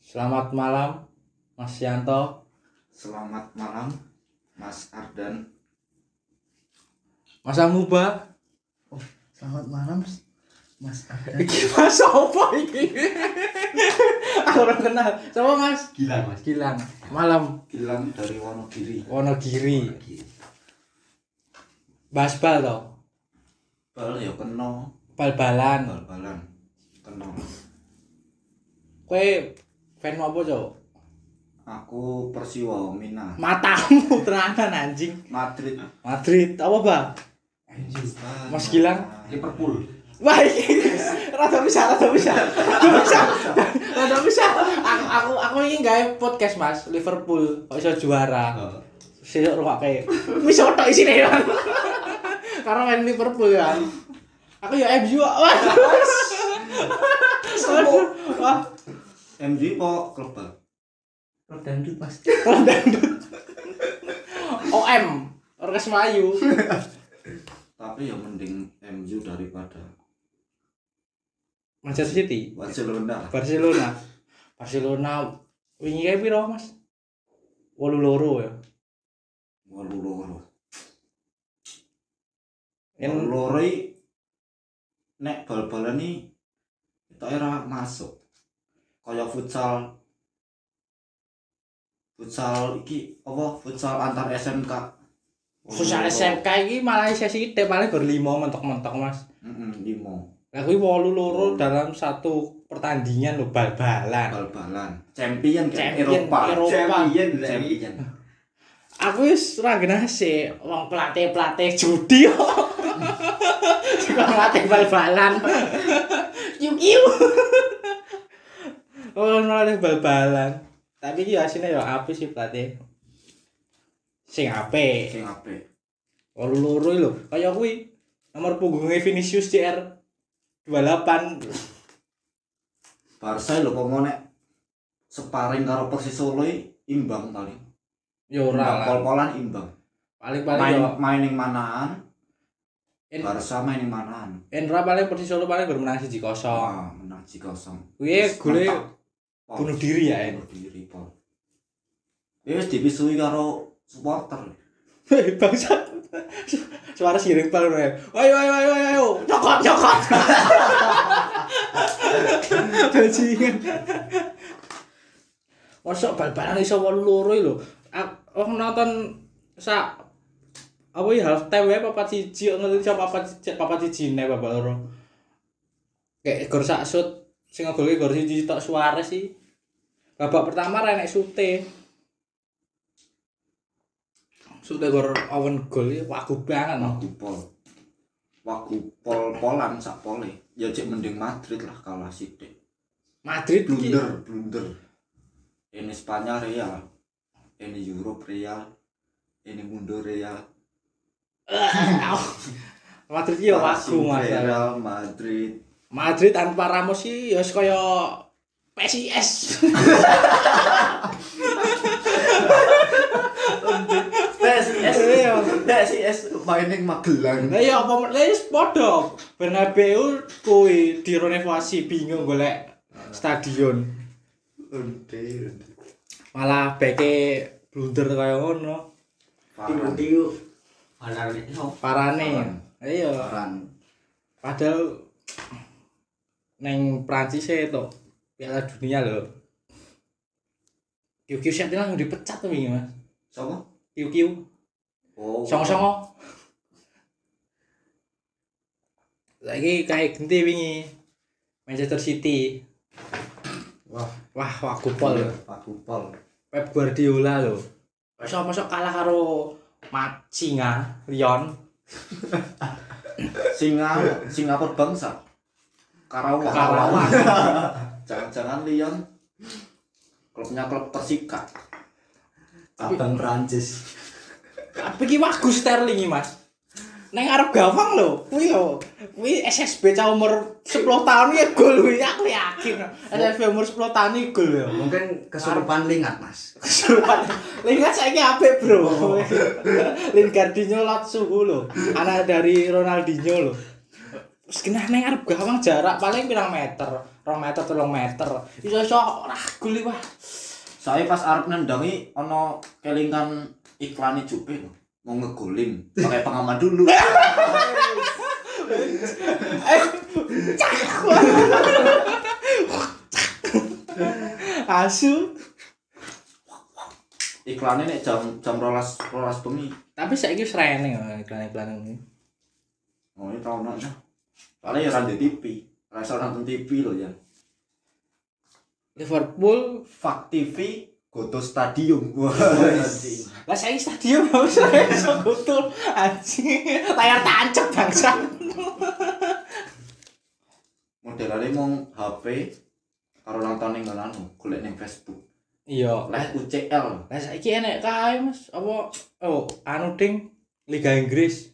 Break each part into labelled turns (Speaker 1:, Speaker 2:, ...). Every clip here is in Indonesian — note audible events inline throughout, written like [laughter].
Speaker 1: Selamat malam, Mas Yanto.
Speaker 2: Selamat malam, Mas Ardan.
Speaker 1: Mas Amuba.
Speaker 3: Oh, Selamat malam, Mas Ardan.
Speaker 1: Iki Mas apa iki? Orang kenal. Siapa Mas?
Speaker 2: Gilang,
Speaker 1: Mas Gilang. Malam
Speaker 2: Gilang dari Wonogiri.
Speaker 1: Wonogiri. Bahas bal toh.
Speaker 2: Bal ya kena,
Speaker 1: Bal-balan.
Speaker 2: bal-balan. Kena.
Speaker 1: Kowe fan apa, Cok?
Speaker 2: Aku Persiwa Mina,
Speaker 1: Matamu terangan anjing.
Speaker 2: Madrid.
Speaker 1: Madrid apa, Bang? Mas Gilang?
Speaker 2: Liverpool.
Speaker 1: Wah, iki rada bisa, rada bisa. Rada bisa. Rada bisa. Aku aku aku ingin gawe podcast, Mas. Liverpool kok iso juara. Sesuk ruwake. Wis otok isine ya. Karena main Liverpool ya. Aku ya MU. Wah. Waduh. Wah.
Speaker 2: MJ po klub bal.
Speaker 3: Rob Dangdut, Mas.
Speaker 1: Orang dangdut. OM. Orkes Melayu.
Speaker 2: Tapi ya mending MJ daripada
Speaker 1: Manchester City.
Speaker 2: Barcelona.
Speaker 1: Barcelona. Barcelona wingi kae piro, Mas? 8 loro ya.
Speaker 2: Walu loro. Walu
Speaker 1: Yen
Speaker 2: loro i, nek bal-balan ini kita era masuk. Kaya futsal futsal iki apa futsal antar SMK. Iya.
Speaker 1: futsal SMK iki malah sesi ide paling gor 5 mentok-mentok, Mas.
Speaker 2: Heeh, limo.
Speaker 1: Lah kuwi 8 loro dalam satu pertandingan lo bal-balan.
Speaker 2: Bal-balan. Champion
Speaker 1: Champion,
Speaker 2: kayak Eropa.
Speaker 1: Eropa.
Speaker 2: Champion. Champion.
Speaker 1: aku wis ora genase wong pelatih-pelatih judi kok. Juga ngelatih bal-balan. Yuk yuk. Oh, ngelatih bal-balan. Tapi iki asine ya apik sih pelatih. Sing apik.
Speaker 2: Sing apik.
Speaker 1: Loro loro lho, kaya kuwi nomor punggungnya Vinicius CR 28.
Speaker 2: Barca lho kok nek separing karo Persis Solo i, imbang paling.
Speaker 1: Ya
Speaker 2: Imbang,
Speaker 1: ora lah.
Speaker 2: Pol-polan imbang.
Speaker 1: Paling-paling
Speaker 2: Main
Speaker 1: yo
Speaker 2: main ning manaan.
Speaker 1: En-
Speaker 2: Barca main ning manaan.
Speaker 1: Endra paling Persis Solo paling baru menang 1-0.
Speaker 2: Ah, menang 3-0.
Speaker 1: Kuwi
Speaker 2: Terus
Speaker 1: gole
Speaker 2: mentak. Pol.
Speaker 1: bunuh diri ya. En.
Speaker 2: Bunuh diri, Pol. Ya wis dibisui karo supporter.
Speaker 1: Hei [laughs] bangsat. Suara siring pal ya. Ayo ayo ayo ayo ayo. Cokot cokot. Bajingan. [laughs] Mosok bal-balan iso 8 loro iki lho. A- Wong nonton sak apa ya half time wae papat siji kok ngerti sak papat siji papat siji ne babak loro. Kayak gor sak shoot sing ngegolke gor siji tok Suarez sih. Babak pertama ra enek sute. Sute gor awan gol iki wagu banget no.
Speaker 2: Wagu Pol. Wagu Pol-polan sak pole. Ya cek mending Madrid lah kalah sithik.
Speaker 1: Madrid iki
Speaker 2: blunder blunder ini Spanyol Real ini Europe Real ini mundur Real
Speaker 1: [laughs] Madrid iki ya wagu
Speaker 2: Racing
Speaker 1: Mas.
Speaker 2: Real Madrid
Speaker 1: Madrid tanpa Ramos sih ya wis kaya PSIS.
Speaker 2: PSIS
Speaker 1: Iya.
Speaker 2: PSIS mainin Magelang
Speaker 1: [laughs] Lah ya apa lah wis padha. Bernabeu kuwi direnovasi bingung golek stadion. Malah beke blunder kaya ngono.
Speaker 2: Parah.
Speaker 1: Parane. Iya,
Speaker 2: Parah.
Speaker 1: padahal neng Prancis e to Piala Dunia lho. Kiu-kiu siapa langsung dipecat tuh ini mas.
Speaker 2: Siapa?
Speaker 1: Kiu-kiu,
Speaker 2: Oh
Speaker 1: songo-songo. Lagi kayak genti wingi Manchester City.
Speaker 2: Wah
Speaker 1: Wah, wah kupol. lho.
Speaker 2: Pak Kupol
Speaker 1: Pep Guardiola lho. Masa masa kalah karo Macinga Lyon.
Speaker 2: Singa Singapura bangsa Karawang
Speaker 1: Karawang.
Speaker 2: Jangan-jangan Lyon klubnya klub Persika
Speaker 4: Iya.
Speaker 2: cabang Prancis
Speaker 1: Tapi ki wagu Sterling iki, Mas. Neng arep gawang lho, kuwi lho. Kuwi SSB cah umur 10 tahun ya gol kuwi, aku yakin. SSB umur 10 tahun iki gol ya.
Speaker 4: Mungkin kesurupan lingat, Mas.
Speaker 1: Kesurupan. Lingard saiki apik, Bro. Lingardinho lot suhu lho. Anak dari Ronaldinho lho. sekitar neng arep gawang jarak paling pirang meter, rong meter telung meter. Iso iso ragul wah.
Speaker 2: Saya pas arep nendangi ono kelingan iklane Jupe lho. Mau ngegolin pakai pengaman dulu.
Speaker 1: Eh, Asu.
Speaker 2: Iklannya nek jam jam rolas rolas bengi.
Speaker 1: Tapi saiki wis rene ya, iklan-iklan ini.
Speaker 2: Oh, ini tahun aja. Soalnya ya rande TV. Rasa nonton TV loh ya.
Speaker 1: Liverpool
Speaker 2: Fak TV Goto Stadium. Wah, anjing.
Speaker 1: lah saya stadion mau saya sekutu anjing layar tancap bangsa
Speaker 2: modelane mung HP karo nonton ning ngono anu, golek ning Facebook.
Speaker 1: iya
Speaker 2: Oleh UCL.
Speaker 1: Lah saiki enek kae Mas, apa oh anu ding Liga Inggris.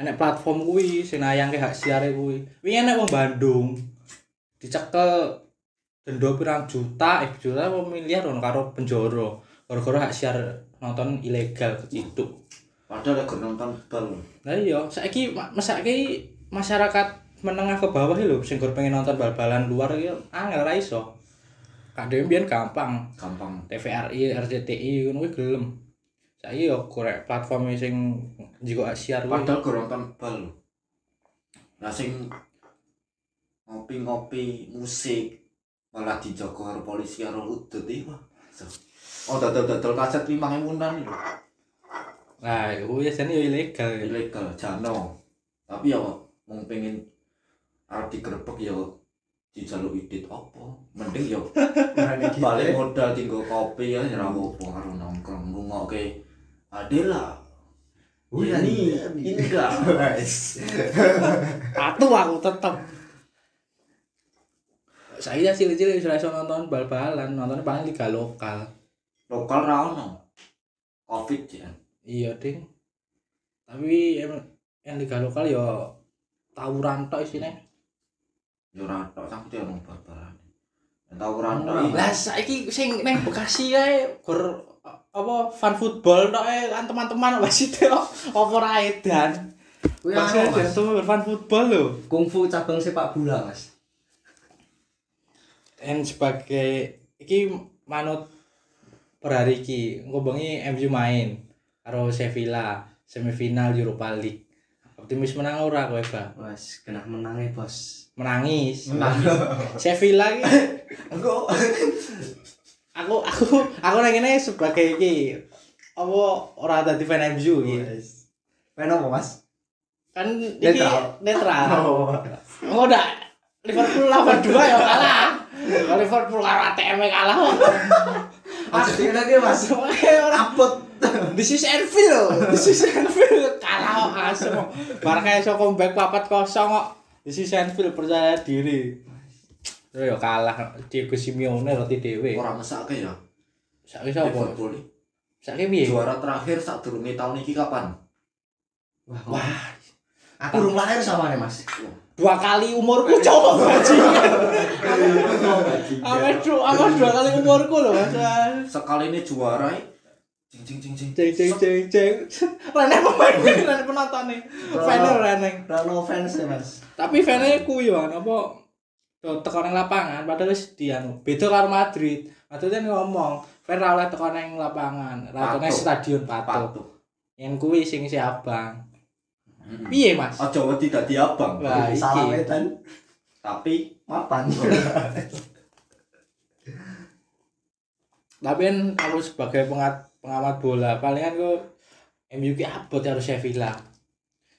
Speaker 1: Enek platform kuwi sing nayangke hak siare kuwi. Wingi enek wong Bandung dicekel denda pirang juta, eh juta apa miliar ngono karo penjara. Gara-gara hak siar nonton ilegal keciduk.
Speaker 2: Padahal lek nonton bal.
Speaker 1: Lah iya, saiki ma- mas- saiki masyarakat menengah ke bawah iki lho sing gur pengen nonton bal-balan luar iki angel ra iso. Kadhe mbiyen gampang.
Speaker 2: gampang.
Speaker 1: TVRI, RCTI ngono kuwi gelem. Saiki yo korek platform sing jigo siar kuwi.
Speaker 2: Padahal gur nonton bal. Lah sing ngopi-ngopi musik malah dijogo karo polisi karo udut iki. Wah. So. Oh, dodol-dodol kaset 5000-an lho.
Speaker 1: Nah, iku ya jane yo ilegal. ya.
Speaker 2: Ilegal jano. Tapi ya mung pengen arep digerebek ya dijaluk idit apa? Mending ya balik modal tinggal kopi ya nyerah apa karo nongkrong ngungokke Adela
Speaker 4: Iya,
Speaker 2: ini
Speaker 4: iya.
Speaker 2: enggak
Speaker 1: Patuh aku tetep. Saya cilik-cilik sudah iso nonton bal-balan, nonton paling liga lokal.
Speaker 2: lokal ra ono covid ya
Speaker 1: Iya, Ding. Tapi em yang liga lokal yo tawuran tok isine.
Speaker 2: yo ra tok sak itu ono babaran tau ra tok iki.
Speaker 1: Lah saiki sing neng Bekasi kae gur apa fan football tok e kan teman-teman wis itu apa ra edan.
Speaker 3: Kuwi
Speaker 4: Iya,
Speaker 1: Pasti
Speaker 3: apa,
Speaker 1: ada
Speaker 3: Mas?
Speaker 1: tuh berfan football loh.
Speaker 3: Kungfu cabang sepak bola, Mas.
Speaker 1: Dan sebagai iki manut per hari iki ngobengi MU main karo Sevilla semifinal Europa League. Optimis menang ora kowe, Bang?
Speaker 3: Wes, kena menange,
Speaker 4: [laughs]
Speaker 3: Bos.
Speaker 1: Menangis. Sevilla iki
Speaker 2: Engko
Speaker 1: aku aku aku nang ngene sebagai iki apa ora dadi fan
Speaker 4: Oh,
Speaker 1: MU iki.
Speaker 4: Wes. Main apa, Mas?
Speaker 1: Kan iki
Speaker 4: Netral.
Speaker 1: netral.
Speaker 4: [laughs] Oh.
Speaker 1: Engko ndak Liverpool lawan dua ya kalah. Kalau Liverpool karo ATM -nya kalah.
Speaker 4: Maksudnya lagi, Mas.
Speaker 1: Ora
Speaker 4: Apot.
Speaker 1: This is Anfield loh. This is Anfield. Kalah kok asem. kok. Barca iso comeback 4-0 kok. This is Anfield percaya diri. Yo yo kalah Diego Simeone roti dhewe.
Speaker 2: ora mesake ya
Speaker 1: Saiki sapa?
Speaker 2: Liverpool iki.
Speaker 1: Saiki piye?
Speaker 2: juara terakhir sak durunge tahun iki kapan
Speaker 4: Wah,
Speaker 1: Wah,
Speaker 4: aku urung lahir sama nih, Mas.
Speaker 1: dua kali umurku coba bajingan. Awas du- awas dua kali umurku loh Mas.
Speaker 2: sekali ini juara iki. jing jing jing jing
Speaker 1: Ceng ceng ceng ceng. Rene pemain rene penonton nih. Fan rene.
Speaker 4: Rano fans ya, Mas.
Speaker 1: Tapi fans kuwi yo apa tuh teko nang lapangan padahal wis dianu. Beda karo Madrid. Madrid kan ngomong, fans ra oleh teko nang lapangan, ra teko nang
Speaker 2: Patuh.
Speaker 1: stadion patuh.
Speaker 2: patuh
Speaker 1: Yen kuwi sing si Abang.
Speaker 2: Mm.
Speaker 1: Piye, Mas?
Speaker 2: aja wedi dadi abang
Speaker 1: Wah,
Speaker 4: Salam
Speaker 1: iki.
Speaker 4: edan.
Speaker 2: tapi
Speaker 4: Mapan.
Speaker 1: Tapi kan aku sebagai pengat, pengamat bola, palingan ku MU ki abot karo Sevilla.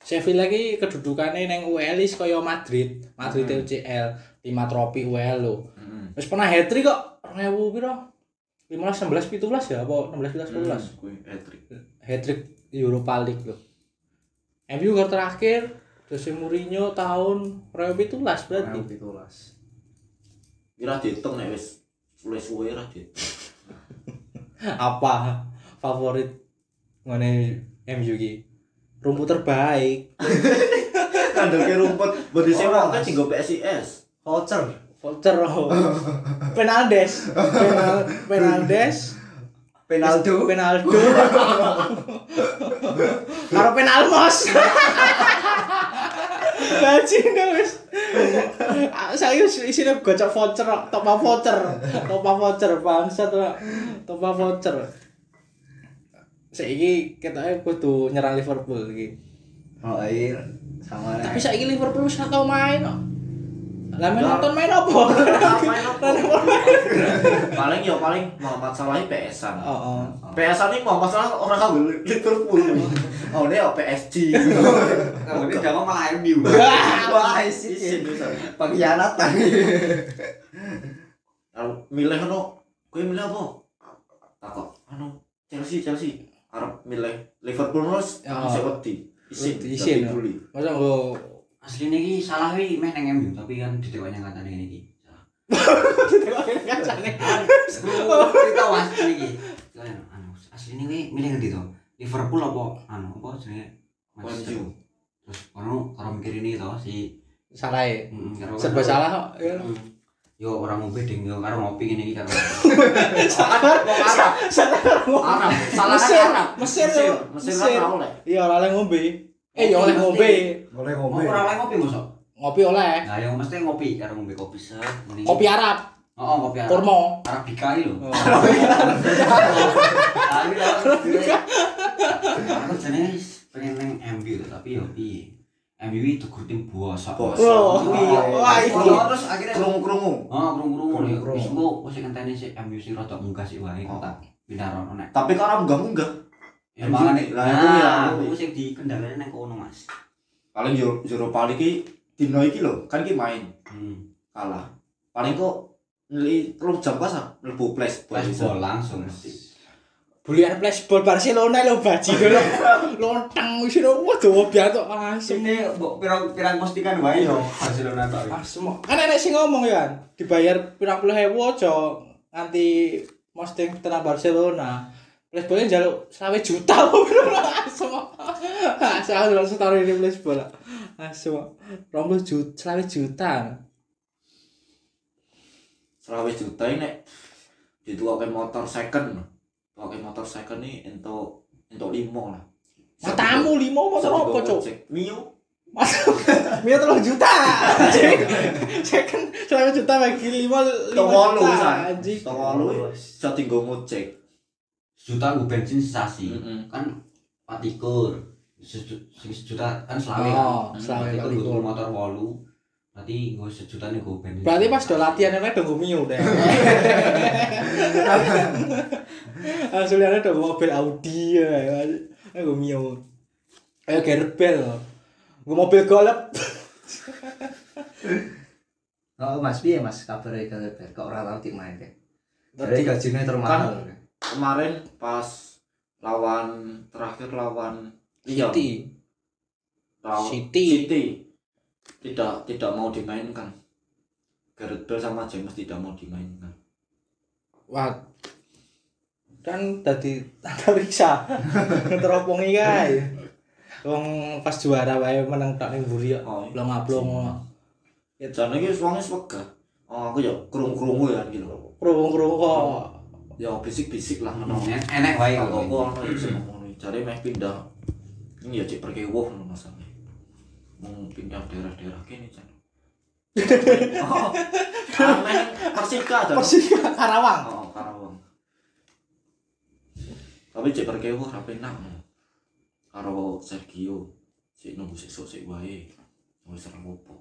Speaker 1: Sevilla ki kedudukannya neng UEL is kaya Madrid, Madrid
Speaker 2: Hmm.
Speaker 1: UCL, 5 trofi UEL lo.
Speaker 2: heeh
Speaker 1: Wis pernah hat trick kok 2000 piro? 15 16 17 ya apa 16 11
Speaker 2: Kelas kuwi Patrick.
Speaker 1: hat trick Europa League loh. MU gol terakhir Jose Mourinho tahun 2017 berarti.
Speaker 4: gitu, Pitulas.
Speaker 2: Iki ra diitung nek wis wis suwe ra diitung. [laughs]
Speaker 1: Apa favorit ngene MU ki? Rumput terbaik.
Speaker 2: Kandangnya rumput berarti
Speaker 4: Ora,
Speaker 2: sewa kan
Speaker 4: Mas.
Speaker 2: tinggal PSIS.
Speaker 4: Voucher.
Speaker 1: Voucher. oh. Penaldes. Penal Penaldes.
Speaker 4: Penaldo.
Speaker 1: Penaldo. Karo penalmos. Bajingan wis. Saya wis isine gocok voucher, top up voucher, top up voucher bangsat ora. Top up voucher. Saiki ketoke kudu nyerang Liverpool iki.
Speaker 4: Oh iya, sama
Speaker 1: Tapi
Speaker 4: nih.
Speaker 1: saiki Liverpool wis gak tau main kok. Lah main
Speaker 2: Lah.
Speaker 1: nonton main apa?
Speaker 2: Main apa? paling yo paling Muhammad Salah PSan.
Speaker 1: Heeh.
Speaker 2: PSan ini Muhammad Salah orang kagak Liverpool. Oh ini ya PSG.
Speaker 3: Ini jangan malah MU.
Speaker 4: Wah,
Speaker 2: Isin
Speaker 4: isi
Speaker 2: bisa.
Speaker 4: [laughs] pengkhianatan.
Speaker 2: Kalau milih ano, kowe milih apa? Takok. Ano Chelsea Chelsea. Arab milih Liverpool terus
Speaker 1: Ya.
Speaker 2: bisa wedi. Isin.
Speaker 1: Wedi, isin,
Speaker 2: dadi
Speaker 1: ya.
Speaker 2: bully.
Speaker 1: Masa nggo
Speaker 5: Asli niki salah wi meh nang MU tapi kan didewanya katane ngene iki. Salah. Kita was niki. Lan, Anu asli niki milih ngendi to? Liverpool apa anu apa jenenge?
Speaker 2: Maju.
Speaker 5: Manchester. Terus ono karo mikir ini to si
Speaker 1: salah ya.
Speaker 5: Mm, karo-
Speaker 1: Serba salah kok. ya.
Speaker 5: Mm. Yo orang ngombe ding yo karo ngopi ngene iki karo.
Speaker 1: Salah.
Speaker 5: Arab,
Speaker 1: Salah.
Speaker 5: Arab, salah
Speaker 1: Mesir,
Speaker 5: kan Arab.
Speaker 1: Mesir,
Speaker 2: Mesir,
Speaker 1: yo.
Speaker 2: Mesir kan
Speaker 1: Mesir.
Speaker 2: ora oleh.
Speaker 1: Iya ora oleh ngombe. Eh ya oleh ngombe.
Speaker 4: Boleh
Speaker 5: Mau ora oleh ngopi mosok?
Speaker 1: Ngopi oleh.
Speaker 5: Nah, yang mesti ngopi karo ngombe kopi set. ngene iki.
Speaker 1: Kopi Arab,
Speaker 5: Oh, oh, kopi Arab.
Speaker 1: kurma.
Speaker 5: Arabica iki lho.
Speaker 1: Oh.
Speaker 5: Tapi lah, aku jenenge pengen neng MU lho, tapi yo piye. MU itu kur tim bosok.
Speaker 2: Bosok.
Speaker 1: Wow.
Speaker 5: Iya,
Speaker 1: Wah,
Speaker 5: bosok.
Speaker 1: iya.
Speaker 5: Terus akhirnya
Speaker 2: Krungu-krungu.
Speaker 5: Oh, krung-krung yo.
Speaker 4: Krungu-krungu.
Speaker 5: Wis engko wis ngenteni sik MU sih rada munggah sik wae
Speaker 2: Oh.
Speaker 5: kok tak pindah rono nek.
Speaker 2: Tapi kok ora munggah-munggah.
Speaker 5: Ya
Speaker 2: MU,
Speaker 5: makane.
Speaker 2: lah, aku ya,
Speaker 5: Nah,
Speaker 2: aku.
Speaker 5: aku sing dikendalane nang kono, Mas.
Speaker 2: Paling Euro- Europa League iki dino iki lho, kan ki main.
Speaker 5: Hmm.
Speaker 2: kalah paling kok nilai telung jam pas ah, mlebu flash boy.
Speaker 5: Wis bol langsung mesti.
Speaker 1: Bulian flashball Barcelona lo baji lo lontang wis lo waduh biar tuh asem
Speaker 5: Ini mbok pirang-pirang postingan wae yo Barcelona tok.
Speaker 1: asem kan enek sing ngomong ya kan dibayar pirang puluh ewu aja nganti posting tenang Barcelona flashballnya jaluk selawe juta [laughs] Ah, lo asem asem lo setahun ini Ah, flashball asem romblo juta selawe juta
Speaker 2: serawe juta ini nek dituake motor second tuake motor second ini entuk entuk limo lah
Speaker 1: matamu limo motor
Speaker 2: Satu
Speaker 1: apa
Speaker 2: bawa
Speaker 1: cok
Speaker 2: Gojek. mio
Speaker 1: Masuk, Mia telung juta. Anjing. Saya kan selama juta bagi lima lima
Speaker 2: tolong lu
Speaker 1: juta.
Speaker 2: san
Speaker 1: Anjing.
Speaker 2: tolong lu bisa tinggal ngocek
Speaker 5: Juta nggo bensin sesasi.
Speaker 2: Mm-mm.
Speaker 5: kan patikur sing sejuta kan selawe
Speaker 1: Oh,
Speaker 5: kan
Speaker 1: selawe
Speaker 5: Patikur
Speaker 1: patikur.
Speaker 5: nggo motor wolu berarti nggo sejuta nih gue bensin
Speaker 1: Berarti pas udah latihan ya? enak udah gumiu deh. Hasil ada udah mobil Audi ya. Aku gumiu. Ayo gerbel. Gue mobil golep.
Speaker 4: Oh mas, piye mas kabarnya Gareth Bale? Kok orang tahu tim main deh? Dari
Speaker 1: Berarti
Speaker 4: gajinya termahal.
Speaker 2: kemarin pas lawan terakhir lawan Lyon
Speaker 1: City.
Speaker 2: lawan
Speaker 1: City.
Speaker 2: City. tidak tidak mau dimainkan Gareth Bale sama James tidak mau dimainkan
Speaker 1: Wah. Kan tadi tanda [laughs] riksa. Teropongi guys. Wong pas juara wae menang tak ning mburi kok.
Speaker 2: oh
Speaker 1: Belum ablong.
Speaker 2: ya jane iki wis wegah oh aku ya krung-krungu ya gitu lho
Speaker 1: Kerungu-kerungu kok.
Speaker 2: ya bisik-bisik lah ngono
Speaker 5: Ngomongnya ya, enek wae
Speaker 2: apa
Speaker 5: kalau
Speaker 2: apa ono ya sing ngono jare meh pindah ini ya cek perkewuh ngono masane mau pindah daerah-daerah kene jan oh amen Persika jan
Speaker 1: Persika Karawang.
Speaker 2: oh Karawang tapi cek perkewuh ra penak ngono. karo Sergio sik nunggu sesuk sik wae wis ra apa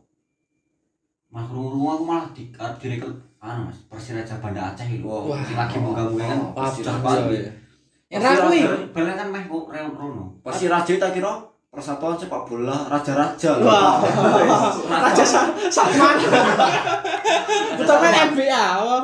Speaker 5: mas ruru aku malah di arep direkrut anu mas persiraja banda aceh itu
Speaker 2: Wow.
Speaker 5: Sing lagi mau gabung kan
Speaker 2: Oh, Persiraja.
Speaker 5: iya.
Speaker 1: Enak iya. kuwi.
Speaker 5: balen kan meh kok reon rono
Speaker 2: Pasti raja tak kira persatuan sepak bola raja-raja lho.
Speaker 1: Wah. Raja Sa- Salman. Utama MBA. apa?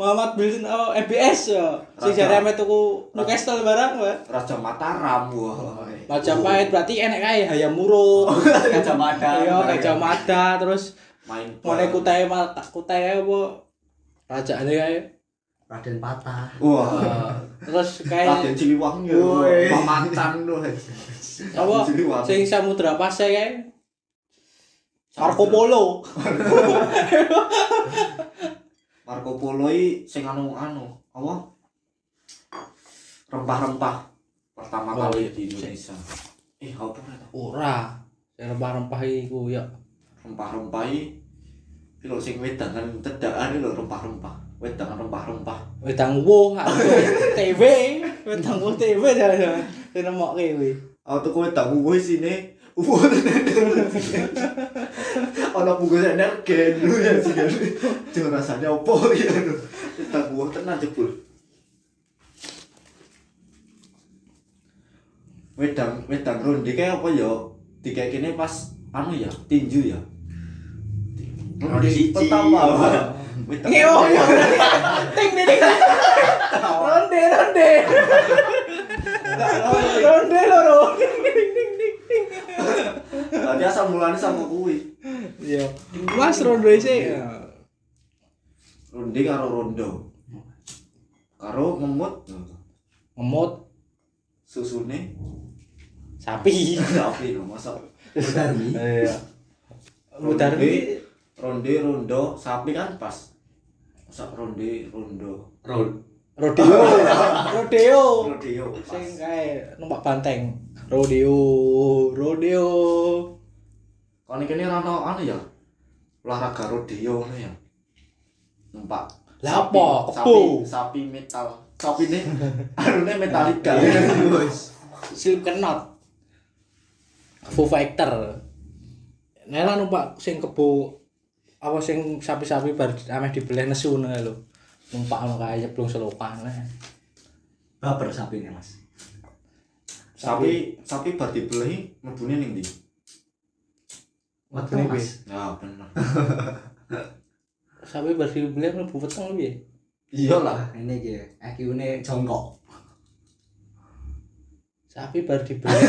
Speaker 1: Muhammad Bin oh, MBS ya. Sing
Speaker 2: Raja.
Speaker 1: jare ame tuku Newcastle barang wae.
Speaker 2: Raja Mataram wah.
Speaker 1: eh. Majapahit berarti enek kae Hayam Muruk. [laughs]
Speaker 5: kacamata
Speaker 1: Oh, Iya, Gajah terus
Speaker 2: Main
Speaker 1: mulai
Speaker 2: bal.
Speaker 1: kutai mal kutai apa rajane kae.
Speaker 4: Raden patah.
Speaker 2: Wah.
Speaker 1: Terus
Speaker 2: Raden
Speaker 1: kae
Speaker 2: Ciliwangi.
Speaker 4: Woi.
Speaker 2: Pamatan lho.
Speaker 1: apa
Speaker 2: Ciliwangi.
Speaker 1: eh. sing samudra pasai kae. Marco Polo.
Speaker 2: Marco Polo i sing anu anu apa? Rempah-rempah pertama
Speaker 1: Oh,
Speaker 2: kali
Speaker 1: iya.
Speaker 2: di Indonesia. Eh, apa ora?
Speaker 1: Ora. Rempah-rempah iku ya.
Speaker 2: rempah-rempahi iki lho sing wedangan cedhakan iki lho rempah-rempah wedangan rempah-rempah
Speaker 1: Wedang wo, aku TV, wedang wo TV jalan-jalan. Nemokke kuwi.
Speaker 2: aku tuh kowe tak uwe sini uwe ana bungkus energen lu ya sih jangan rasanya opo ya tak uwe tenan jebul wedang wedang ronde kayak apa ya tiga kini pas anu ya tinju ya
Speaker 3: Ronde siji.
Speaker 2: pertama wedang
Speaker 1: Ngeo yo. oh, iya. Ting ting ting. Ronde ronde. Ronde loro. Ting ting ting ting ting.
Speaker 2: tadi asal mulanya sama kuwi
Speaker 1: Iya. Mas ronde sih.
Speaker 2: ronde karo rondo karo ngemut
Speaker 1: Ngemut
Speaker 2: susune
Speaker 1: sapi.
Speaker 2: tapi lho masa
Speaker 4: Darmi.
Speaker 1: Iya. Udar kuwi
Speaker 2: ronde ronde rondo sapi kan pas masa ronde rondo
Speaker 5: Roll.
Speaker 1: rodeo. [laughs] Rodeo.
Speaker 2: rodeo
Speaker 1: Sing
Speaker 2: pas
Speaker 1: kae numpak banteng. Rodeo, rodeo.
Speaker 2: kan ini rano anu ya olahraga rodeo anu ya numpak
Speaker 1: Lah
Speaker 2: sapi-
Speaker 1: apa?
Speaker 2: sapi
Speaker 1: Kebo.
Speaker 2: sapi metal sapi [laughs] ini anu metalika
Speaker 1: Slipknot Foo Fighter Nela numpak sing kebo apa sing sapi-sapi bar ameh dibeleh nesu ngono lho. Numpak ngono kae jeblung selokan.
Speaker 4: Baper sapinya mas.
Speaker 2: sapi sapi bar dibeli mebune ning ndi
Speaker 4: Waktu
Speaker 1: Ini,
Speaker 4: mas.
Speaker 2: ya bener
Speaker 1: Sapi bar dibeleh mlebu weteng lho piye?
Speaker 2: iyalah [laughs]
Speaker 4: Wah, Ini gitu. IQ ini jongkok.
Speaker 1: Sapi bar [laughs] dibeleh.
Speaker 4: [laughs]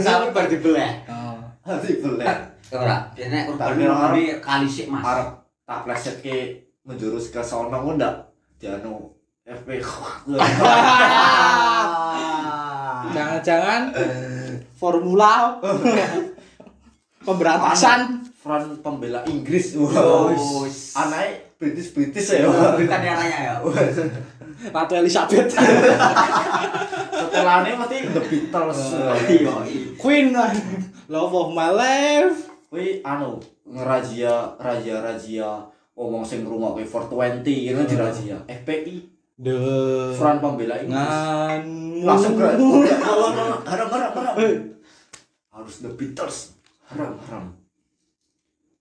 Speaker 3: Sampai bar dibelah.
Speaker 1: Oh.
Speaker 2: dibeli
Speaker 5: Ora, biasanya urban
Speaker 2: Tapi
Speaker 5: ini
Speaker 2: orang-
Speaker 5: ngombe kali sik, Mas.
Speaker 2: arep tak pleset ke menjurus ke sono ngono ndak anu dianu FP
Speaker 1: Oh. [laughs] Ah. Jangan-jangan
Speaker 2: Eh. [laughs]
Speaker 1: formula pemberantasan
Speaker 2: front pembela Inggris
Speaker 3: Oh,
Speaker 2: wow
Speaker 3: wis.
Speaker 2: anaknya British British ya
Speaker 5: Britania Raya ya.
Speaker 1: Ratu Elizabeth
Speaker 2: [laughs] setelahnya mesti The Beatles
Speaker 3: Iya.
Speaker 1: Queen eh. Love of my life
Speaker 2: wih anu ngerajia rajia rajia ngomong sing rumah ke 420 itu dirajia FPI
Speaker 1: The
Speaker 2: front pembela
Speaker 1: Nah.
Speaker 2: Inggris
Speaker 1: nganmu
Speaker 2: langsung ke haram haram haram haram harus The Beatles haram haram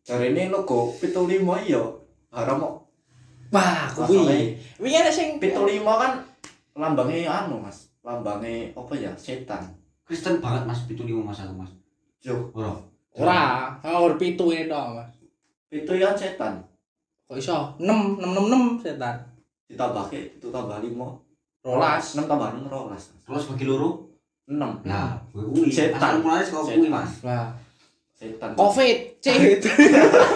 Speaker 2: dari ini logo pitu lima iya haram kok
Speaker 1: Wah,
Speaker 2: Masalahnya-
Speaker 1: kuwi. Kuwi ana sing
Speaker 2: pitu lima kan lambangnya anu mas lambangnya apa ya setan
Speaker 5: Kristen banget Mas, itu lima Mas aku Mas.
Speaker 2: yo
Speaker 5: Ora.
Speaker 1: ora, nomor 7 ini tok, Mas.
Speaker 2: pitu kan setan
Speaker 1: Kok iso? 6 6 6 6 setan.
Speaker 2: ditambah ke itu tambah lima
Speaker 1: 12.
Speaker 2: enam tambah enam rolas
Speaker 5: Terus bagi loro.
Speaker 2: enam
Speaker 5: Nah, kuwi
Speaker 2: Setan.
Speaker 5: asal mulane saka kuwi
Speaker 2: Setan.
Speaker 5: Mas.
Speaker 1: Lah,
Speaker 2: setan
Speaker 1: Covid, C.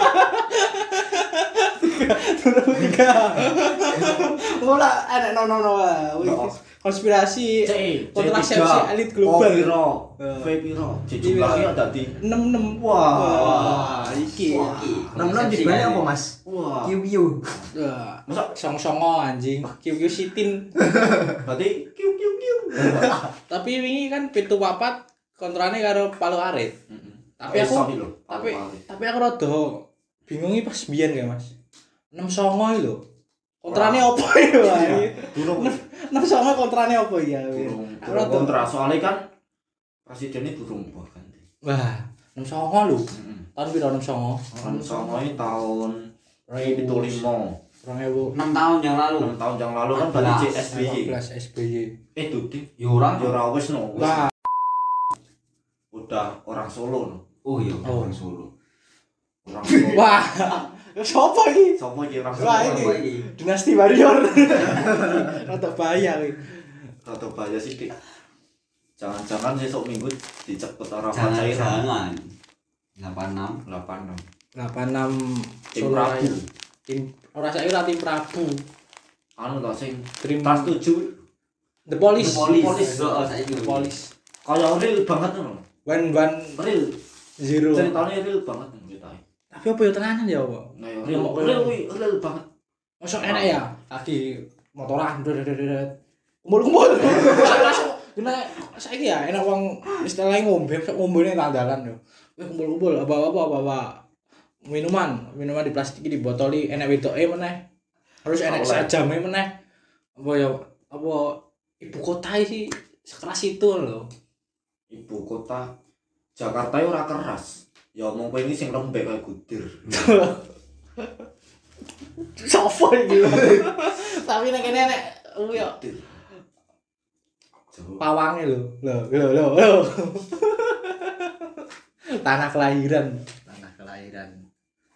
Speaker 1: 3.
Speaker 2: [laughs]
Speaker 1: Ora ana no no no. Wih,
Speaker 2: No.
Speaker 1: Konspirasi
Speaker 2: C
Speaker 1: kontrasepsi elit global.
Speaker 2: Piro
Speaker 1: Eh.
Speaker 2: V piro jumlahnya ada di
Speaker 1: 66.
Speaker 2: Wah.
Speaker 1: iki.
Speaker 4: Nom nom di mana apa mas?
Speaker 2: wah
Speaker 4: Kiwiu.
Speaker 1: Wah.
Speaker 2: masa
Speaker 1: Song-songo anjing. Kiwi sitin.
Speaker 2: berarti kiu kiu
Speaker 1: [laughs]
Speaker 2: kiu
Speaker 1: Tapi wingi kan pitu papat kontrane karo Palu Arit. Tapi
Speaker 2: Eh,
Speaker 1: aku tapi tapi aku rada bingung iki pas biyen kayak Mas. 69 iki lho. Kontrane opo iki
Speaker 2: Iya.
Speaker 1: wae?
Speaker 2: burung
Speaker 1: 69 kontrane opo ya?
Speaker 2: burung
Speaker 1: Aku Nah.
Speaker 2: burung
Speaker 1: rada
Speaker 2: kontra soalnya kan presidennya burung bahkan
Speaker 1: Wah, 69 lho. Tahun piro 69?
Speaker 2: kan soalnya tahun itu lima
Speaker 1: 2000
Speaker 5: 6 tahun yang lalu.
Speaker 2: enam tahun yang lalu kan dari CSBY
Speaker 1: 18 SBY.
Speaker 2: eh duding
Speaker 5: Ya ora.
Speaker 2: Yora wis no wis.
Speaker 1: Wah,
Speaker 2: udah orang Solo no
Speaker 5: Oh iya,
Speaker 1: Oh.
Speaker 5: orang Solo.
Speaker 1: [laughs]
Speaker 2: orang Solo
Speaker 1: wah. Sopo iki?
Speaker 2: Sopo iki orang
Speaker 1: Wah,
Speaker 2: Solo
Speaker 1: ini.
Speaker 5: Wah, iki.
Speaker 1: Dinasti Warrior. [laughs] Rada bahaya iki.
Speaker 2: atau bahaya sih Dik. jangan-jangan besok minggu dicepet orang Pacaira
Speaker 5: Jangan-jangan. 86
Speaker 2: delapan
Speaker 1: 86
Speaker 2: tim
Speaker 1: Solo
Speaker 2: Rabu
Speaker 1: Raya. Tim ora saiki ora tim Prabu.
Speaker 2: anu tau sing
Speaker 1: Dream
Speaker 2: tas tujuh
Speaker 1: The Police.
Speaker 5: Polis. Oh,
Speaker 2: Polis.
Speaker 5: Heeh, saiki.
Speaker 1: The Police.
Speaker 2: kaya real banget no
Speaker 1: One one
Speaker 2: real
Speaker 1: zero.
Speaker 2: ceritanya real banget no ceritanya
Speaker 1: Tapi apa ya tenanan ya, Pak?
Speaker 2: Nah, ya, real real kuwi, real banget
Speaker 1: Masuk enak ya. Lagi motoran dredredred. Kumpul-kumpul. [laughs] Masuk. Kena saiki ya enak wong istilahnya ngombe, sok ngombene tandalan yo. Wis kumpul-kumpul apa-apa apa-apa. minuman minuman di plastik di botoli enak wedoke meneh terus enak
Speaker 2: Oleh.
Speaker 1: sajame meneh apa ya apa ibu kota sih sekeras itu loh
Speaker 2: ibu kota Jakarta ya ora keras ya omong pengen sing lembek kayak gudir
Speaker 1: Sopo iki. [laughs] Tapi nek kene oh, ya, nek aku yo
Speaker 2: Jawa
Speaker 1: pawange lho. Lho, lho, lho, lho. [laughs] Tanah kelahiran,
Speaker 4: tanah kelahiran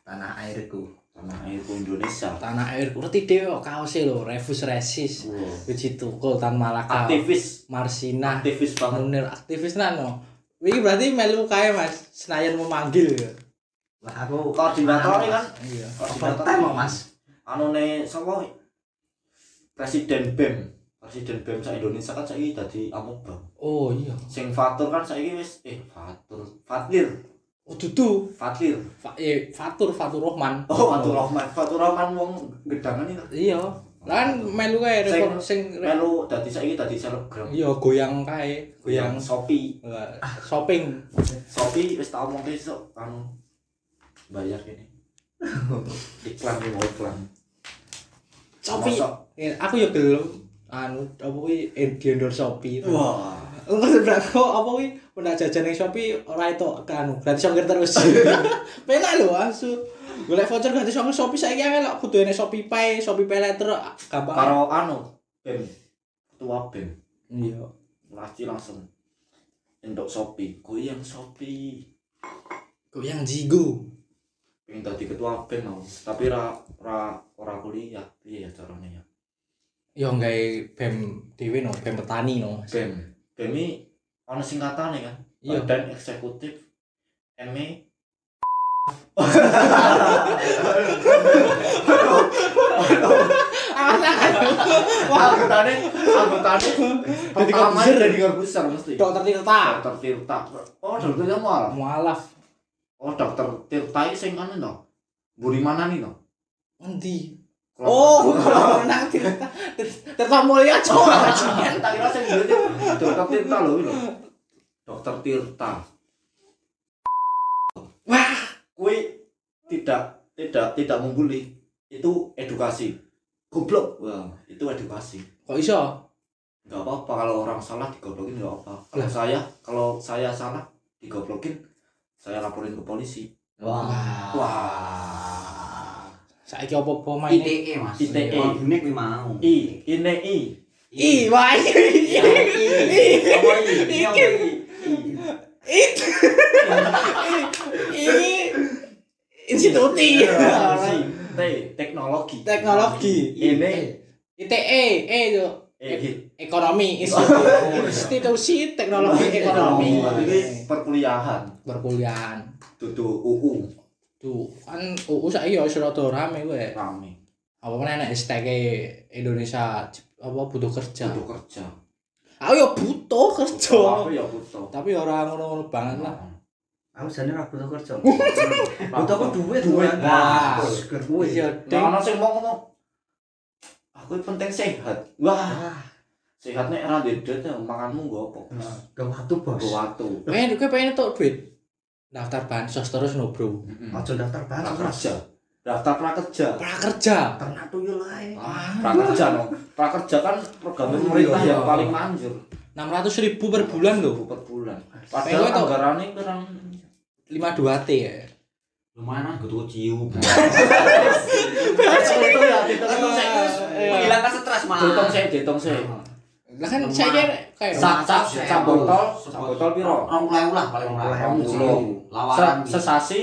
Speaker 4: tanah airku
Speaker 2: tanah airku Indonesia
Speaker 1: tanah airku ngerti dhewe kok kaose lho, Revus Resis.
Speaker 2: Wow.
Speaker 1: Wiji Tukul Tan Malaka.
Speaker 2: aktivis
Speaker 1: Marsina.
Speaker 2: aktivis banget
Speaker 1: Munir aktivis nano. Iki berarti melu kae Mas, Senayan memanggil ya.
Speaker 4: wah aku
Speaker 2: Koordinatornya kan?
Speaker 1: Iya.
Speaker 4: overtime mau mas
Speaker 2: anu ne sapa presiden BEM presiden BEM sa Indonesia kan saiki dadi amuk bang
Speaker 1: Oh iya.
Speaker 2: sing fatur kan saiki wis eh fatur fatir
Speaker 1: Oh dudu.
Speaker 2: fatir
Speaker 1: Fa- eh, Fatur Fatur Rohman.
Speaker 2: oh fatur rahman fatur rahman wong gedangan iki
Speaker 1: Iya. Lah kan melu kae
Speaker 2: Sing-
Speaker 1: rekor sing
Speaker 2: melu dadi saiki dadi selebgram
Speaker 1: iya goyang kae, goyang
Speaker 2: yang Shopee
Speaker 1: Wah, shopping
Speaker 2: Shopee wis tak omongke sok anu bayar kene iklan iki mau iklan
Speaker 1: Shopee
Speaker 2: Mosok.
Speaker 1: Eh, aku ya gelem anu apa kuwi eh, di endorse Shopee
Speaker 2: wah
Speaker 1: Enggak sebelah aku apa kuwi pernah jajan yang Shopee ora itu anu gratis ongkir [laughs] terus penak lho asu golek voucher gratis ongkir Shopee saiki akeh lho kudu ene Shopee Pay Shopee Pay letter gampang
Speaker 2: karo anu BEM ketua BEM
Speaker 1: iya
Speaker 2: Lagi langsung endok Shopee, goyang Shopee.
Speaker 1: goyang jigo
Speaker 2: Pengen tadi ketua BEM mau, tapi ra ra ora kuliah. Iya ya caranya ya.
Speaker 1: yo gawe bem dhewe no bem petani no
Speaker 2: BEM. BEM ini ono singkatane kan.
Speaker 1: Iya. [laughs]
Speaker 2: Badan eksekutif E. ME anggotane anggotane pertama
Speaker 1: Corbuzier.
Speaker 2: dari Corbuzier mesti
Speaker 1: dokter Tirta
Speaker 2: dokter Tirta oh dokter Tirta malah
Speaker 1: mualaf
Speaker 2: oh dokter Tirta ini sing anu no buri mana nih no
Speaker 1: endi [laughs] kalau menang Oh, Tirta Tirta Mulia
Speaker 2: Kan tak kira sing duwe itu dokter Tirta lho kuwi lho. Dokter Tirta. Wah, kuwi tidak tidak tidak membuli. Itu edukasi. Goblok. Wah, itu edukasi.
Speaker 1: Kok iso?
Speaker 2: Enggak apa-apa kalau orang salah digoblokin enggak apa. Kalau saya kalau saya salah digoblokin saya laporin ke polisi.
Speaker 5: Wah.
Speaker 2: Wah.
Speaker 1: Saiki apa-apa main.
Speaker 5: ITE E, Mas.
Speaker 2: ITE.
Speaker 5: Wagune kuwi mau.
Speaker 2: I, ini I.
Speaker 1: I, wah i. i, i,
Speaker 2: Apa I? Apa I?
Speaker 1: I. [laughs] Instituti.
Speaker 2: Alright. T, teknologi.
Speaker 1: Teknologi.
Speaker 2: Ini
Speaker 1: ITE, E itu
Speaker 2: eh,
Speaker 1: ekonomi, institusi, institusi teknologi ekonomi.
Speaker 2: ekonomi. Ini perkuliahan.
Speaker 1: Perkuliahan.
Speaker 2: Dudu UU
Speaker 1: Tuh, kan UU saiki ya wis rada rame kowe.
Speaker 2: rame.
Speaker 1: Apa meneh nek hashtag Indonesia apa butuh kerja.
Speaker 2: Dudu kerja.
Speaker 1: Aku ya butuh kerja.
Speaker 2: Aku ya butuh.
Speaker 1: Tapi ora ngono-ngono banget lah.
Speaker 4: aku jadi ora butuh kerja butuh aku
Speaker 2: Butuh
Speaker 4: duit
Speaker 2: Duit,
Speaker 4: kan.
Speaker 1: Wah.
Speaker 4: Terus, ger kuwi.
Speaker 1: Iya,
Speaker 2: Nah,
Speaker 1: Ding.
Speaker 2: ono sing mau ngomong. Aku yang penting sehat. Wah,
Speaker 4: ah
Speaker 2: sehatnya era dedet ya, makanmu gak apa.
Speaker 4: gak waktu bos
Speaker 2: Gak watu.
Speaker 1: Pengen, gue pengen tuh duit daftar bansos terus no bro
Speaker 4: ojo daftar
Speaker 2: Pra
Speaker 4: banget mas
Speaker 2: kerja. Daftar prakerja.
Speaker 1: prakerja
Speaker 4: ternak tuyul ae
Speaker 2: Ah, Prakerja no. Prakerja kan program pemerintah
Speaker 4: Iya.
Speaker 2: yang paling manjur.
Speaker 1: 600 ribu per bulan loh
Speaker 2: per bulan.
Speaker 1: Pengen
Speaker 2: Padahal
Speaker 1: tau.
Speaker 2: anggarannya kurang
Speaker 1: 52 t ya
Speaker 5: Lumayan aku tuku cium.
Speaker 2: itu ya diteken
Speaker 1: Iya,
Speaker 2: saya
Speaker 1: iya.
Speaker 5: Menghilangkan stres Mas. Eh,
Speaker 2: ditong saya ditong saya
Speaker 1: lah kan
Speaker 5: Lemah.
Speaker 1: saya kira kayak
Speaker 2: sak sak
Speaker 5: Sewu.
Speaker 2: sak botol sak botol piro
Speaker 5: Rong puluh ewu lah paling murah.
Speaker 4: Rong
Speaker 2: puluh
Speaker 5: Rong
Speaker 2: ewu.
Speaker 5: puluh. Lawaran.
Speaker 2: Se- sesasi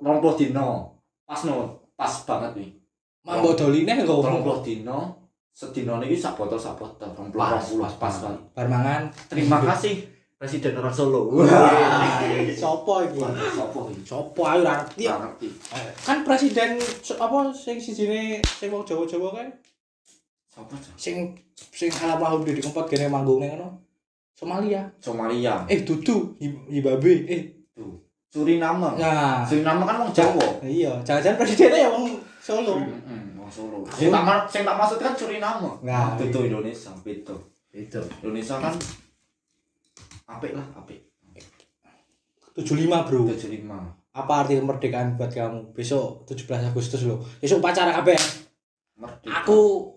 Speaker 2: 20 dino pas no pas banget nih
Speaker 1: mambo doline gak
Speaker 2: 20 dino sedino niki sak botol sak botol 20
Speaker 5: Pas,
Speaker 2: 20
Speaker 5: pas
Speaker 2: pas banget
Speaker 1: bar mangan
Speaker 2: terima kasih Presiden orang Solo.
Speaker 1: Ah, sopo iki
Speaker 2: Sopo iki?
Speaker 1: sopo ayo ora ngerti ya.
Speaker 2: Nggak ngerti.
Speaker 1: kan presiden s- apa sing sijine sing wong Jawa-Jawa kae
Speaker 2: Sopo?
Speaker 1: sing sing alamahu di tempat gene manggungnya ngono Somalia
Speaker 2: Somalia.
Speaker 1: eh dudu Zim- Zimbabwe eh
Speaker 2: Suriname.
Speaker 1: nah
Speaker 2: Suriname kan wong Jawa.
Speaker 1: iya jangan-jangan presidennya ya wong Solo
Speaker 2: Mm-mm, wong Hmm, Solo. Sing tak ma- sing tak maksud kan Suriname.
Speaker 1: Nah,
Speaker 2: betul Indonesia, betul.
Speaker 4: itu
Speaker 2: Indonesia kan apik lah, apik.
Speaker 1: 75 bro
Speaker 2: 75.
Speaker 1: apa arti kemerdekaan buat kamu besok 17 Agustus loh besok pacara kabeh
Speaker 2: merdeka
Speaker 1: aku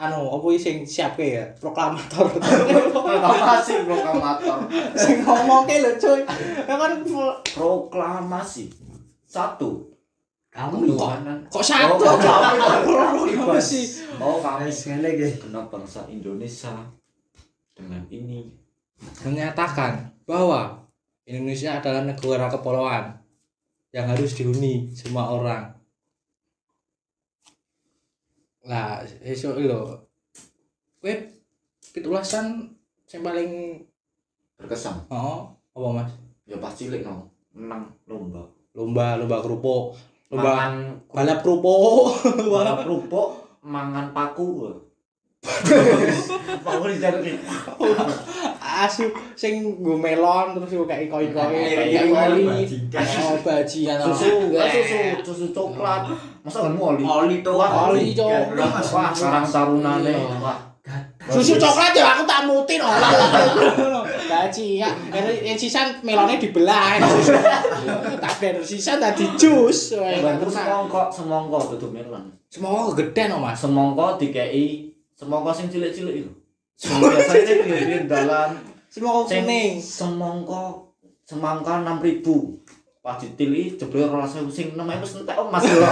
Speaker 1: anu apa iki sing siapke ya proklamator [laughs]
Speaker 2: proklamasi proklamator
Speaker 1: sing ngomongke lho cuy ya kan full-
Speaker 2: proklamasi satu
Speaker 4: kamu
Speaker 2: ketuhanan
Speaker 1: kok satu
Speaker 2: Oh,
Speaker 1: aja
Speaker 2: kamu.
Speaker 1: proklamasi
Speaker 2: oh kami
Speaker 4: wis ngene iki
Speaker 2: segenap bangsa Indonesia dengan ini
Speaker 1: menyatakan bahwa Indonesia adalah negara kepulauan yang harus dihuni semua orang. Lah, esok lo, kue pitulasan yang paling
Speaker 2: berkesan
Speaker 1: oh apa mas?
Speaker 2: ya pasti lek no menang lomba
Speaker 1: Lomba lomba kerupuk, lomba
Speaker 2: mangan
Speaker 1: balap kerupuk,
Speaker 2: balap kerupuk mangan paku paku dijangkit
Speaker 1: [laughs] asu sing nggo melon terus nggo kayak koi koi,
Speaker 3: Airnya oli.
Speaker 1: oh bajikan
Speaker 2: susu eh, susu susu coklat masa kan oli
Speaker 3: Oli tuh.
Speaker 2: Wah,
Speaker 1: oli, Cok.
Speaker 2: wah sarang sarunane
Speaker 1: Iya.
Speaker 2: wah
Speaker 1: susu coklat ya aku tak mutin [laughs] orang gaji ya Karena yang sisan melonnya dibelah [laughs] tak ada sisan tadi jus Wah,
Speaker 2: bantu
Speaker 1: enak.
Speaker 2: semongko semongko dudu melon
Speaker 1: semua gede no mas
Speaker 2: semongko dikei semongko sing cilik-cilik itu biasanya sing di dalan
Speaker 1: semua
Speaker 2: sing
Speaker 1: kuning [laughs]
Speaker 2: semongko semangka 6000 pas ditili jebule 12000 sing 6000 wis entek
Speaker 1: [laughs]
Speaker 2: Om, Mas Lho.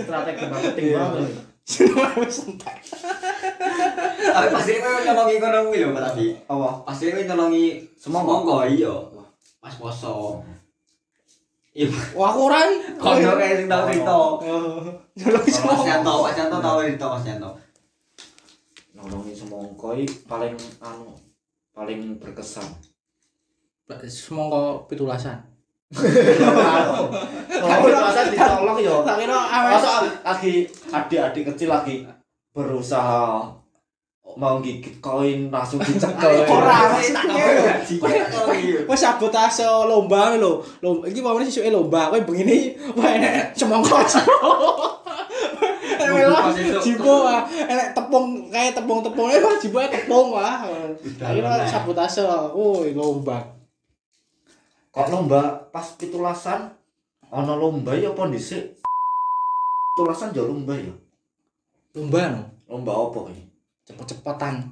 Speaker 2: strategi banget penting banget
Speaker 1: semua wis entek
Speaker 3: Tapi pasti kowe nyolongi kono kuwi lho, Pak Tapi.
Speaker 2: apa
Speaker 3: Pasti kowe nyolongi
Speaker 2: Semongko.
Speaker 3: semongko iya. Mas poso. Iya,
Speaker 1: wah aku ora
Speaker 3: kono
Speaker 5: Iya.
Speaker 3: kayak sing tau cerita.
Speaker 5: Oh.
Speaker 1: nyolong
Speaker 3: Mas
Speaker 1: semua
Speaker 3: Yanto, Mas Yanto tau cerita Mas Yanto.
Speaker 2: nolongi semongko iki paling anu paling [laughs] berkesan
Speaker 1: semua kok pitulasan
Speaker 2: anu kalau merasa ditolong yo
Speaker 1: tak kira ah, awet
Speaker 2: masa lagi adik-adik kecil lagi berusaha mau gigit koin langsung [laughs] dicekel
Speaker 1: Ora,
Speaker 3: wis tak
Speaker 1: wis,
Speaker 3: kowe. Kowe
Speaker 1: wis.
Speaker 3: tak nyolongi.
Speaker 1: Wes sabotase lomba lho. Lomba iki pamane sisuke lomba. Kowe begini wah enek semongko. [laughs] Wah, jibo wah, ah. enek tepung kayak tepung-tepung eh wah jibo tepung wah. Akhirnya sabotase. Woi, lomba.
Speaker 2: kok lomba pas pitulasan ono lomba ya apa dhisik pitulasan ya lomba ya
Speaker 1: Lomba no.
Speaker 2: lomba apa iki
Speaker 1: [laughs] Cepet-cepetan.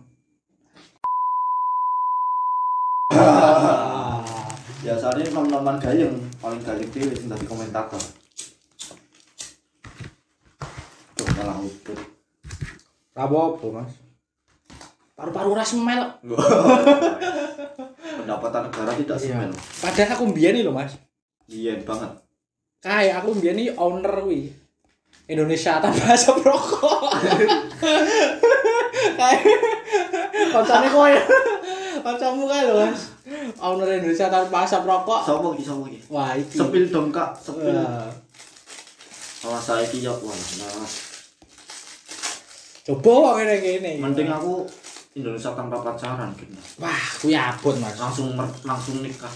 Speaker 2: biasanya nom-noman gayeng paling gayeng dhewe sing dadi komentator Duh, malah [laughs] uput
Speaker 1: Ra apa Mas. Paru-paru ora semel.
Speaker 2: pendapatan negara tidak semel
Speaker 1: Padahal aku mbiyen iki lho, Mas.
Speaker 2: iya banget
Speaker 1: Kayak aku mbiyen iki owner kuwi. Indonesia tanpa [laughs] asap rokok. Kayak koncone kowe. Kancamu kae lho, Mas. Owner Indonesia tanpa asap rokok.
Speaker 2: sopo iki sopo iki
Speaker 1: Wah, iki.
Speaker 2: sepil dong kak sepil
Speaker 1: Wah.
Speaker 2: Awas saya iki yo wah nah.
Speaker 1: Coba kok ngene ngene.
Speaker 2: mending aku Indonesia tanpa pacaran gitu
Speaker 1: Wah, kuwi abot, Mas.
Speaker 2: langsung mer- langsung nikah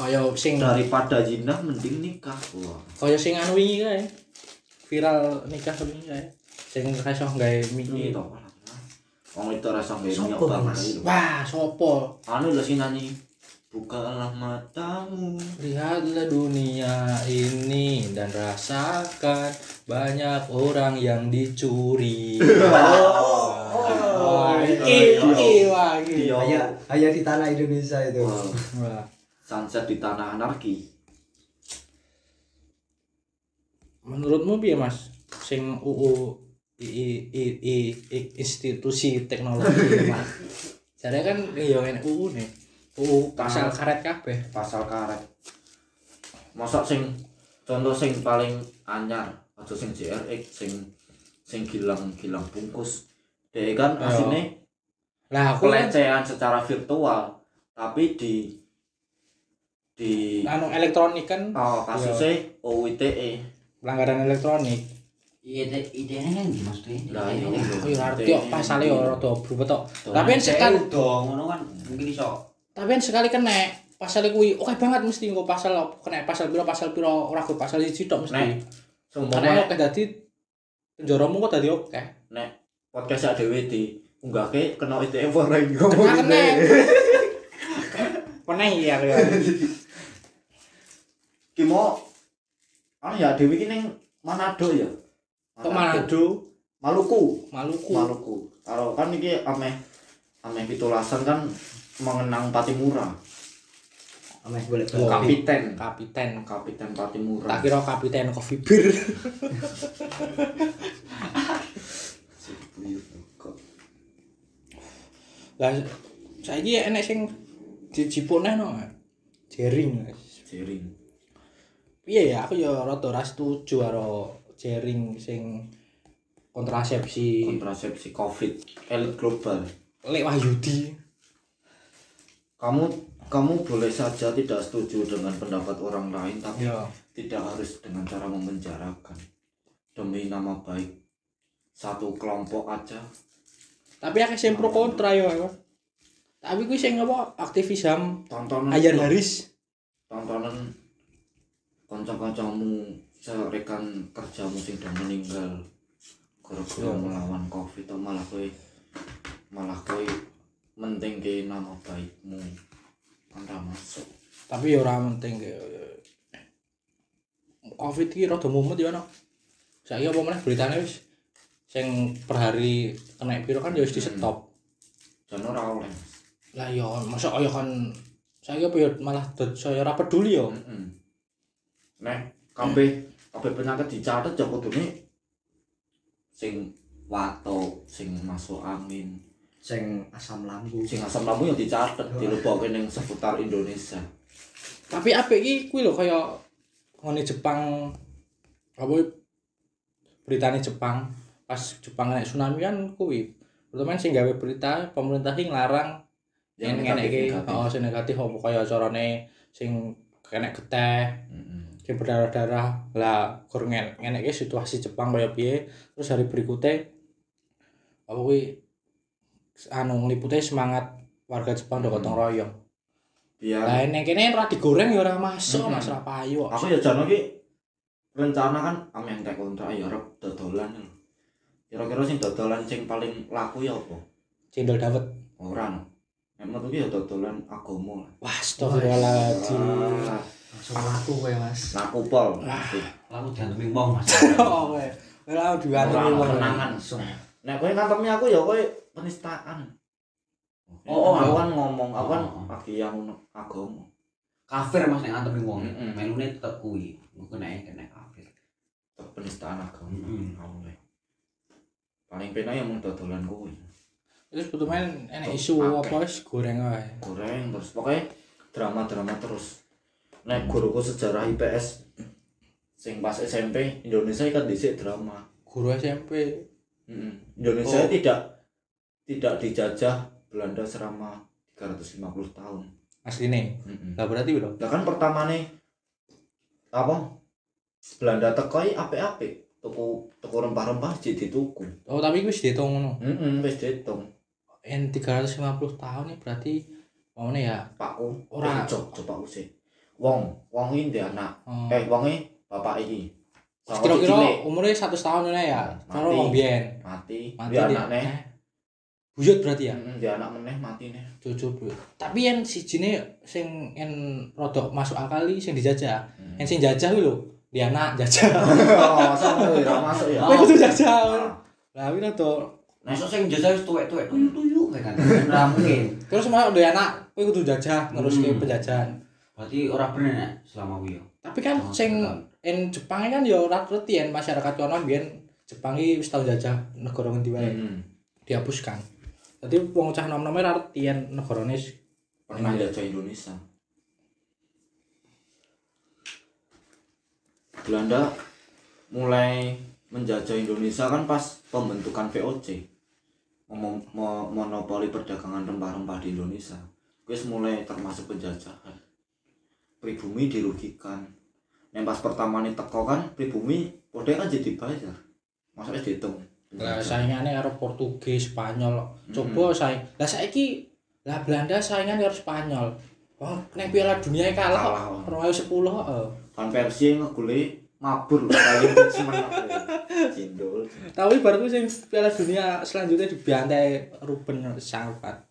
Speaker 1: Kaya sing
Speaker 2: daripada zina mending nikah wah
Speaker 1: kaya sing anu wingi kae. Viral nikah wingi kae. Sing iso gawe
Speaker 2: ini
Speaker 1: mie.
Speaker 2: toh malah. Wong itu rasa gak ini
Speaker 4: Sopo,
Speaker 2: apa
Speaker 4: Mas?
Speaker 1: Wah, sopo?
Speaker 2: Anu lho sing nyanyi Bukalah matamu
Speaker 1: Lihatlah dunia ini dan rasakan banyak orang yang dicuri.
Speaker 2: Iya.
Speaker 1: Wah, iki iki wah iki.
Speaker 2: Yo.
Speaker 4: hanya hanya di tanah Indonesia itu
Speaker 2: Iya. Wah,
Speaker 1: Wah.
Speaker 2: Sunset di tanah anarki
Speaker 1: Menurutmu piye Mas? Sing UU I, I, I, I, I- institusi teknologi Mas. Jadi kan iya ngene UU nih. UU pasal karet kabeh.
Speaker 2: pasal karet mosok sing contoh sing paling anyar aja sing JRX sing sing gilang-gilang bungkus deh kan
Speaker 1: Iya.
Speaker 2: aslinya
Speaker 1: Lah aku kan
Speaker 2: pelecehan secara virtual tapi di di
Speaker 1: anu elektronik kan
Speaker 2: oh, kasusnya OITE
Speaker 1: pelanggaran elektronik.
Speaker 5: Iya, ide idenya kan gimana maksudnya?
Speaker 2: Lah, iya.
Speaker 1: Aku yo arti kok pasale yo rada berubah tok.
Speaker 2: Tuh.
Speaker 1: Tapi sekali
Speaker 5: dong, ngono kan mungkin iso.
Speaker 1: tapi yang sekali kena pasal kuwi oke banget mesti nggo pasal op- kena pasal piro pasal piro ora kuwi pasal siji tok
Speaker 2: nek
Speaker 1: mesti karena
Speaker 2: seumpama
Speaker 1: oke dadi penjaramu kok dadi oke
Speaker 2: nek podcast dhewe di unggahke kena ITE orang ngomong
Speaker 1: kena [laughs] iya, kena kena iya kaya
Speaker 2: ki mau anu ya Dewi ki ning Manado ya.
Speaker 1: Ke Manado,
Speaker 2: Maluku.
Speaker 1: Maluku.
Speaker 2: Maluku. Kalau kan iki ameh ameh pitulasan kan mengenang Patimura.
Speaker 4: Ameh golek
Speaker 1: Kopi.
Speaker 2: Kapiten.
Speaker 1: Kapiten.
Speaker 2: Kapiten Patimura.
Speaker 1: Tak kira kapiten Coffee Beer.
Speaker 2: Sibuyut. ya, Kok.
Speaker 1: [laughs] Lah saiki enek sing dijipukne no. Jering. guys.
Speaker 2: Jering.
Speaker 1: Piye ya aku ya rada ora setuju karo jering sing kontrasepsi
Speaker 2: Kontrasepsi Covid elit global.
Speaker 1: Lek Wahyudi.
Speaker 2: Kamu kamu boleh saja tidak setuju dengan pendapat orang lain tapi
Speaker 1: Ya.
Speaker 2: tidak harus dengan cara memenjarakan demi nama baik satu kelompok aja
Speaker 1: Tapi akeh sing pro kontra yo. Mas. Tapi kuwi sing apa aktivis HAM
Speaker 2: tontonan
Speaker 1: Ayan Haris.
Speaker 2: tontonan kanca-kancamu rekan kerjamu sing udah meninggal gara-gara melawan covid atau malah kowe malah kowe mentingke nama baikmu anda masuk
Speaker 1: Tapi ya ora penting ya. Covid iki rada mumet ya ana. Saiki apa meneh beritane wis sing per hari kena piro kan ya wis di stop.
Speaker 2: dan ora oleh
Speaker 1: Lah ya masa kaya kan saiki apa ya malah dad- saya ora peduli ya.
Speaker 2: Mm-mm. Nek kabeh kabeh penyakit dicatet ya kudune sing watuk, sing masuk angin,
Speaker 4: sing asam lambung.
Speaker 2: sing asam lambung ya dicatet,
Speaker 1: Oh.
Speaker 2: dilebokke ning seputar Indonesia.
Speaker 1: Tapi apik iki kuwi lho kaya ngene Jepang apa beritane Jepang pas Jepang kena tsunami kan kuwi. Pertama sing gawe berita pemerintah iki nglarang yang ngene iki oh sing negatif opo kaya carane sing kena geteh
Speaker 2: Heeh.
Speaker 1: sing berdarah-darah lah kur ngene ngene iki situasi Jepang kaya piye terus hari berikutnya apa kuwi anu nglipute semangat warga Jepang do gotong royong
Speaker 2: Biar
Speaker 1: lah ning kene ora digoreng ya ora masuk
Speaker 2: Mm-mm.
Speaker 1: Mas ra payu
Speaker 2: aku ya jan iki rencana kan ame entek kontrak ya arep dodolan. Kira-kira sing dodolan sing paling laku ya apa?
Speaker 1: cendol dawet
Speaker 2: Ora. no. Nek menurutku ya dodolan agama. lah.
Speaker 1: wah astagfirullahaladzim
Speaker 2: Ah,
Speaker 4: Langsung laku kowe, Mas.
Speaker 2: Nah, Nakupol.
Speaker 5: Lalu diantemi wong [laughs] Mas.
Speaker 1: oh kowe ora diwani
Speaker 2: Ora,
Speaker 1: anu wong
Speaker 2: kenangan.
Speaker 4: Langsung.
Speaker 2: Nek kowe ngantemi aku ya kowe penistaan.
Speaker 5: Oh, oh,
Speaker 2: aku kan ngomong, aku kan
Speaker 5: Oh, oh.
Speaker 2: pagi yang ngono agama.
Speaker 5: Kafir Mas nek antemi wong.
Speaker 2: Mm-mm.
Speaker 5: Melune tetep kuwi. Ngono nek kena kafir.
Speaker 2: Tetep Penistaan agama.
Speaker 5: Mm-mm.
Speaker 2: Oleh. Paling pena yang mung dodolan kuwi.
Speaker 1: terus butuh enek isu apa wis goreng wae
Speaker 2: Goreng terus pokoknya drama-drama terus. Nek guruku sejarah IPS sing pas SMP Indonesia kan dhisik drama.
Speaker 1: guru SMP
Speaker 5: Hmm.
Speaker 2: Mm-mm. Indonesia
Speaker 1: Oh.
Speaker 2: tidak tidak dijajah Belanda selama 350 tahun.
Speaker 1: asline
Speaker 5: Hmm.
Speaker 2: Mm-mm.
Speaker 1: lah berarti lho
Speaker 2: Lah kan pertama nih apa Belanda tekoi apik-apik tuku tuku rempah-rempah jadi dituku.
Speaker 1: oh tapi wis diitung ngono
Speaker 2: Heeh, wis diitung.
Speaker 1: yang 350 tahun nih berarti maunya ya
Speaker 2: Pakku
Speaker 1: Ora.
Speaker 2: cocok coba usih. Wong, wong iki ndek anak.
Speaker 1: eh,
Speaker 2: Eh, wong e bapak iki. Sama cicilik.
Speaker 1: kira-kira umurnya satu tahun ini ya
Speaker 2: Mati.
Speaker 1: kalau wong biyen
Speaker 2: mati,
Speaker 1: mati
Speaker 2: dia
Speaker 1: di-
Speaker 2: anak neh.
Speaker 1: eh, buyut berarti ya
Speaker 2: Heeh, dia anak meneh mati neh.
Speaker 1: cucu buyut tapi yang si sing yang rodok masuk akal iki sing dijajah yang sing jajah kuwi lho dia anak jajah
Speaker 2: [laughs] Oh, sama kowe ora masuk
Speaker 1: [laughs]
Speaker 2: ya.
Speaker 1: kowe kudu jajah
Speaker 2: Ah,
Speaker 1: lah kuwi rodok
Speaker 5: Masuk sing jasa wis tuwek-tuwek tuyu-tuyu kayak [laughs] kan. Ora mungkin.
Speaker 1: terus masuk dia anak kowe kudu jajah terus
Speaker 5: Hmm.
Speaker 1: penjajahan
Speaker 5: Berarti ora bener nek selama kuwi ya.
Speaker 1: tapi kan
Speaker 5: Oh,
Speaker 1: sing
Speaker 5: betul.
Speaker 1: yang Jepang kan ya ora ngerti ya masyarakat kono biyen Jepang iki wis tau jajah negara ngendi wae
Speaker 2: mm-mm.
Speaker 1: dihapuskan. Jadi wong cah nom-nome ra tien negarane s-
Speaker 2: Pernah jajah Indonesia. Belanda mulai menjajah Indonesia kan pas pembentukan VOC. Mem- mo- monopoli perdagangan rempah-rempah di Indonesia. Wis mulai termasuk penjajahan. Pribumi dirugikan. Yang pas pertama nih teko kan pribumi podhe kan jadi bayar. Masuk wis dihitung. iya.
Speaker 1: lah saingane eh, karo Portugis, Spanyol. Coba saing. Lah saiki lah Belanda saingan karo Spanyol. Wah, ning Piala Dunia iki
Speaker 2: Kalah,
Speaker 1: kalah
Speaker 2: wong.
Speaker 1: kok. 2010 heeh.
Speaker 2: Kan Konversi ngegule mabur lho kali semen aku. Cindol.
Speaker 1: Tapi bar kuwi sing Piala Dunia selanjutnya dibantai Ruben Sarpat.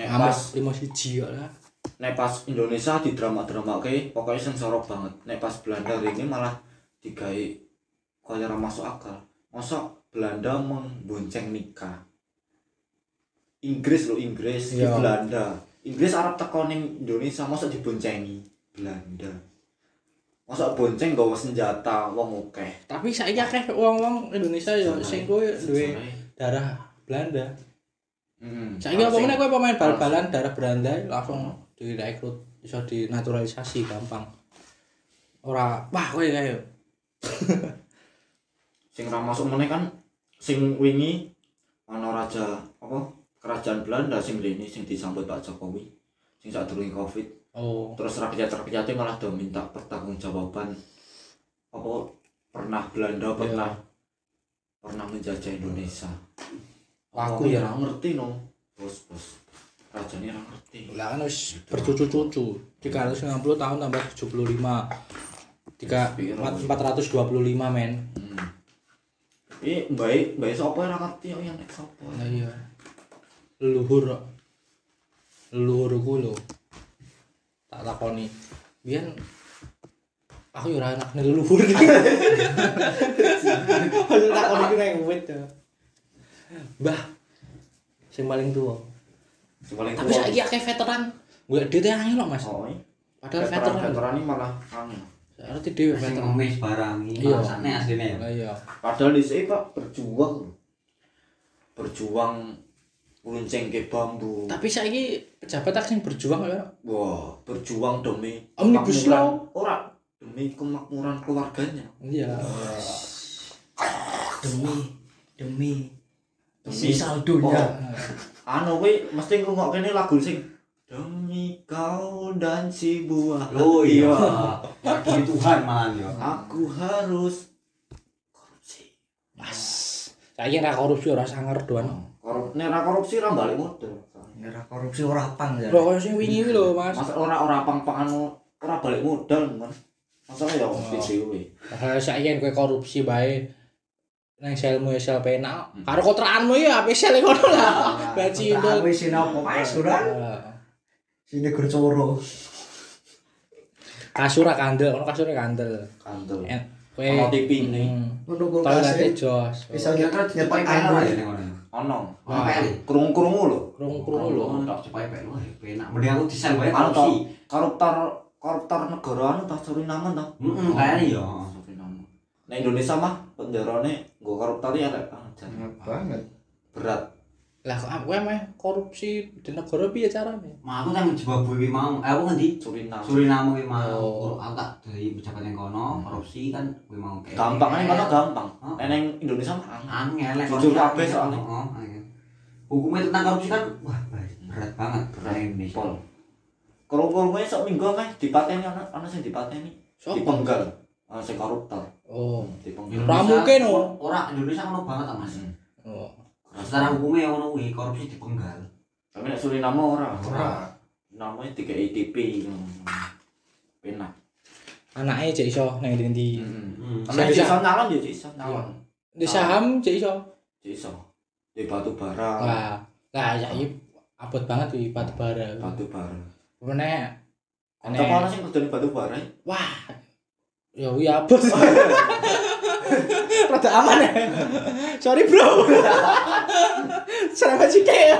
Speaker 2: Nek
Speaker 1: Hamas 51 kok lah.
Speaker 2: nek pas Indonesia di drama-drama oke pokoknya sensorok banget nek pas Belanda ini malah digawe kaya ora masuk akal masa Belanda membonceng nikah Inggris lo Inggris di
Speaker 1: Iya.
Speaker 2: Belanda Inggris Arab teko ning Indonesia masa diboncengi Belanda masa bonceng gawa senjata wong akeh
Speaker 1: tapi saya akeh wong-wong Indonesia ya sing kuwi duwe
Speaker 2: Senjata.
Speaker 1: darah Belanda.
Speaker 2: Hmm.
Speaker 1: Saiki apa
Speaker 2: Langsung.
Speaker 1: meneh kowe pemain bal-balan darah Belanda langsung direkrut iso dinaturalisasi gampang. Ora wah kowe kae
Speaker 2: sing ra masuk meneh kan sing wingi ana raja apa kerajaan Belanda sing rene sing disambut Pak Jokowi sing sadurunge Covid
Speaker 1: Oh,
Speaker 2: terus rakyat-rakyatnya malah do minta pertanggungjawaban apa pernah
Speaker 1: Iya.
Speaker 2: Belanda pernah pernah menjajah Indonesia
Speaker 1: Aku
Speaker 2: Apa
Speaker 1: ya.
Speaker 2: ora ngerti no bos bos rajane ra ngerti
Speaker 1: lah kan wis bercucu-cucu. 360 tahun tambah 75. Tiga, empat- 425 men.
Speaker 2: hmm. Ih, baik, baik sapa ora ngerti kok yang nek sapa.
Speaker 1: Lah iya. Leluhur kok. leluhurku lho. Tak takoni. Biyen [laughs] aku yo ora anak leluhur. Aku takoni ku nang wit. to. Mbah sing paling tuwa.
Speaker 2: Sing paling
Speaker 1: Tapi
Speaker 2: tua.
Speaker 1: saiki akeh veteran. Gue dhek teh angel kok, Mas.
Speaker 2: Oh, iya.
Speaker 1: Padahal veteran.
Speaker 2: veteran-veteran ini malah anu. angin
Speaker 1: Saya ngerti dhewe
Speaker 5: Sing
Speaker 1: veteran.
Speaker 5: ngemis barang iki
Speaker 1: Iya.
Speaker 5: rasane asline ya.
Speaker 1: Lah iya.
Speaker 2: Padahal di sini pak berjuang, berjuang runcing ke bambu.
Speaker 1: Tapi saiki pejabat tak sing berjuang ya.
Speaker 2: Wah, berjuang demi
Speaker 1: Omnibus
Speaker 2: kemakmuran- Ora demi kemakmuran keluarganya.
Speaker 1: Iya.
Speaker 4: demi demi
Speaker 2: Demi
Speaker 4: saldonya
Speaker 2: Anu kowe mesti ngungok kene lagu sing demi kau dan si buah.
Speaker 5: Oh iya.
Speaker 2: hati,
Speaker 5: Demi Tuhan malah yo.
Speaker 2: Aku harus korupsi.
Speaker 1: Mas. Saiki ora korupsi ora sangar doan.
Speaker 2: Korup, nek ra korupsi ra balik modal.
Speaker 4: Nera Oh. korupsi ora pang ya
Speaker 1: Lho koyo sing wingi kuwi lho, Mas.
Speaker 2: Masa ora ora pang-pangan ora balik modal, Mas. Masalah ya mesti dhewe.
Speaker 1: Hal saiki yen kowe korupsi bae nang selmu ya sel penak. Karo kontrakanmu ya habis sel e ngono
Speaker 4: [laughs]
Speaker 1: lah. Baci
Speaker 4: Ah, Kontrakan
Speaker 1: itu.
Speaker 4: wis sinopo mas ora sini gercoro
Speaker 1: Kasur ra kandel, kono kasur kandel.
Speaker 2: Kantor.
Speaker 1: Eh, Kowe
Speaker 2: Ono tipine.
Speaker 4: ngono eh.
Speaker 1: Toilete
Speaker 4: kulkase
Speaker 1: jos.
Speaker 4: bisa
Speaker 5: Kira-kira
Speaker 4: nyetak nyetak
Speaker 5: cepai penak ya
Speaker 4: anggur
Speaker 5: ning ngono.
Speaker 2: Ono.
Speaker 5: Ono PL.
Speaker 2: Krung-krungu lho.
Speaker 1: Krung-krung lho.
Speaker 5: Tak cepai penak ya penak. Mending aku desain wae
Speaker 2: Anu
Speaker 5: korupsi.
Speaker 2: toh, koruptor koruptor negara anu toh Suriname toh.
Speaker 5: Heeh, kayane yo.
Speaker 2: Suriname. Nah Indonesia mah penjarane nggo koruptor ya rek. Ah, jan.
Speaker 4: Enak banget
Speaker 2: Berat.
Speaker 1: Lah kok kowe meh korupsi di negara piye carane?
Speaker 5: Ma aku tang Zimbabwe kuwi mau. Eh, Aku ngendi?
Speaker 2: Suriname.
Speaker 5: Suriname kuwi
Speaker 1: Oh.
Speaker 5: mau. Aku tak dari pejabat yang kono korupsi kan kuwi mau. kayak-
Speaker 2: Gampangane ngono gampang.
Speaker 5: Hah?
Speaker 2: Nek neng Indonesia mah ah, angel.
Speaker 5: angel lek
Speaker 2: Jujur
Speaker 5: korupsi
Speaker 2: kabeh
Speaker 5: angel.
Speaker 2: soalnya.
Speaker 5: Heeh, angel. hukumnya tentang korupsi kan wah berat, berat banget berat ini
Speaker 2: Pol. Kerupul kowe sok minggu meh dipateni ana ana sing dipateni.
Speaker 1: Sopo?
Speaker 2: Dipenggal. Ah sing koruptor.
Speaker 1: Oh.
Speaker 2: Dipenggal.
Speaker 1: Ra mungkin,
Speaker 2: oh.
Speaker 1: no.
Speaker 5: ora Indonesia ngono banget ah, Mas
Speaker 2: Hmm.
Speaker 1: Oh.
Speaker 5: secara hukumnya ngono kuwi korupsi dipenggal
Speaker 2: Tapi nek Suriname ora.
Speaker 4: ora
Speaker 2: Namanya tiga ETP. Hmm. Penak.
Speaker 1: Anake cek iso nang ndi-ndi.
Speaker 2: Heeh.
Speaker 5: hmm.
Speaker 1: Saya
Speaker 2: Nek
Speaker 1: bisa-
Speaker 2: iso nyalon yo iso nyalon.
Speaker 1: Di saham cek iso.
Speaker 2: Ya iso. Di batu bara.
Speaker 1: Lah, lah saiki abot banget di batu bara.
Speaker 2: Batu bara.
Speaker 1: Meneh
Speaker 2: Tapi
Speaker 1: Aneh.
Speaker 2: ana sing kudu di batu bara.
Speaker 1: Wah. Ya wih abos. Rada aman ya. Sorry bro. Serempet sithik.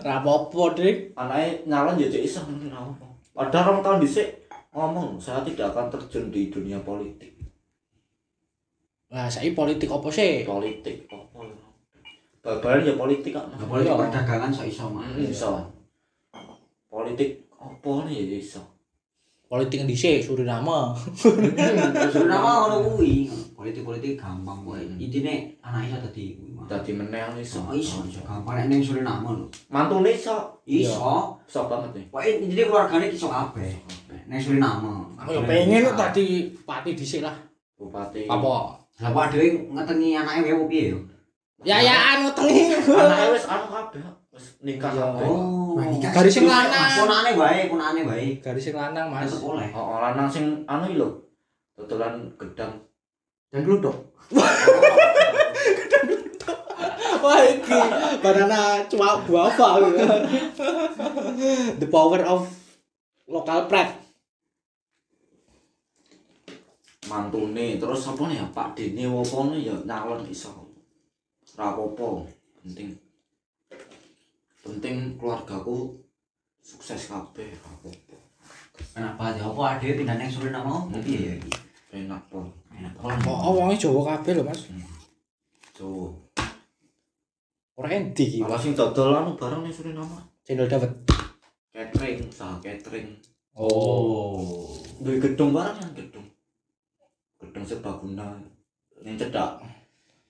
Speaker 1: Ra apa-apa, Dik.
Speaker 2: Anake nyalon ya cek iso ngono ra apa. Padahal rong tahun dhisik ngomong saya tidak akan terjun di dunia politik.
Speaker 1: Lah saiki politik opo sih?
Speaker 2: Politik apa? Bal-balan ya politik kan.
Speaker 5: Nah, politik
Speaker 1: Iya.
Speaker 5: perdagangan so iso Mas
Speaker 2: Hmm, Iso. Politik apa nih ya iso.
Speaker 1: Politik dhisik Suriname.
Speaker 5: Suriname ngono kuwi politik-politik gampang kuwi
Speaker 2: Hmm.
Speaker 5: intine anake iso dadi kuwi Mas.
Speaker 2: Dadi meneh iso.
Speaker 5: Oh, iso iso gampang nek ning Suriname lho
Speaker 2: Mantune iso.
Speaker 5: iso
Speaker 2: Iso banget nih.
Speaker 5: Pokoknya intinya keluargane iso kabeh nek Suriname
Speaker 1: Aku Oh, ya pengen kok tadi pati dhisik lah.
Speaker 2: Bupati.
Speaker 1: Apa?
Speaker 5: Lah kok dhewe ngetengi anake wewu piye yo?
Speaker 1: Yayaan ngetengi.
Speaker 2: Anake wis anu kabeh. Wis nikah
Speaker 1: Iya.
Speaker 2: kabeh.
Speaker 5: Oh,
Speaker 4: nikah
Speaker 1: Garis sing lanang.
Speaker 5: Ponane bae, ponane bae.
Speaker 1: Garis sing lanang, Mas.
Speaker 5: Tetep oleh.
Speaker 2: Oh, oh, lanang sing anu iki lho. Tutulan gedang.
Speaker 4: dan gludok
Speaker 1: Wah, iki banana cuma guava. gitu. The power of local pride.
Speaker 2: mantune terus apa nih ya Pak Dene apa nih ya nyalon iso ra apa-apa penting penting keluargaku sukses kabeh ra apa-apa
Speaker 5: Kenapa ya? Apa ada tinggal yang sulit nak mau? Tapi ya, iki.
Speaker 2: enak pol
Speaker 5: Oh, Enak
Speaker 2: pol
Speaker 1: Oh, wonge Jawa kabeh lho, Mas.
Speaker 2: so
Speaker 1: Ora endi iki.
Speaker 2: apa sing dodol anu barang nih sore nama
Speaker 1: Channel Dawet.
Speaker 2: catering usaha catering
Speaker 5: Oh.
Speaker 2: duwe gedung barang yang gedung gedung sebaguna yang cedak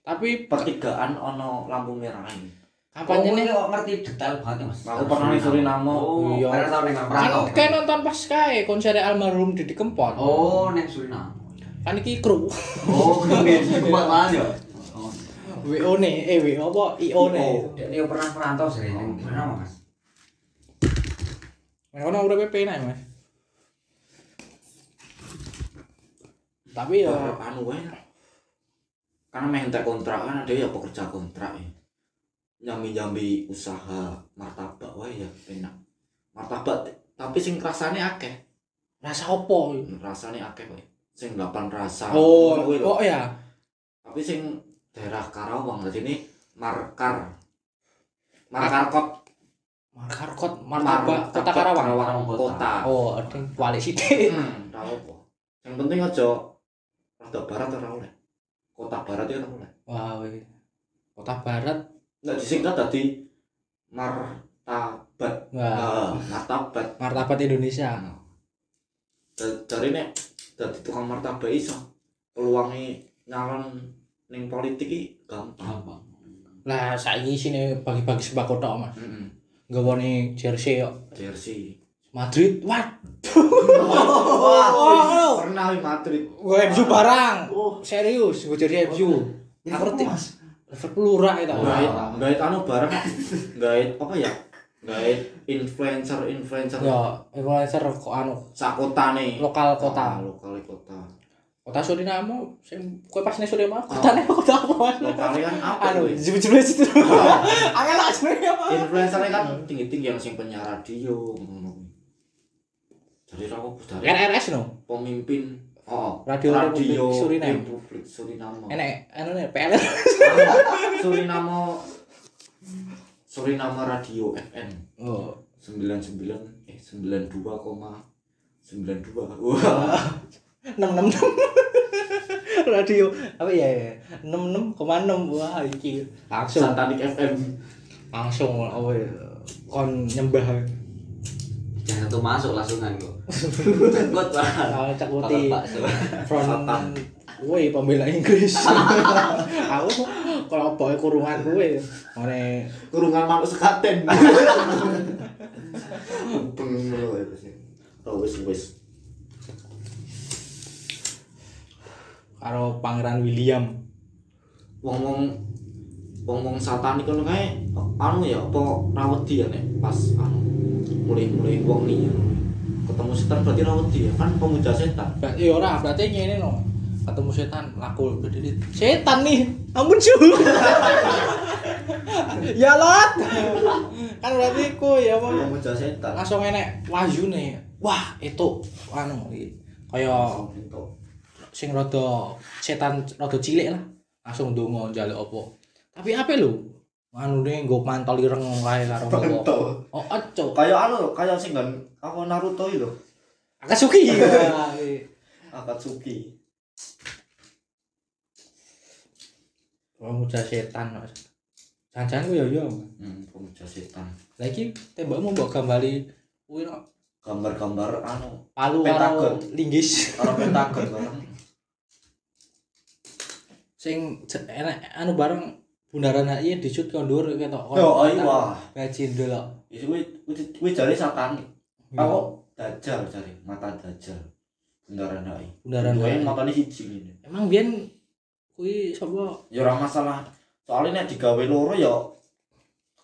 Speaker 1: Tapi
Speaker 2: pertigaan ono lampu merah ini
Speaker 1: kampanye
Speaker 5: ini
Speaker 1: nih
Speaker 5: kok ngerti detail banget ya mas?
Speaker 2: Aku pernah nih Suriname.
Speaker 5: Oh,
Speaker 1: Iya.
Speaker 5: karena tahun yang merantau.
Speaker 1: kan kayak nonton pas kae konser almarhum Didi Kempot.
Speaker 5: Oh, neng Suriname.
Speaker 1: Kan iki kru. [laughs]
Speaker 5: Oh, neng Suriname ya. Oh.
Speaker 1: WO ne, eh WO apa IO ne.
Speaker 5: Dia dia pernah merantau sering neng Suriname mas.
Speaker 1: Nah, ono udah PP nih, Mas. Tapi ya
Speaker 2: Bar- anu wae karena mentek kontrak kan ada ya pekerja kontrak ya nyambi nyambi usaha martabak wae ya enak martabak t- tapi sing rasanya akeh
Speaker 1: rasa opo iki?
Speaker 2: rasanya akeh wae sing delapan rasa
Speaker 1: Oh,
Speaker 2: ngono kuwi lho.
Speaker 1: oh ya.
Speaker 2: tapi sing daerah Karawang jadi ini markar markarkot
Speaker 1: Markarkot, martabak kota Karawang.
Speaker 2: Karawang
Speaker 5: Kota.
Speaker 2: kota
Speaker 1: Oh, ada yang kualisi deh.
Speaker 2: Hmm, tau apa yang penting aja rada barat ora oleh kota barat ya ora oleh
Speaker 1: [laughs] Wah, weh. kota barat.
Speaker 2: Nah, disingkat tadi martabat.
Speaker 1: Wah,
Speaker 2: Nah, martabat.
Speaker 1: martabat Indonesia.
Speaker 2: Da- Dari nek dari tukang martabat iso peluangnya nyalon ning politik iki gampang.
Speaker 5: Gampang.
Speaker 1: Lah, saiki sini bagi-bagi sembako tok, Mas.
Speaker 2: Heeh.
Speaker 1: Nggawone jersey yo.
Speaker 2: Jersey.
Speaker 1: Madrid. Wah,
Speaker 2: Wah, pernah di Madrid.
Speaker 1: gue MU barang. Serius, gue jersey MU. Aku
Speaker 4: Aku
Speaker 1: tim Liverpool ora itu.
Speaker 2: Gait, gait anu bareng gait apa ya? Gait influencer-influencer
Speaker 1: Ya, influencer kok anu
Speaker 2: sakotane
Speaker 1: lokal kota.
Speaker 2: lokal kota.
Speaker 1: Kota Suriname sing kowe pas ning Suriname kotane kota apa? Mas?
Speaker 2: Lokale kan apa?
Speaker 1: Anu,
Speaker 2: kuwi?
Speaker 1: jebul-jebul situ. Angel lah jenenge apa?
Speaker 2: influencer kan tinggi-tinggi yang sing penyiar radio ngono kuwi. dari aku dari
Speaker 1: RRS Kan no.
Speaker 2: pemimpin oh
Speaker 1: Radio Republik Suriname.
Speaker 2: Republik Suriname
Speaker 1: Enek anu ne PL.
Speaker 2: Suriname Suriname Radio FN
Speaker 1: Oh,
Speaker 2: 99 eh 92,92 wah
Speaker 1: 666. [laughs] Radio apa ya? ya? 66,6 wah iki. Langsung
Speaker 2: Santanik FM
Speaker 1: langsung oh ya. kon nyembah
Speaker 5: Jangan tuh masuk langsungan kok. Gue tuh.
Speaker 1: Ah, cak
Speaker 5: Kalau
Speaker 1: putih.
Speaker 5: bakso.
Speaker 1: front woi pembela [laughs] Inggris aku kalau boy kurungan gue oleh
Speaker 2: kurungan
Speaker 1: [laughs]
Speaker 2: manuk sekaten Bener lho itu sih. oh wis wis
Speaker 1: karo pangeran William
Speaker 2: wong-wong wong-wong satanik ngono kae anu ya apa ra wedi ya nek pas anu mulai-mulai wong ni ya. ketemu setan berarti ra wedi ya kan pemuja setan
Speaker 1: berarti ya ora berarti ngene no ketemu setan laku berdiri setan nih ampun cu [laughs] ya lot kan berarti ku ya
Speaker 2: Oh,
Speaker 1: apa
Speaker 2: pemuja setan
Speaker 1: langsung enek waju nih wah itu anu
Speaker 2: Oh.
Speaker 1: kayak sing rada setan rada cilik lah langsung donga njaluk apa tapi apa lho manune nggo mantol ireng kae karo apa oh eco
Speaker 2: kayak anu lho, kayak sing kan apa Naruto itu [laughs]
Speaker 1: Akatsuki
Speaker 2: Akatsuki
Speaker 1: pemuda setan Mas. jangan-jangan ku yo yo
Speaker 2: hmm, pemuja setan
Speaker 1: lah iki tembokmu mbok gambari kuwi no
Speaker 2: gambar-gambar anu
Speaker 1: palu karo
Speaker 2: Pentagon.
Speaker 1: linggis
Speaker 2: orang pentagon [laughs] barang
Speaker 1: sing je- enak anu bareng bundaran HI dicut kon dhuwur ketok
Speaker 2: yo ayo wah
Speaker 1: gaji ndelok
Speaker 2: itu wis jare satanik aku dajal jare mata dajal bundaran HI
Speaker 1: bundaran
Speaker 2: Duwe
Speaker 1: HI
Speaker 2: matane siji ngene
Speaker 1: emang biyen kuwi sapa
Speaker 2: ya ora masalah soalnya nek digawe loro ya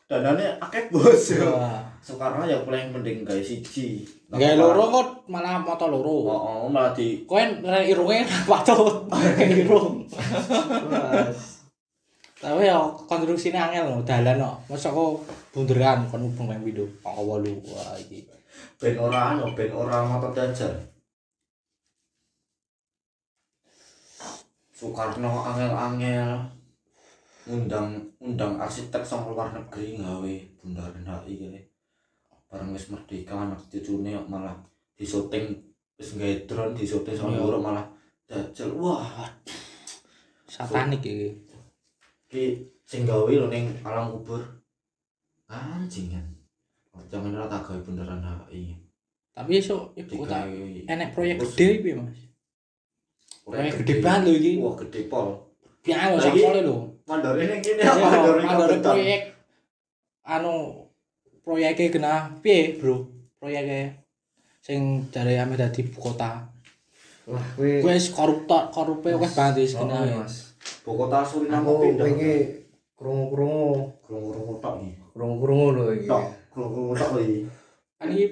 Speaker 2: danane akeh bos ya
Speaker 1: Wah.
Speaker 2: sekarang ya paling mending gawe siji
Speaker 1: Gak loro kok malah moto loro.
Speaker 2: oh, oh malah di
Speaker 1: Koen irunge patut kayak irung. Tapi ya konstruksine angel lho, dalan kok. Masa kok bunderan kon ubeng nang pindho kok wolu. Wah iki.
Speaker 2: ben ora anu ben ora mata dajar Soekarno angel-angel undang undang arsitek sang luar negeri gawe bundaran HI kene bareng wis merdeka anak cucune kok malah disyuting wis nggawe drone disyuting sang
Speaker 1: Iya.
Speaker 2: luar malah dajal wah
Speaker 1: Satanik iki.
Speaker 2: ki sing gawe lho ning alam kubur anjing kan jangan ora tak gawe bundaran HI
Speaker 1: Tapi iso ibu kota
Speaker 2: Digawe-
Speaker 1: enek proyek
Speaker 2: Terus-
Speaker 1: gede piye, Mas? Proyek gede banget lho iki.
Speaker 2: Wah gede pol.
Speaker 1: Pian lho
Speaker 2: Lagi-
Speaker 1: sakole lho.
Speaker 2: Mandorine kene
Speaker 1: Ya,
Speaker 2: apa mandorine
Speaker 1: Ada
Speaker 2: kabutan?
Speaker 1: proyek anu proyeknya kena piye, Bro? Proyeknya sing dari ame dadi ibu kota.
Speaker 4: Wah, kowe
Speaker 1: Kowe wis koruptor, korupe wis banget wis kena.
Speaker 4: Oh,
Speaker 1: ya.
Speaker 4: Mas.
Speaker 2: Bogota Suriname
Speaker 4: Aku
Speaker 2: pindah.
Speaker 4: wingi krungu-krungu,
Speaker 2: Krungu-krungu tok iki.
Speaker 4: krungu-krungu gitu. lho iki.
Speaker 2: Tok, krungu-krungu tok lho iki.
Speaker 1: Kan iki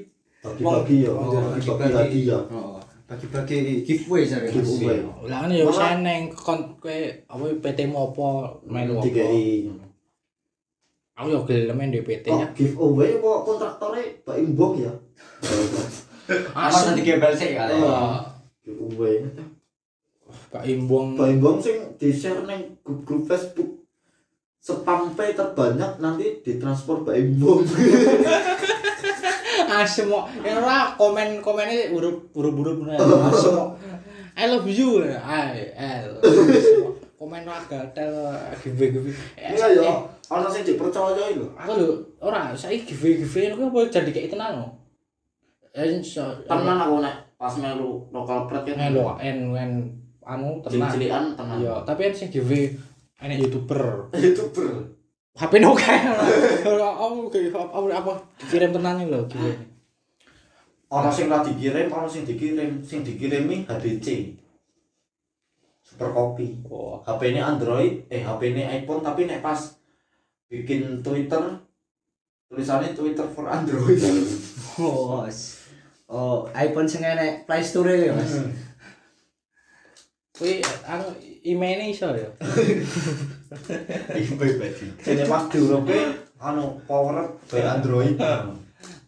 Speaker 2: Bagi-bagi ya,
Speaker 4: Oh,
Speaker 2: bagi-bagi ya.
Speaker 4: Oh, bagi-bagi giveaway jare Mas.
Speaker 2: Giveaway.
Speaker 1: Lah kan ya wis
Speaker 2: Malah-
Speaker 1: eneng kon kowe apa PT mu apa melu apa.
Speaker 2: Dikai.
Speaker 1: Aku ya gelem ndek PT
Speaker 2: Kok
Speaker 1: nya.
Speaker 2: giveaway kok kontraktore Pak Imbok ya?
Speaker 5: Apa nanti gembel sih kali?
Speaker 1: Wah,
Speaker 2: Giveaway.
Speaker 1: Pak Imbong.
Speaker 2: Pak Imbok sing di-share ning grup-grup Facebook spam pay terbanyak nanti ditransfer Pak [laughs] Imbok.
Speaker 1: Asem kok. Ya ora komen-komennya huruf-huruf bener.
Speaker 2: Oh.
Speaker 1: Asem kok. I love you. I L. Komen ora gatel giveaway.
Speaker 2: Iya ya, [laughs] ana sing dipercaya lho.
Speaker 1: Aku lho ora saiki giveaway-giveaway kok apa jadi kayak tenan lho. Eh, so-
Speaker 2: Tenan aku nek pas melu lokal pret
Speaker 1: Eh,
Speaker 2: kene.
Speaker 1: lho, en en anu tenan.
Speaker 2: Cilik-cilikan tenan.
Speaker 1: Iya, tapi kan sing giveaway enek YouTuber.
Speaker 2: [laughs] YouTuber.
Speaker 1: HP no kae. [laughs] Ora aku kayak apa apa dikirim tenan lho gitu.
Speaker 2: ana sing ora dikirim, ana sing dikirim, sing dikirimi HDC. Super copy.
Speaker 1: Oh,
Speaker 2: HP-ne Android, eh HP-ne iPhone tapi nek pas bikin Twitter tulisannya Twitter for Android. [laughs]
Speaker 4: Oh, Mas. Oh, iPhone sing enek Play Store ya, Mas.
Speaker 1: kuwi anu emailnya iso ya.
Speaker 2: Ibu badi. Jadi pas diurupe anu power up by Android.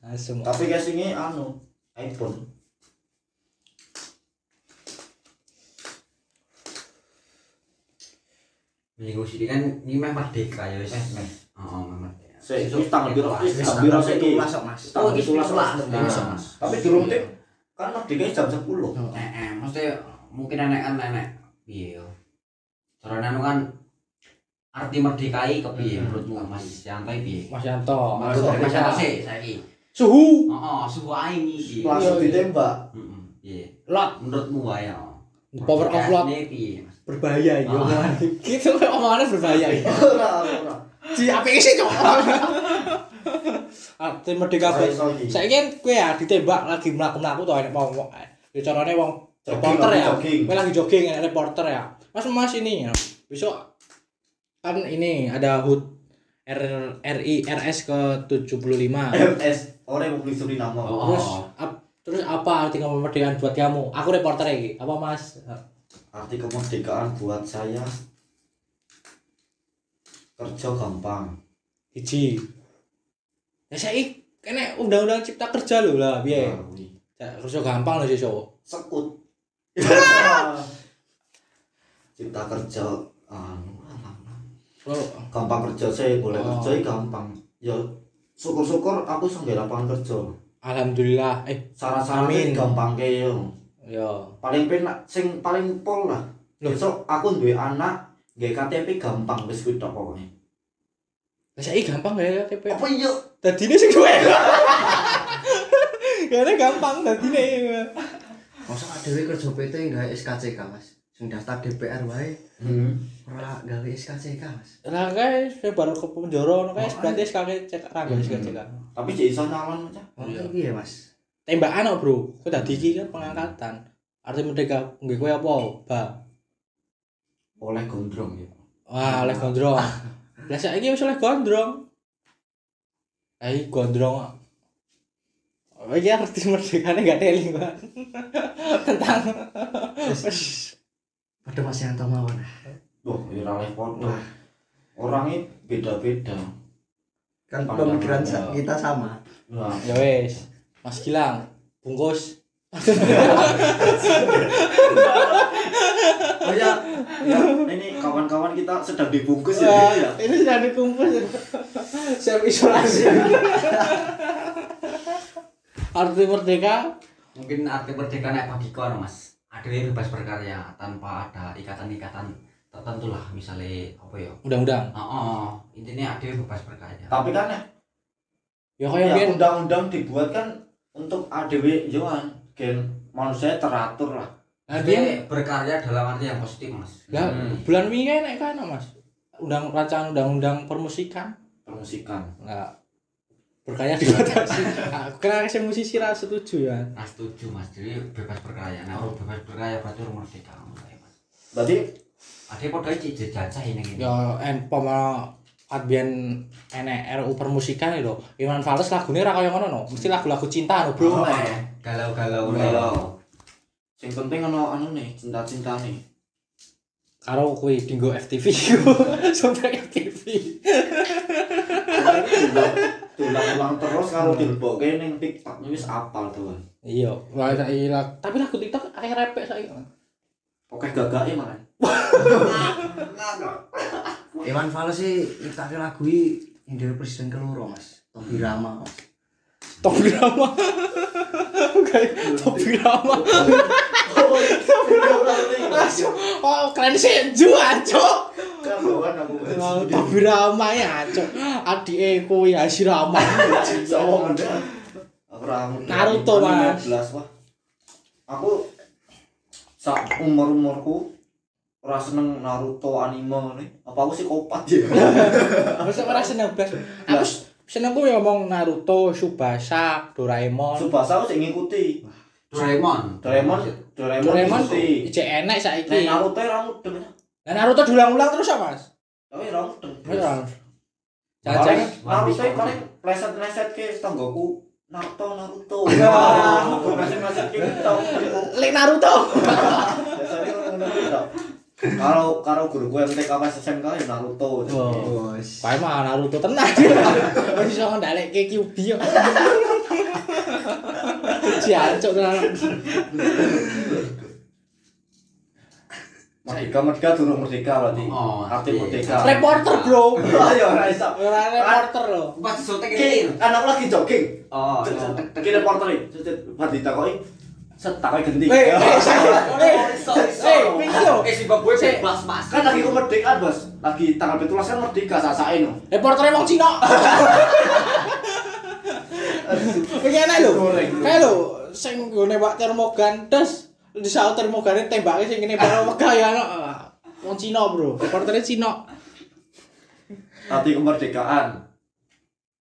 Speaker 1: Asem.
Speaker 2: tapi casingnya anu iPhone.
Speaker 5: Minggu sini kan ini meh merdeka ya wis.
Speaker 2: Eh, meh.
Speaker 5: Oh, meh merdeka.
Speaker 2: Saya itu tanggal biru,
Speaker 5: Wis,
Speaker 4: Wis
Speaker 2: tanggal
Speaker 4: tak
Speaker 2: biru
Speaker 4: rasa
Speaker 2: saya
Speaker 4: itu masuk, Mas.
Speaker 2: tanggal
Speaker 5: gitu,
Speaker 2: biru lah.
Speaker 5: Nah.
Speaker 2: Tapi durung tik kan merdeka jam 10.
Speaker 5: Eh, eh, maksudnya mungkin enek kan enek. Iya. Carane anu kan arti merdekai kepiye
Speaker 2: Hmm.
Speaker 5: menurutmu Mas Yanto piye?
Speaker 1: Mas Yanto.
Speaker 5: Mas
Speaker 2: Yanto.
Speaker 5: Mas Yanto sih saiki.
Speaker 1: Suhu.
Speaker 5: Heeh, suhu ae iki.
Speaker 2: Langsung ditembak. [laughs]
Speaker 5: Heeh, iya.
Speaker 1: Lot.
Speaker 5: Menurutmu wae ya.
Speaker 1: Power of lot
Speaker 5: Merdekane piye, Mas?
Speaker 1: berbahaya ya.
Speaker 5: Ah.
Speaker 1: Gitu omongannya berbahaya. ya.
Speaker 2: Ora ora.
Speaker 1: Di apa isi [laughs] cok. Arti Ah, merdeka
Speaker 2: Ora iso iki.
Speaker 1: Saiki kan kowe ya ditembak lagi mlaku-mlaku to enek wong. wong- Ya carane wong
Speaker 2: Jogging,
Speaker 1: reporter
Speaker 2: lagi
Speaker 1: ya.
Speaker 2: jogging.
Speaker 1: Kowe lagi jogging enek reporter ya. Mas Mas ini ya. Besok kan ini ada HUT R RI RS ke 75.
Speaker 2: MS orang Republik Suriname.
Speaker 5: Oh.
Speaker 1: Terus ap- terus apa arti kemerdekaan buat kamu? Aku reporter iki. Apa Mas?
Speaker 2: Arti kemerdekaan buat saya kerja gampang.
Speaker 1: Hiji. Ya saiki kene undang-undang cipta kerja lho lah piye.
Speaker 2: Melalui
Speaker 1: Ya, Terus yo gampang lho sesuk.
Speaker 2: Sekut. Cipta kerja anu alam.
Speaker 1: Oh,
Speaker 2: gampang kerja saya boleh
Speaker 1: Oh.
Speaker 2: kerja ini gampang. Ya syukur-sykur aku senggak lapangan kerja.
Speaker 1: Alhamdulillah. Eh,
Speaker 2: Saran-sarannya
Speaker 1: Amin.
Speaker 2: gampang kayak
Speaker 1: yo.
Speaker 2: paling penak sing paling pol lah.
Speaker 1: Loh.
Speaker 2: Besok aku duwe anak, nggak KTP gampang wis kuwi tok pokoknya.
Speaker 1: Lah saiki gampang gak ya TP?
Speaker 2: Apa iya?
Speaker 1: Dadine sing duwe. [laughs] Karena gampang dadine.
Speaker 4: Masa dhewe kerja PT gawe SKCK, Mas. Sing daftar DPR wae
Speaker 2: Hmm.
Speaker 4: ora gawe SKCK, Mas.
Speaker 1: Lah kae saya baru ke penjara ngono kae
Speaker 4: Makanya.
Speaker 1: berarti sekali cek rangga sing cek.
Speaker 2: Tapi jadi iso nyalon aja.
Speaker 4: Oh,
Speaker 1: Iya.
Speaker 4: iki ya, Mas.
Speaker 1: Tembakan kok, Bro. Kowe dadi iki kan pengangkatan. Arti merdeka nggih kowe apa? Ba.
Speaker 2: Oleh gondrong ya.
Speaker 1: Wah, oleh [laughs] gondrong. Lah saiki wis oleh gondrong. Ai gondrong. ah. Oh, iki arti merdekane gak teling, Pak. [laughs] Tentang
Speaker 4: Eh, Wis. Padha Mas Yanto mawon.
Speaker 2: Wah, ora oleh foto.
Speaker 4: Wah.
Speaker 2: orangnya beda-beda
Speaker 4: kan
Speaker 2: Pandangan
Speaker 4: pemikiran
Speaker 2: ya.
Speaker 4: sa- kita sama
Speaker 2: nah,
Speaker 1: ya wes mas Gilang bungkus
Speaker 2: oh ya, ya, ini kawan-kawan kita sedang dibungkus ya,
Speaker 1: Iya.
Speaker 2: gitu ya.
Speaker 1: ini sudah dikumpul siap isolasi arti merdeka
Speaker 5: mungkin arti merdeka naik bagi kon mas akhirnya bebas berkarya tanpa ada ikatan-ikatan tertentu lah misalnya apa ya
Speaker 1: undang-undang
Speaker 5: oh, oh intinya akhirnya bebas berkarya
Speaker 2: Tapi kan ya,
Speaker 1: ya kaya
Speaker 2: ya,
Speaker 1: biar
Speaker 2: undang-undang dibuat kan untuk ADW Johan gen manusia teratur lah.
Speaker 1: nah, biar-
Speaker 5: Maksudnya berkarya dalam arti yang positif mas Hmm.
Speaker 1: Lah, Ya, bulan wingi kan enak kan mas undang rancangan undang-undang permusikan
Speaker 2: Permusikan.
Speaker 1: nggak berkarya dibatasi aku kira saya musisi lah setuju ya
Speaker 5: nah setuju mas jadi bebas berkarya nah orang bebas berkarya berarti orang merdeka mulai mas
Speaker 2: Berarti
Speaker 5: ada yang podai cicil jajah ini gini
Speaker 1: ya en pama adbian enek RU E permusikan itu Iwan Fals lagunya ra kaya ngono no mesti lagu-lagu cinta no bro
Speaker 5: Mulai, galau-galau ya.
Speaker 1: [laughs]
Speaker 2: kalau iya. sing penting ono anu nih cinta-cinta nih.
Speaker 1: karo kuwi dinggo FTV [laughs] soundtrack FTV
Speaker 2: Tulang-tulang terus kalau dilebokke ning TikTok ini wis apal tuh.
Speaker 1: iya wah saiki lag- tapi lagu TikTok akeh repek saiki
Speaker 2: Oke gagake malah.
Speaker 4: Iwan Fals sih kita lagu ini yang dari presiden keloro mas Tompi Rama mas.
Speaker 1: Top Girama [laughs] Kayak Top Girama Oh keren senju aco
Speaker 2: Kawan Kan, aku.
Speaker 1: Top Girama ya aco Adi Eko ya
Speaker 2: [laughs]
Speaker 1: Shirama
Speaker 2: Sama bener. Ora ngerti.
Speaker 1: Naruto, Mas.
Speaker 2: 15, wah. Aku sak umur-umurku ora seneng Naruto anime ngene. Apa aku psikopat
Speaker 1: [laughs]
Speaker 2: ya?
Speaker 1: Masa ora seneng blas Aku s- senengku ya ngomong Naruto, Subasa, Doraemon
Speaker 2: Subasa aku sing ngikuti.
Speaker 5: Doraemon
Speaker 2: Doraemon, Doraemon,
Speaker 1: Doraemon
Speaker 2: ngikuti.
Speaker 1: cek enek saiki
Speaker 2: Nek Naruto ora mudeng. ya.
Speaker 1: Nah Naruto diulang-ulang terus ya Mas
Speaker 2: Tapi ora mudeng.
Speaker 1: Beneran.
Speaker 2: Paling
Speaker 1: Jangan-jangan
Speaker 2: Naruto paling pleset-pleset ke tanggoku Naruto
Speaker 1: [laughs]
Speaker 2: Naruto.
Speaker 1: Wah.
Speaker 2: Wah, pleset-pleset ke tanggoku.
Speaker 1: Lek Naruto
Speaker 2: Biasanya kan ngono-ngono tau. Kalau kalau guru gue MTK pas SMK ya
Speaker 1: Oh.
Speaker 2: Naruto.
Speaker 4: Bos.
Speaker 1: Pae mah Naruto
Speaker 2: [laughs]
Speaker 1: tenan. Wis iso ngendalekke Kyuubi yo. Jancuk tenan.
Speaker 2: Merdeka merdeka turun merdeka berarti.
Speaker 5: Oh,
Speaker 2: Arti
Speaker 5: iya.
Speaker 2: merdeka.
Speaker 1: Reporter, Bro.
Speaker 2: Ayo ora iso.
Speaker 1: Ora reporter lho.
Speaker 5: pas suntik
Speaker 2: Ki,
Speaker 5: ini
Speaker 2: anak lagi jogging.
Speaker 5: oh iya.
Speaker 2: Ki reporter iki. Cet, Pas ditakoki set takoki genti.
Speaker 1: Eh, eh, saya. Eh,
Speaker 5: iso
Speaker 1: eh, pinggir yo.
Speaker 5: eh Zimbabwe
Speaker 1: Sik.
Speaker 5: bebas mas
Speaker 2: Kan lagi kemerdekaan, Bos. Lagi tanggal 17 kan merdeka sasake no.
Speaker 1: Reportere wong Cina. Iki enak lho. Kayak lho sing go nembak termogan terus di saat termogane tembake sing ngene para wegah ya anak. Wong Cina, Bro. Reportere Cina.
Speaker 2: Arti kemerdekaan.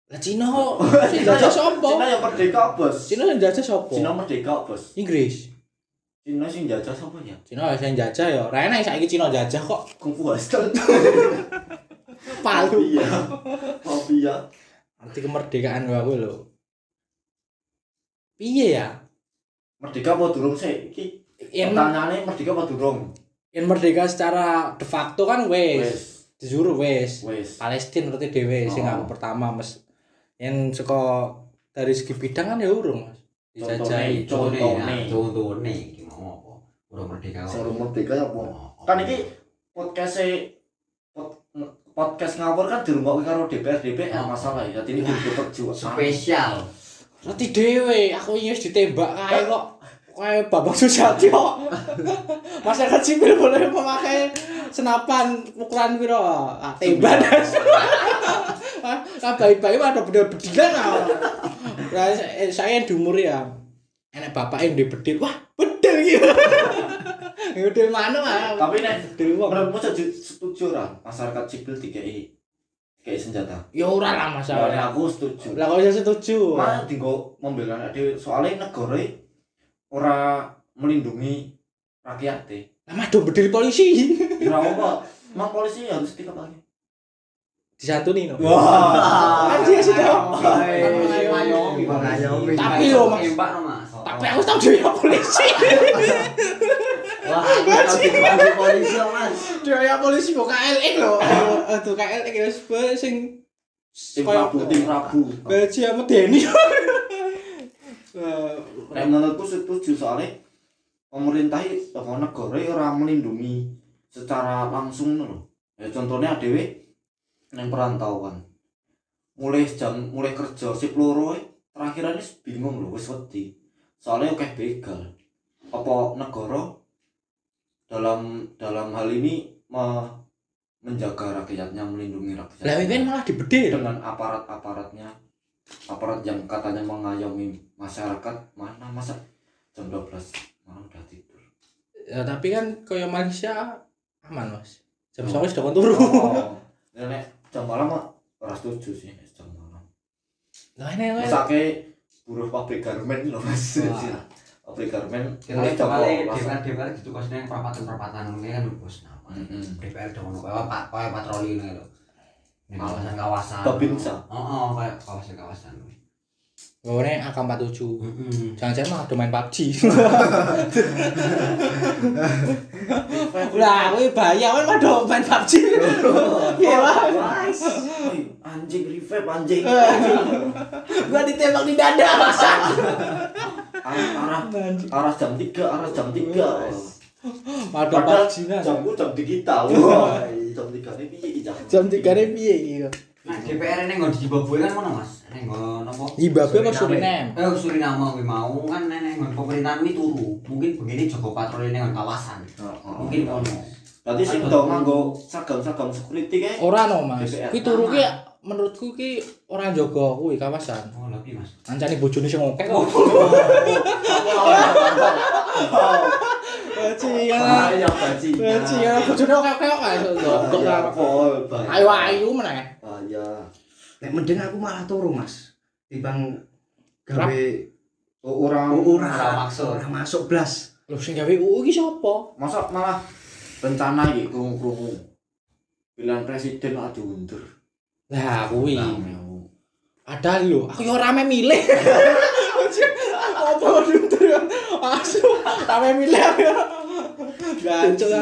Speaker 1: Lah Cina kok. Sing jajah sapa?
Speaker 2: [laughs] Cina yang merdeka, Bos.
Speaker 1: Cina sing jajah
Speaker 2: Cina
Speaker 1: sapa?
Speaker 2: merdeka, Bos.
Speaker 1: Inggris.
Speaker 2: Cina sing jajah sapa ya?
Speaker 1: Cina saya jajah ya. Ora enak saiki Cina jajah kok.
Speaker 2: Kung Fu Hustle.
Speaker 1: Palu.
Speaker 2: Iya. ya. Mafia.
Speaker 1: Arti kemerdekaan wae lho. Piye ya?
Speaker 2: Merdeka apa durung sih? Iki
Speaker 1: Yang
Speaker 2: pertanyaannya merdeka apa durung?
Speaker 1: yang merdeka secara de facto kan wes,
Speaker 2: Wes,
Speaker 1: jujur wes.
Speaker 2: wes.
Speaker 1: Palestina berarti dhewe sing
Speaker 2: Oh.
Speaker 1: aku pertama Mas. Yang saka dari segi bidang kan ya urung Mas. Dijajahi.
Speaker 2: Contohnya, Contohnya.
Speaker 5: nah, contohnya iki mau apa udah merdeka kok.
Speaker 2: Seru merdeka ya apa?
Speaker 5: Oh,
Speaker 2: Kan iki podcast pod, podcast ngawur kan dirungokne karo DPR DPR
Speaker 5: Oh.
Speaker 2: masalah ya. Jadi ini kudu perjuangan.
Speaker 5: spesial
Speaker 1: Berarti dhewe aku ini wis ditembak kae kok. Kae Bambang Susatyo. Masyarakat sipil boleh memakai senapan ukuran piro? Ah, Tembak. Ah, Nah, bayi-bayi ada benda bedilan ah. Nah, saya- saya yang diumur ya. Enak bapak yang di bedil. Wah, bedil gitu. [laughs] Bedil mana ah?
Speaker 2: Tapi nek
Speaker 1: Bedil wong.
Speaker 2: menurutmu setuju- setuju ora masyarakat sipil dikei dikei senjata?
Speaker 1: Ya ora lah
Speaker 2: Ya
Speaker 1: masalah.
Speaker 2: nek aku setuju.
Speaker 1: Lah kok saya setuju.
Speaker 2: Mana tinggal membela anak dhewe soalnya negara ora melindungi e. rakyatnya.
Speaker 1: Lah do bedil polisi. [laughs]
Speaker 2: Kira apa? Emang polisi harus tiga kali.
Speaker 1: Disantuni no.
Speaker 2: Wah.
Speaker 1: Kan dia sudah
Speaker 5: mengayomi
Speaker 4: Mengayomi.
Speaker 1: Tapi loh, Mas.
Speaker 5: Tembak, no, mas
Speaker 1: [laughs] Tapi aku tau dia polisi.
Speaker 4: Wah, ya aku polisi mas
Speaker 1: Dia polisi kok KLX lho. Aduh, Eh, Aduh KLX wis bae sing
Speaker 2: Tim Rabu, tim Rabu.
Speaker 1: Belgia [laughs] medeni. Eh,
Speaker 2: Nek menurutku setuju soalnya pemerintah atau negara ya ora melindungi secara langsung lho. Ya contohnya dhewe neng perantauan. Mulai jam mulai kerja sip loro eh, terakhirannya bingung lho wis wedi. Soalnya akeh begal. Apa negara dalam dalam hal ini me- menjaga rakyatnya, melindungi rakyatnya.
Speaker 1: Lah Wiwin malah dibedil.
Speaker 2: dengan aparat-aparatnya aparat yang katanya mengayomi masyarakat mana masa jam 12 malam udah tidur
Speaker 1: Ya tapi kan kaya Malaysia aman, Mas. Jam 09.00 sudah kon turu.
Speaker 2: oh, nenek jam malam mah ora setuju sih nek jam malam
Speaker 1: [laughs] Lah ini kan
Speaker 2: masake buruh pabrik garmen lho mas ya. pabrik garmen
Speaker 5: Kita
Speaker 2: mulai jam 12.
Speaker 5: kembali DPR DPR gitu kosnya yang perapatan-perapatan ini kan bos nama.
Speaker 2: Mm-mm.
Speaker 5: DPR dong ngono kayak pak kayak patroli ini lho. Di kawasan-kawasan.
Speaker 2: Babinsa.
Speaker 5: Heeh, kayak kawasan-kawasan.
Speaker 1: ngone AK47.
Speaker 5: Heeh.
Speaker 1: Jangan-jangan mah ada main PUBG. Lah, kowe bahaya kowe padha main [laughs] PUBG. Piye wae.
Speaker 2: Guys, woy, anjing revive anjing
Speaker 1: Gua ditembak di dada, Mas.
Speaker 2: arah arah arah jam 3 arah jam 3
Speaker 1: Padha
Speaker 2: padahal
Speaker 1: PUBG nah.
Speaker 2: jamku jam digital wah jam 3 ini piye iki
Speaker 1: Jam 3 ne piye iki?
Speaker 5: Nah, DPR ini nggak di Zimbabwe kan mana mas? Ini nggak nopo.
Speaker 1: Zimbabwe apa
Speaker 4: Suriname?
Speaker 1: Suriname?
Speaker 5: Eh, Suriname gue mau kan nenek nggak pemerintahan ini turu. Mungkin begini Joko Patroli ini nggak kawasan.
Speaker 2: Oh,
Speaker 5: Mungkin kono.
Speaker 2: Berarti sing
Speaker 5: Aduh.
Speaker 2: do nganggo sagam-sagam security kae.
Speaker 1: Ora no, Mas.
Speaker 2: DPR.
Speaker 1: Kuwi turu ki menurutku ki ora njogo kuwi kawasan.
Speaker 5: Oh, lebih mas.
Speaker 1: Ancane bojone sing
Speaker 2: Eh,
Speaker 5: [laughs]
Speaker 1: ngokek kok. iya.
Speaker 2: Oh,
Speaker 1: Bajingan.
Speaker 2: iya, Bahaya
Speaker 1: Iya,
Speaker 2: bajingan.
Speaker 1: Bajingan bojone ngokek kok ae.
Speaker 2: Bahaya, Pol, bahaya.
Speaker 1: Ayo ayu meneh.
Speaker 2: Bahaya.
Speaker 4: Nek mending aku malah turu mas timbang gawe
Speaker 2: Oh, Ora
Speaker 5: Ora
Speaker 4: ora
Speaker 5: maksud.
Speaker 4: ora masuk blas
Speaker 1: Lho sing gawe UU iki sapa?
Speaker 2: masa malah rencana iki krungu-krungu. Pilihan presiden malah diundur.
Speaker 1: Lah kuwi.
Speaker 2: Nah, mewu.
Speaker 1: Ada lho, aku yo rame milih. [laughs] Apa mundur ya? Asu, rame milih aku. ya. Gancel ya.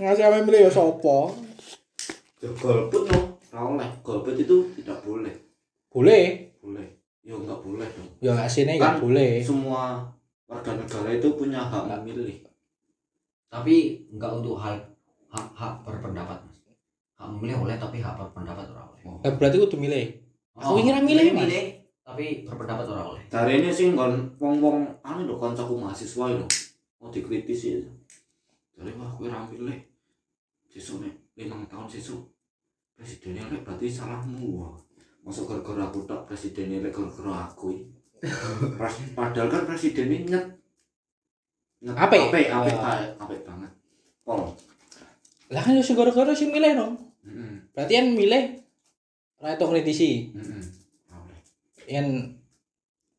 Speaker 1: Ngasih rame milih ya sapa?
Speaker 2: Ya, golput no, ora oleh. Golput itu tidak boleh.
Speaker 1: Boleh.
Speaker 2: Boleh. Yo enggak boleh dong.
Speaker 1: Ya gak sini gak
Speaker 2: Kan.
Speaker 1: boleh.
Speaker 2: Semua warga negara itu punya hak memilih.
Speaker 5: Tapi nggak untuk hal hak hak berpendapat mas. Hak memilih boleh tapi hak berpendapat orang boleh.
Speaker 1: Lah berarti kudu milih. Aku
Speaker 5: Oh,
Speaker 1: ingin milih, Mas.
Speaker 5: tapi berpendapat orang oleh.
Speaker 2: Dari ini sih ngon wong-wong anu lho kancaku mahasiswa lho. Mau dikritisi. Dari wah kowe ra milih. Sesuk nek limang tahun sesuk presiden elek berarti salahmu. wah. Masuk gara-gara aku tak presiden elek gara-gara aku. iki. Pres- Padahal kan presiden ini nyet nyet
Speaker 1: Apik.
Speaker 2: apik apik ba- apik banget. Pol.
Speaker 1: Lah kan yo sing gara-gara sing milih dong.
Speaker 2: Heeh.
Speaker 1: Berarti yang milih ra itu kritisi.
Speaker 2: Heeh.
Speaker 1: Yang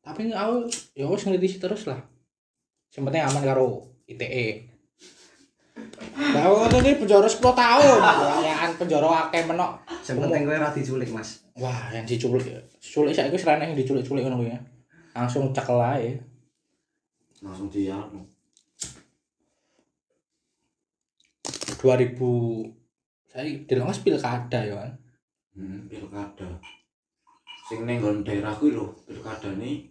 Speaker 1: tapi aku ya wis kritisi terus lah. Sing penting aman karo ITE. Lah aku ngono iki penjara 10 tahun. Kayaan penjara akeh menok.
Speaker 4: sing penting kowe ora diculik mas
Speaker 1: Wah, yang diculik. Culik saiki wis ra enak yang diculik-culik ngono kuwi ya. Langsung cekel ae.
Speaker 2: Langsung dia
Speaker 1: 2000 saya dilongas pilkada ya kan.
Speaker 2: Hmm, pilkada. Sing ning nggon daerah kuwi lho, pilkada ni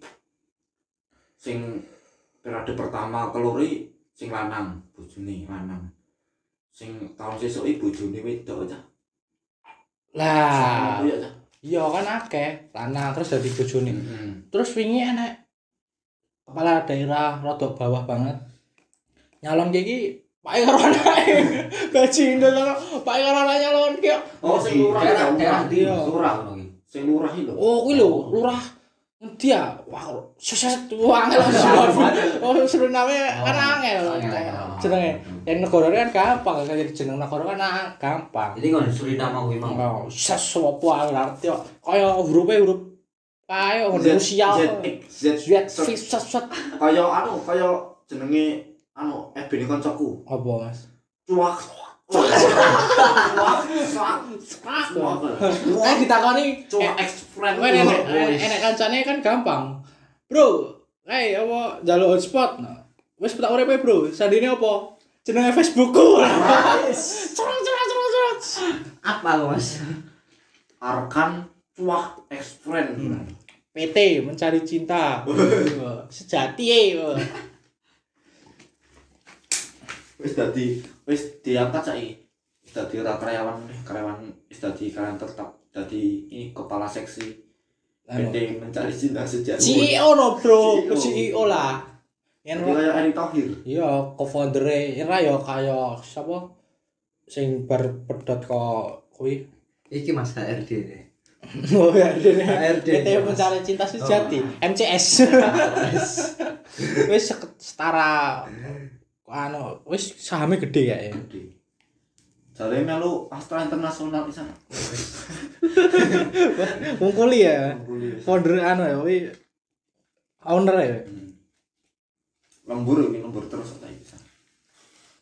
Speaker 2: sing periode pertama kelori sing lanang, bojone lanang. Sing tahun sesuk iki bojone wedok aja.
Speaker 1: Lah,
Speaker 2: Ah. Iya aja.
Speaker 1: iya kan akeh lanang terus dadi bojone.
Speaker 2: Heeh.
Speaker 1: terus wingi enek kepala daerah rodok bawah banget nyalon kayak gini pak karo [laughs] anake gaji ndel pak karo anake nyalon kayak
Speaker 2: Oh, sing lurah ya,
Speaker 5: daerah daerah
Speaker 2: lurah.
Speaker 5: di
Speaker 1: Iya.
Speaker 2: Lurah.
Speaker 5: orang
Speaker 2: Sing lurah iki lho.
Speaker 1: oh kuwi lho lurah ngendi ya wah seset wah [laughs] angel oh seru namanya kan angel jenenge yang negara kan gampang kan jadi jeneng negara kan ah, gampang
Speaker 5: Jadi nggak disuruh nama gue
Speaker 1: oh
Speaker 5: mau.
Speaker 1: sesuatu arti kok kaya hurufnya huruf kaya huruf Rusia
Speaker 2: Z Oh, Z
Speaker 1: Zet,
Speaker 2: Z
Speaker 1: zet, zet, zet.
Speaker 2: kaya anu kaya jenenge anu ebene kancaku.
Speaker 1: apa mas
Speaker 2: Cuak. Cuak. Cuak. Cuak. Cuak.
Speaker 1: Eh
Speaker 2: Kan?
Speaker 1: ditakoni
Speaker 2: Cuak.
Speaker 1: eh,
Speaker 2: Cuak.
Speaker 1: Kowe enek
Speaker 2: eh,
Speaker 1: enek- enek kancane kan gampang. Nah, Bro, eh apa njaluk hotspot. Wis petak uripe, Bro. Sandine apa? jenenge Facebookku. Cerot cerot cerot cerot.
Speaker 5: Apa
Speaker 4: [laughs]
Speaker 5: lo mas?
Speaker 2: Arkan Wah Ex-Friend
Speaker 1: PT mencari cinta. Sejati eh.
Speaker 2: Wis dadi wis diangkat saiki. Wis dadi ora karyawan, meneh, karyawan wis dadi karyawan tetap. Dadi ini kepala seksi.
Speaker 1: Anu.
Speaker 2: PT mencari cinta sejati.
Speaker 1: CEO E no bro,
Speaker 2: CEO.
Speaker 1: CEO lah. Yen
Speaker 2: Jadi kayak Erick Thohir.
Speaker 1: iya co-foundere ora ya kaya sapa sing bar pedot kok kuwi.
Speaker 3: Iki Mas HRD ini.
Speaker 1: Oh ya dene.
Speaker 3: HRD.
Speaker 1: PT mencari cinta sejati, MCS. Wis sek- setara anu wis sahamnya gede ya. ya.
Speaker 2: Gede. Jare melu Astra Internasional di sana.
Speaker 1: Ngungkuli ya.
Speaker 2: Kuliah.
Speaker 1: founder anu ya kuwi owner ya
Speaker 2: Lembur ini lembur terus saiki bisa.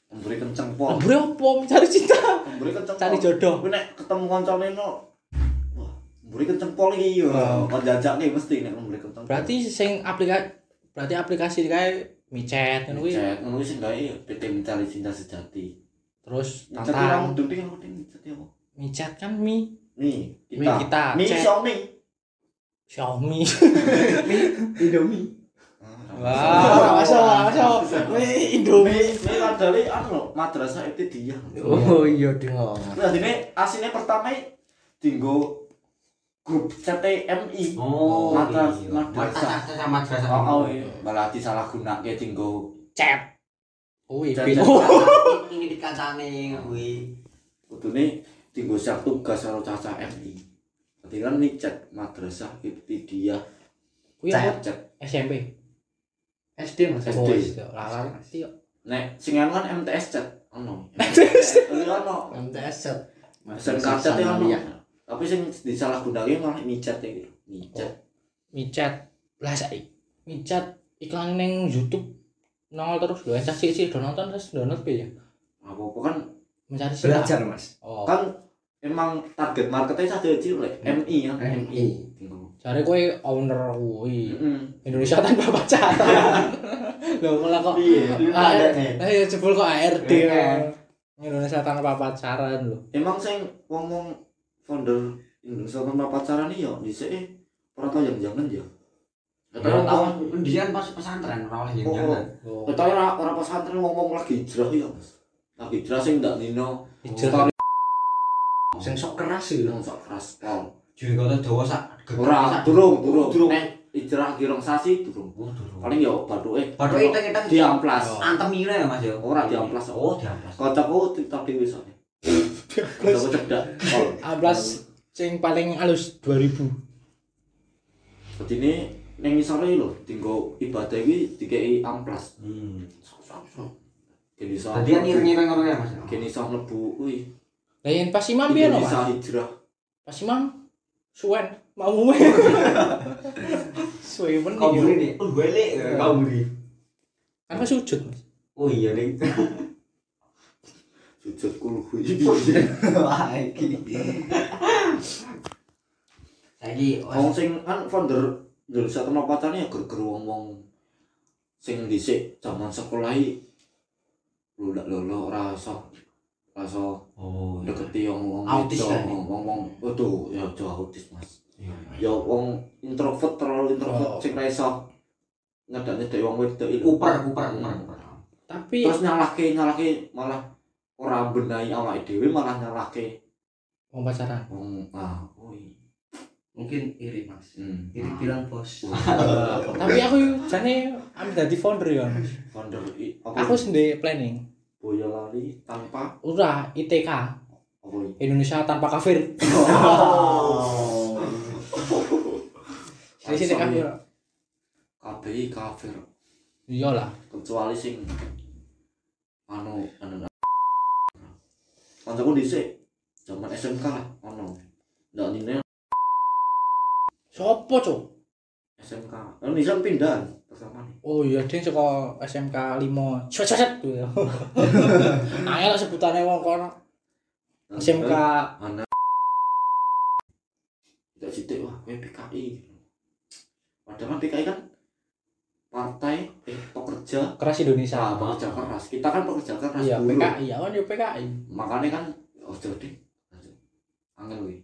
Speaker 2: Lembure kenceng po.
Speaker 1: owner apa mencari cinta
Speaker 2: Lembure kenceng.
Speaker 1: Cari
Speaker 2: pol.
Speaker 1: jodoh.
Speaker 2: Kuwi nek ketemu kancane no. Wah, lembure kenceng pol iki yo. Kon jajak nih mesti nek lembure kenceng. pol.
Speaker 1: berarti sing aplikasi berarti aplikasi kayak micet kan kuwi
Speaker 2: Cek, ngono sing gawe PT mencari cinta sejati.
Speaker 1: terus
Speaker 2: Mencari orang
Speaker 1: tantang
Speaker 2: duding aku ding jadi apa?
Speaker 1: micet kan mi
Speaker 2: Nih,
Speaker 1: Mi
Speaker 2: kita.
Speaker 1: kita,
Speaker 2: Mi
Speaker 1: cek.
Speaker 2: Xiaomi.
Speaker 1: Xiaomi
Speaker 3: Indomie.
Speaker 2: [laughs]
Speaker 1: wah ora masuk ora masuk kuwi Indomie
Speaker 2: Mi kadale anu lho, madrasah ibtidaiyah.
Speaker 4: Oh iya dengar.
Speaker 2: Nah, dene asine pertama dinggo grup
Speaker 1: Iya.
Speaker 2: CTMI.
Speaker 5: Oh,
Speaker 2: Matras-
Speaker 5: iya.
Speaker 2: madrasah.
Speaker 5: Madrasah, madrasah.
Speaker 2: Oh, oh iya. Malah disalahgunake dinggo
Speaker 1: chat kuwi
Speaker 2: Chat,
Speaker 1: bin
Speaker 2: chat.
Speaker 1: oh
Speaker 5: [laughs] Ini dikacane kuwi.
Speaker 2: kudune dinggo sak tugas karo cacah MI. Dadi kan ni cek madrasah ibtidaiyah.
Speaker 1: kuwi apa?
Speaker 2: Cek cek.
Speaker 1: SMP
Speaker 3: SD Mas.
Speaker 1: oh
Speaker 2: SD.
Speaker 1: iya. Lah, ngerti kok.
Speaker 2: Nek sing anu kan MTS cek. Ono. MTS. Ono.
Speaker 4: MTS set.
Speaker 2: Sen kacat ya ono. Tapi sing disalahgunake malah micat ya gitu.
Speaker 1: Oh.
Speaker 2: Micat.
Speaker 1: micet lah saiki micet iklan ning YouTube nongol terus lho encah sih sih do nonton terus download piye ya?
Speaker 2: Apa-apa kan
Speaker 1: mencari cinta
Speaker 3: Belajar Mas.
Speaker 1: oh
Speaker 2: kan emang target marketnya saja kecil lek MI kan MI.
Speaker 1: cari kowe owner kuwi
Speaker 2: Heeh.
Speaker 1: Indonesia tanpa pacaran [laughs] lho malah kok Ah, eh ya jebul kok ARD
Speaker 3: Iya.
Speaker 1: Indonesia tanpa pacaran lho
Speaker 2: Emang sing ngomong founder Indonesia tanpa pacaran iki ya dhisik e ora tau yang jangan ya.
Speaker 1: Iya.
Speaker 5: Ora
Speaker 2: Ketara
Speaker 5: tau
Speaker 2: tahun
Speaker 5: pendidikan pas pesantren ora oleh
Speaker 2: Oh.
Speaker 5: jenengan.
Speaker 1: Oh,
Speaker 2: ketara ora ora pesantren ngomong lagi hijrah ya Mas. Lagi hijrah sing ndak dino
Speaker 1: hijrah
Speaker 4: Sing sok keras sih.
Speaker 2: yang sak keras pol.
Speaker 5: Jurung kota Jawa sak
Speaker 2: Ora durung durung
Speaker 5: durung.
Speaker 2: durung nek hijrah kirang sasi durung. Paling ya batuke
Speaker 5: Baru iteng-iteng
Speaker 2: diamplas.
Speaker 1: Oh.
Speaker 5: antem ini ya Mas ya.
Speaker 2: Ora diamplas.
Speaker 5: Oh, diamplas.
Speaker 2: Kocokku TikTok dhewe soalnya. Kocokku cedak. Pol.
Speaker 1: ablas sing paling halus 2000
Speaker 2: Dene ning ngisore lho dinggo ibadah iki dikeki amplas.
Speaker 5: Hmm.
Speaker 2: Gen iso.
Speaker 5: Tadi kan ireng-ireng ngono ya Mas.
Speaker 2: Gen iso mlebu kuwi.
Speaker 1: lah yen pas imam piye
Speaker 2: Gen
Speaker 1: no
Speaker 2: iso
Speaker 1: Mas
Speaker 2: hijrah.
Speaker 1: pas imam suwen mau muwe suwe men
Speaker 5: Kau buri
Speaker 1: iki.
Speaker 5: nih. Oh, gue lek kau buri.
Speaker 1: kan pas sujud Mas
Speaker 5: Oh iya [laughs] nih.
Speaker 2: Sujud kulhu
Speaker 1: [laughs]
Speaker 3: Wah, iki.
Speaker 5: Saiki
Speaker 2: Wong sing kan founder Indonesia Tanpa Pacaran ya ger-ger wong-wong sing dhisik zaman sekolah iki lho lak lho ora iso ora iso
Speaker 5: Oh,
Speaker 2: deketi wong-wong
Speaker 5: Autis
Speaker 2: wedok,
Speaker 5: kan?
Speaker 2: wong-wong waduh ya aja autis Mas.
Speaker 5: iya.
Speaker 2: ya wong introvert terlalu
Speaker 1: Oh.
Speaker 2: introvert sing ra iso ngedane dhewe wong wedok iku
Speaker 5: Kuper, kuper, kuper, kuper.
Speaker 1: tapi
Speaker 2: terus nyalahke nyalahke malah ora benahi awake dhewe malah nyalahke
Speaker 1: mau pacaran
Speaker 2: wong ah kuwi
Speaker 3: Mungkin iri Mas.
Speaker 2: hmm
Speaker 3: Iri bilang bos.
Speaker 1: tapi aku jane ambil dadi founder ya Mas
Speaker 2: founder i- apa
Speaker 1: aku sendiri planning
Speaker 2: Boyolali tanpa
Speaker 1: udah ITK
Speaker 2: apa i-
Speaker 1: Indonesia tanpa kafir
Speaker 3: Oh.
Speaker 1: sini sini kafir
Speaker 2: KBI kafir
Speaker 1: iya lah
Speaker 2: kecuali sing anu anu kancaku dhisik zaman SMK lah ono ndak nine
Speaker 1: sopo cok
Speaker 2: SMK kan Nisan pindahan pertama nih
Speaker 1: oh iya dia suka SMK 5 cet cet cet gitu ya angel lah sebutannya wong kono SMK
Speaker 2: anak tidak sidik wah kowe PKI padahal kan PKI kan partai eh pekerja pekerja
Speaker 1: keras Indonesia
Speaker 2: sama pekerja keras kita kan pekerja keras
Speaker 1: iya
Speaker 2: buruh.
Speaker 1: PKI ya kan ya PKI
Speaker 2: makanya kan ojo deh angel wi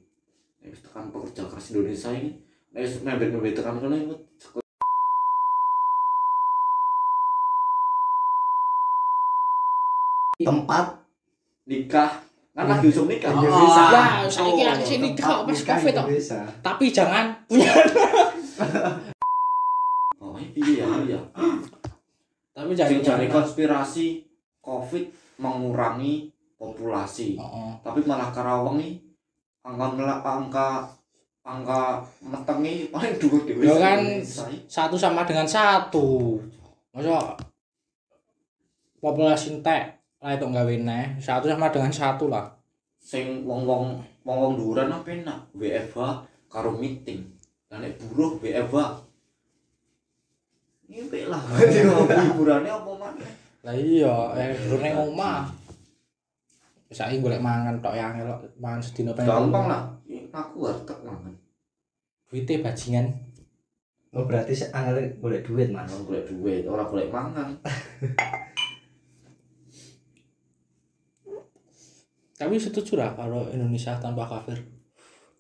Speaker 2: nek wis tekan pekerja keras Indonesia ini nek wis member-member tekan kono iku
Speaker 4: tempat
Speaker 2: nikah kan lagi usum nikah
Speaker 5: Iya.
Speaker 4: Indonesia.
Speaker 5: Ya,
Speaker 1: saya kira ke sini kok
Speaker 4: Tempat
Speaker 1: pas
Speaker 4: nikah
Speaker 1: covid kok
Speaker 4: Indonesia.
Speaker 1: tapi jangan punya
Speaker 2: oh iya iya
Speaker 1: tapi
Speaker 2: sing
Speaker 1: jangan
Speaker 2: jare konspirasi covid mengurangi populasi
Speaker 1: Heeh.
Speaker 2: tapi malah Karawangi angka mela- angka angka metengi paling dhuwur dhewe
Speaker 1: Yo kan. satu sama dengan satu masa populasi entek lah itu nggak neh satu sama dengan satu lah
Speaker 2: sing wong-wong wong-wong dhuwuran apa enak WFH karo meeting lan nek buruh WFH ngimpi Iya, lah hiburane apa maneh
Speaker 1: lah iya eh durung nang omah saiki golek mangan tok ya elok mangan sedina pengen
Speaker 2: gampang lah Iya, aku warteg mangan
Speaker 1: duite bajingan
Speaker 4: Oh berarti sih angel boleh duit mas.
Speaker 2: mangan golek duit ora golek mangan
Speaker 1: tapi setuju lah kalau Indonesia tanpa
Speaker 2: [laughs]
Speaker 1: kafir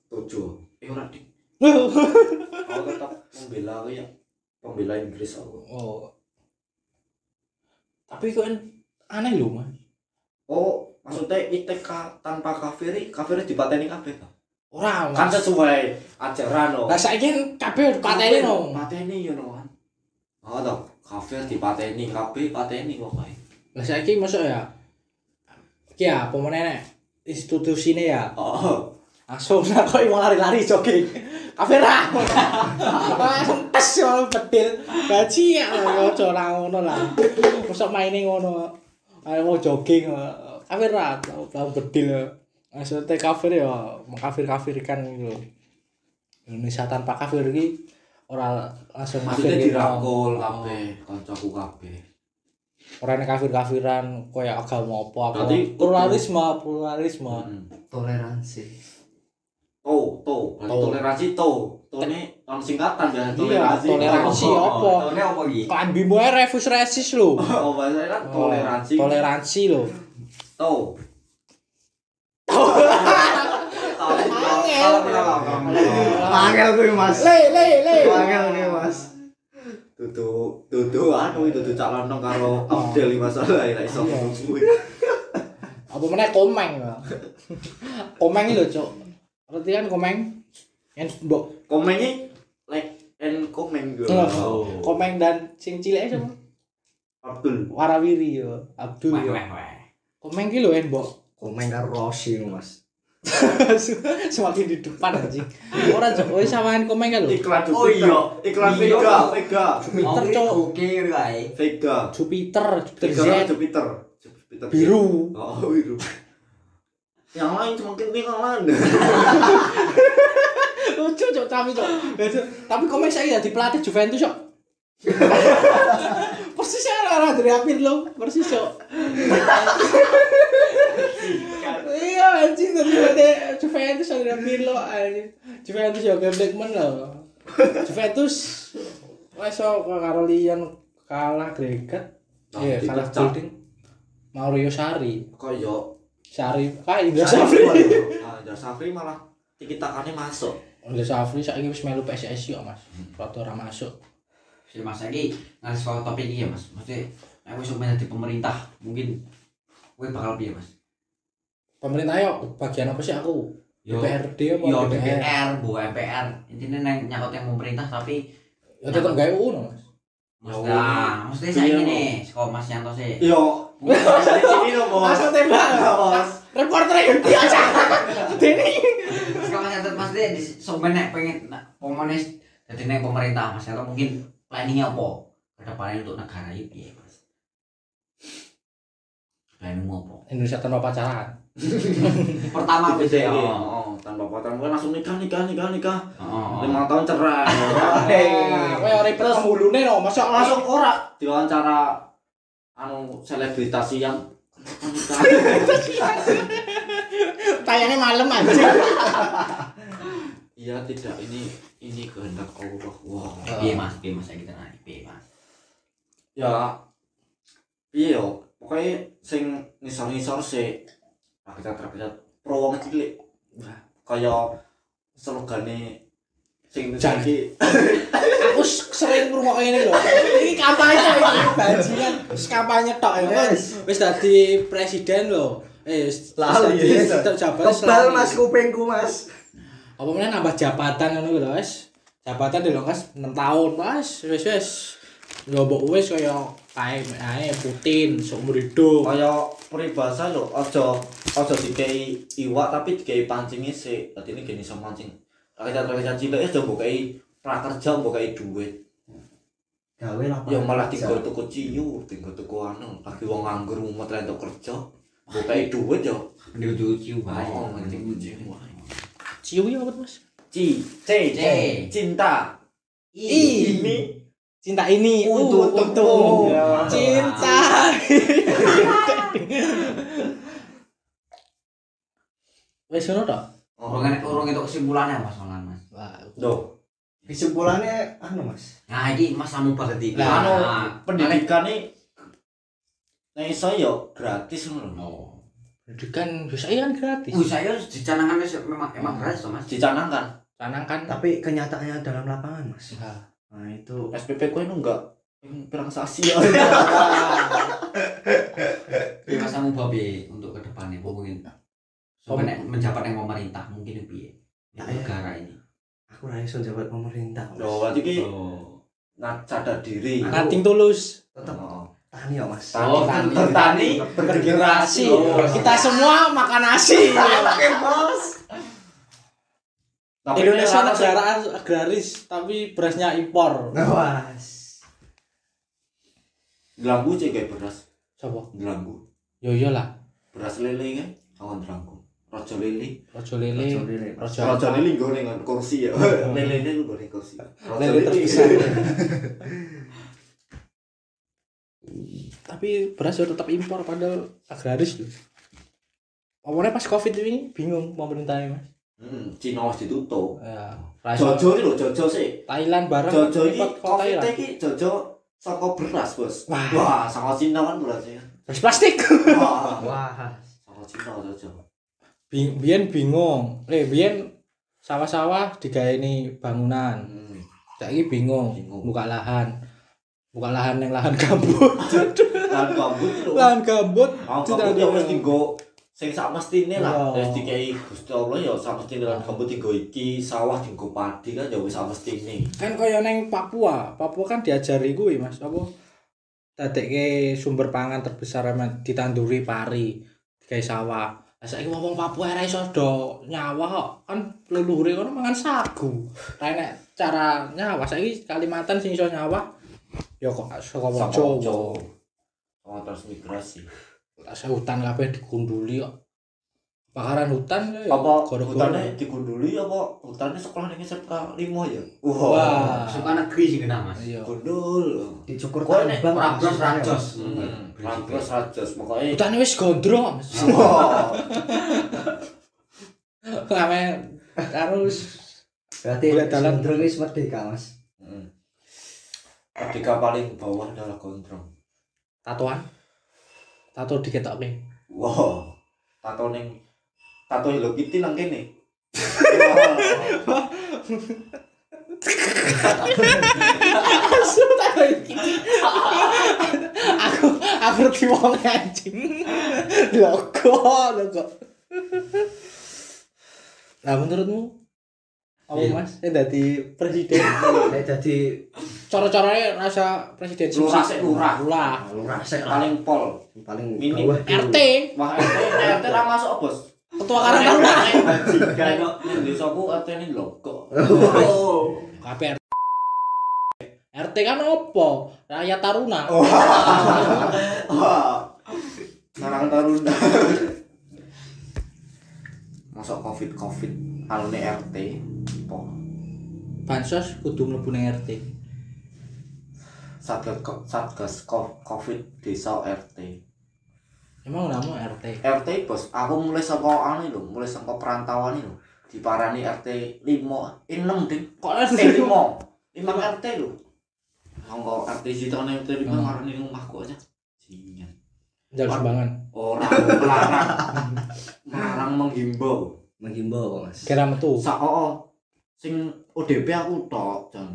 Speaker 2: tujuh eh ora dik aku tetap membela aku ya pembela Inggris aku
Speaker 1: oh tapi kok en- aneh lho mas
Speaker 2: oh maksudnya ITK tanpa kafiri kafiri dipateni kabeh ta?
Speaker 1: ora
Speaker 2: kan
Speaker 1: mas
Speaker 2: sesuai ajaran no
Speaker 1: lah saiki kan kabeh dipateni no
Speaker 2: pateni yo no kan oh toh kafir dipateni kabeh pateni kok kae
Speaker 1: lah saiki masuk ya iki ya apa meneh nek institusine ya
Speaker 2: oh
Speaker 1: langsung [laughs] aku mau lari-lari jogging kafir lah langsung tes malah bedil gaji ya yo ora ngono lah mosok maine ngono ayo mau jogging eh. kafir lah tau tau bedil eh. maksudnya kafir ya kafir kafirkan gitu Indonesia tanpa kafir ini orang langsung kafir
Speaker 2: maksudnya
Speaker 1: gitu
Speaker 2: dirangkul kabeh kancaku kabeh
Speaker 1: orang kafir kafiran kayak agama apa apa
Speaker 2: Berarti-
Speaker 1: pluralisme pluralisme
Speaker 2: Hmm.
Speaker 4: Toleransi.
Speaker 2: to to berarti
Speaker 1: To.
Speaker 2: toleransi to to ini ono singkatan ya
Speaker 1: iya toleransi
Speaker 2: toleransi Oh, oh,
Speaker 1: apa
Speaker 3: Tahunnya apa
Speaker 2: [laughs]
Speaker 3: gitu?
Speaker 1: Klambi mu ae refus resis lho.
Speaker 2: oh oh, bahasanya kan toleransi
Speaker 1: Oh, toleransi lho.
Speaker 2: to
Speaker 1: Angel.
Speaker 4: Angel gue mas.
Speaker 1: Le le le.
Speaker 4: Angel nih mas.
Speaker 2: Dudu, dudu anu dudu cak lanang karo Abdel iki masalah ya iso
Speaker 1: Iya.
Speaker 2: ngomong.
Speaker 1: Apa meneh komeng. lho. Komeng iki lho, Cuk. Ngerti kan komeng? Yang mbok
Speaker 2: Komen iki like and comment gue.
Speaker 1: Oh. komeng dan sing cilik sapa?
Speaker 2: Abdul.
Speaker 1: Warawiri yo, Abdul
Speaker 5: Weh
Speaker 1: yo.
Speaker 5: weh weh.
Speaker 1: Komeng iki lho yang mbok [laughs]
Speaker 4: Komen Oh, karo Rossi mas.
Speaker 1: semakin di depan anjing. Ora Cuk, wis sawangan komeng kan lho.
Speaker 2: Iklan
Speaker 3: Oh,
Speaker 2: Jupiter.
Speaker 3: iya.
Speaker 2: iklan
Speaker 3: Iya.
Speaker 2: Vega, Vega,
Speaker 1: Jupiter Cuk.
Speaker 3: Oke, kae.
Speaker 2: Vega.
Speaker 1: Jupiter, Jupiter Z,
Speaker 2: Vega Jupiter. Jupiter.
Speaker 1: biru.
Speaker 2: Oh, biru. Yang lain cuma kini yang lain.
Speaker 1: Lucu Cuk, tapi Cuk. Ya, Cuk. Tapi komeng saya jadi pelatih Juventus Cuk. persis ya orang dari apir lo persis yo iya anjing dari ada Juventus yang dari apir lo anjing Juventus ya game Blackman lo Juventus wes so karo Lyon kalah greget iya kalah Building Mario Sari
Speaker 2: Kok yo.
Speaker 1: Sari kayak Indra Safri
Speaker 2: Ah, Indra Safri malah tiki takannya masuk.
Speaker 1: Indra Safri saiki wis melu PSSI kok Mas rada ora masuk
Speaker 5: Jadi mas lagi ngasih soal topik ini ya mas. Maksudnya aku sebenarnya di pemerintah mungkin gue bakal piye mas.
Speaker 1: pemerintah yo bagian apa sih aku DPRD apa
Speaker 5: Yo
Speaker 1: DPR
Speaker 5: DPR, bu MPR. Intinya neng nyakot yang pemerintah tapi
Speaker 1: ya tetep gawe UU no, Mas
Speaker 5: mas
Speaker 2: Yo.
Speaker 5: nah, maksudnya saya
Speaker 2: Ya Iya,
Speaker 5: ini nih, kalau mas Yanto sih.
Speaker 2: Yo. Di sini lo bos.
Speaker 1: Langsung tembak.
Speaker 2: Bos.
Speaker 1: reporter yang biasa Deni
Speaker 5: Terus kalau mas Yanto maksudnya di sebenarnya pengen nah, komunis jadi neng pemerintah mas Yanto mungkin planningnya apa kedepannya untuk negara itu ya mas. Planning apa?
Speaker 1: Indonesia tanpa pacaran
Speaker 5: Pertama
Speaker 2: Tapi
Speaker 5: BCA.
Speaker 2: saya ini, oh, tanpa pacaran gue langsung nikah nikah nikah nikah
Speaker 5: Oh.
Speaker 2: lima tahun cerai
Speaker 1: Wah, Ah, kowe ora ribet pembulune no, masa langsung oh,
Speaker 2: langsung ora diwawancara anu selebritas yang [laughs]
Speaker 1: tayangnya malam anjing.
Speaker 2: iya tidak ini ini kehendak Allah wow
Speaker 5: Iya, Piye mas, piye mas, kita naik piye mas.
Speaker 2: ya piye yo pokoknya sing ngisor-ngisor sih rakyat-rakyat pro wong cilik kaya slogane sing
Speaker 1: Jangan.
Speaker 2: saiki
Speaker 1: aku s- sering ngrungokne ini lho. Ini kampanye tok ini bajingan. Wis kampanye tok ya. Wis- Wis dadi presiden lho. Eh wis
Speaker 4: Lali,
Speaker 1: wis
Speaker 4: ya.
Speaker 1: dadi jabatan
Speaker 4: Kebal
Speaker 1: lali.
Speaker 4: mas kupingku mas.
Speaker 1: Apa meneh nambah jabatan ngono lho wis. Jabatan lho Kas 6 tahun Mas. Wis wis. Yo mbok wis kaya kae ae Putin seumur hidup.
Speaker 2: kaya peribahasa yo aja aja dikei iwak tapi dikei pancing sih dadi ini gini iso mancing rakyat-rakyat cilik aja mbok kei prakerja mbok kei duit
Speaker 4: Gawe lah.
Speaker 2: ya malah tinggal tuku ciyu tinggal tuku anu lagi wong nganggur mumet ra entuk kerja mbok kei duit yo
Speaker 5: Mending cuci wae.
Speaker 2: Oh, mending cuci wae.
Speaker 1: Ciwi apa Mas?
Speaker 2: ci c
Speaker 5: C.
Speaker 2: cinta
Speaker 5: Iya.
Speaker 1: I.
Speaker 2: ini
Speaker 1: Cinta ini
Speaker 2: Untuk-
Speaker 1: uh,
Speaker 2: Oh,
Speaker 1: untuk.
Speaker 2: ya.
Speaker 1: cinta. [laughs] Wis ngono tok.
Speaker 2: oh.
Speaker 5: Urung urung itu kesimpulannya Mas Olan Mas.
Speaker 2: Loh,
Speaker 4: Kesimpulannya anu mas.
Speaker 5: Nah, ini Mas samu banget iki.
Speaker 1: Lah,
Speaker 2: anu
Speaker 5: Nah,
Speaker 2: pendidikan iki nek iso yo gratis ngono lho.
Speaker 5: Oh.
Speaker 1: Pendidikan biasanya kan gratis.
Speaker 5: Uh, saya dicanangan wis memang emang
Speaker 1: Hmm.
Speaker 5: gratis toh, Mas.
Speaker 2: dicanangkan
Speaker 1: Tanang kan.
Speaker 4: Tapi kenyataannya dalam lapangan mas.
Speaker 1: Ha.
Speaker 4: Nah itu.
Speaker 2: SPP ku anu enggak Hmm, pirang sasi ya
Speaker 5: Mas samu babe untuk kedepannya apa mungkin. Sampai nek menjabat yang pemerintah mungkin piye?
Speaker 1: Iya.
Speaker 4: Nah,
Speaker 5: Yang
Speaker 4: ya.
Speaker 5: negara ini.
Speaker 4: Aku raiso jabat pemerintah
Speaker 2: lho
Speaker 4: mas.
Speaker 2: berarti ki
Speaker 1: Iya.
Speaker 5: Oh.
Speaker 2: nah sadar diri
Speaker 1: Nating tulus.
Speaker 4: Tetap
Speaker 2: Oh.
Speaker 4: tani ya mas.
Speaker 2: Tani.
Speaker 5: Oh,
Speaker 2: Bertani.
Speaker 5: bertani.
Speaker 1: Bergenerasi.
Speaker 2: Oh.
Speaker 1: Kita semua makan nasi.
Speaker 2: Tapi
Speaker 1: Indonesia
Speaker 2: ini larang-
Speaker 1: negara agraris tapi berasnya impor.
Speaker 4: Nah, Nawas.
Speaker 2: Delanggu cek kayak beras,
Speaker 1: Coba.
Speaker 2: delanggu.
Speaker 1: Yo yo lah.
Speaker 2: Beras lele kan, kawan delanggu. Rojo lele,
Speaker 1: Rojo lele. Rojo.
Speaker 2: rojo lele goreng kan kursi ya. lele lele goreng kursi. Rojo
Speaker 1: Lele
Speaker 2: [laughs]
Speaker 1: terbesar. tapi beras yo tetap impor padahal agraris loh. Omongnya pas covid ini bingung pemerintahnya mas.
Speaker 2: Hmm, Cina wis ditutup.
Speaker 1: Ya,
Speaker 2: Jojo iki lho, jojo sih.
Speaker 1: Thailand bareng
Speaker 2: Jojo iki
Speaker 1: import ke
Speaker 2: covid
Speaker 1: Thailand.
Speaker 2: iki jojo saka beras, Bos.
Speaker 1: Wah.
Speaker 2: Wah, saka Cina kan berasnya.
Speaker 1: Beras plastik. [laughs]
Speaker 2: Wah,
Speaker 4: Wah.
Speaker 2: saka Cina jojo.
Speaker 1: Bing, biyen bingung. Eh biyen sawah-sawah digaeni bangunan.
Speaker 2: Hmm.
Speaker 1: Saiki bingung,
Speaker 2: Bingung.
Speaker 1: buka lahan. Buka lahan yang lahan gambut.
Speaker 2: Lan gambut iki lho. Lan
Speaker 1: [laughs] lahan gambut.
Speaker 2: gambut ya wis dienggo sing sak mestine lah.
Speaker 1: Iya.
Speaker 2: Wis dikei Gusti Allah ya sak mestine lan gambut dienggo iki, sawah dienggo padi kan ya wis sak mestine.
Speaker 1: Kan kaya neng Papua. Papua kan diajari kuwi, Mas. Apa dadekke sumber pangan terbesar emang ditanduri pari, digawe sawah. Lah saiki wong Papua ora iso do nyawa kok. Kan leluhure kono mangan sagu. Lah nek cara nyawa saiki Kalimantan sing iso nyawa ya kok saka wong
Speaker 2: Saka wong
Speaker 1: Jawa.
Speaker 2: Oh, transmigrasi.
Speaker 1: Lah saya hutan kabeh dikunduli kok. Pakaran hutan ya
Speaker 2: Apa
Speaker 1: gara-gara.
Speaker 2: hutannya digunduli apa hutannya sekolah ning SMK 5 ya?
Speaker 1: Wah.
Speaker 5: Suka negeri sih kita, Mas.
Speaker 1: Iya.
Speaker 2: Gundul.
Speaker 4: Dicukur
Speaker 2: Kok
Speaker 4: tambang.
Speaker 2: nek
Speaker 4: Mas.
Speaker 5: Rablos, rablos.
Speaker 2: Hmm,
Speaker 1: Hmm,
Speaker 2: Rangkos rajos
Speaker 1: [laughs]
Speaker 2: pokoknya
Speaker 1: Hutannya wis gondrong.
Speaker 2: Wah.
Speaker 1: Kame harus
Speaker 4: Berarti
Speaker 1: Boleh dalan.
Speaker 4: dalam drone merdeka mas.
Speaker 2: Mm. Ketika paling bawah adalah gondrong.
Speaker 1: tatoan. Tato diketokke.
Speaker 2: Wow. Tato ning tato Hello Kitty nang kene.
Speaker 1: Asu tato iki. aku aku ngerti wong anjing. Logo, logo. Nah, menurutmu apa
Speaker 5: Iya.
Speaker 1: Mas? Yang dadi presiden.
Speaker 4: Nek jadi
Speaker 1: Cara-caranya rasa presiden
Speaker 2: Lurah,
Speaker 1: sih.
Speaker 2: lurah.
Speaker 1: lurah.
Speaker 4: lurah sek lah.
Speaker 2: paling pol.
Speaker 4: paling
Speaker 2: Minim.
Speaker 4: bawah dulu.
Speaker 1: RT,
Speaker 2: Wah, eh, RT RT ra masuk bos.
Speaker 1: ketua karang taruna.
Speaker 2: Bajikan kok ning desaku RT ning loko.
Speaker 1: KPR RT kan opo rakyat taruna
Speaker 2: Oh. Wah. Karang taruna. Masuk Covid-Covid alune RT. Pol.
Speaker 1: bansos kudu mlebu nang RT
Speaker 2: Satgas Ko- Satgas Ko- Covid Desa RT.
Speaker 1: emang namo RT
Speaker 2: RT bos, aku mulai saka anu lho, mulai saka perantauan lho. Diparani RT 5, eh 6 ding.
Speaker 1: kok [laughs]
Speaker 2: RT
Speaker 1: RT
Speaker 2: 5. 5 RT lho. Monggo RT sitone RT 5
Speaker 1: Hmm.
Speaker 2: marani rumahku aja. bajingan
Speaker 1: Jangan sumbangan.
Speaker 2: orang melarang melarang menghimbau
Speaker 4: menghimbau kok mas
Speaker 1: Kira metu.
Speaker 2: sak oo sing ODP aku tok jan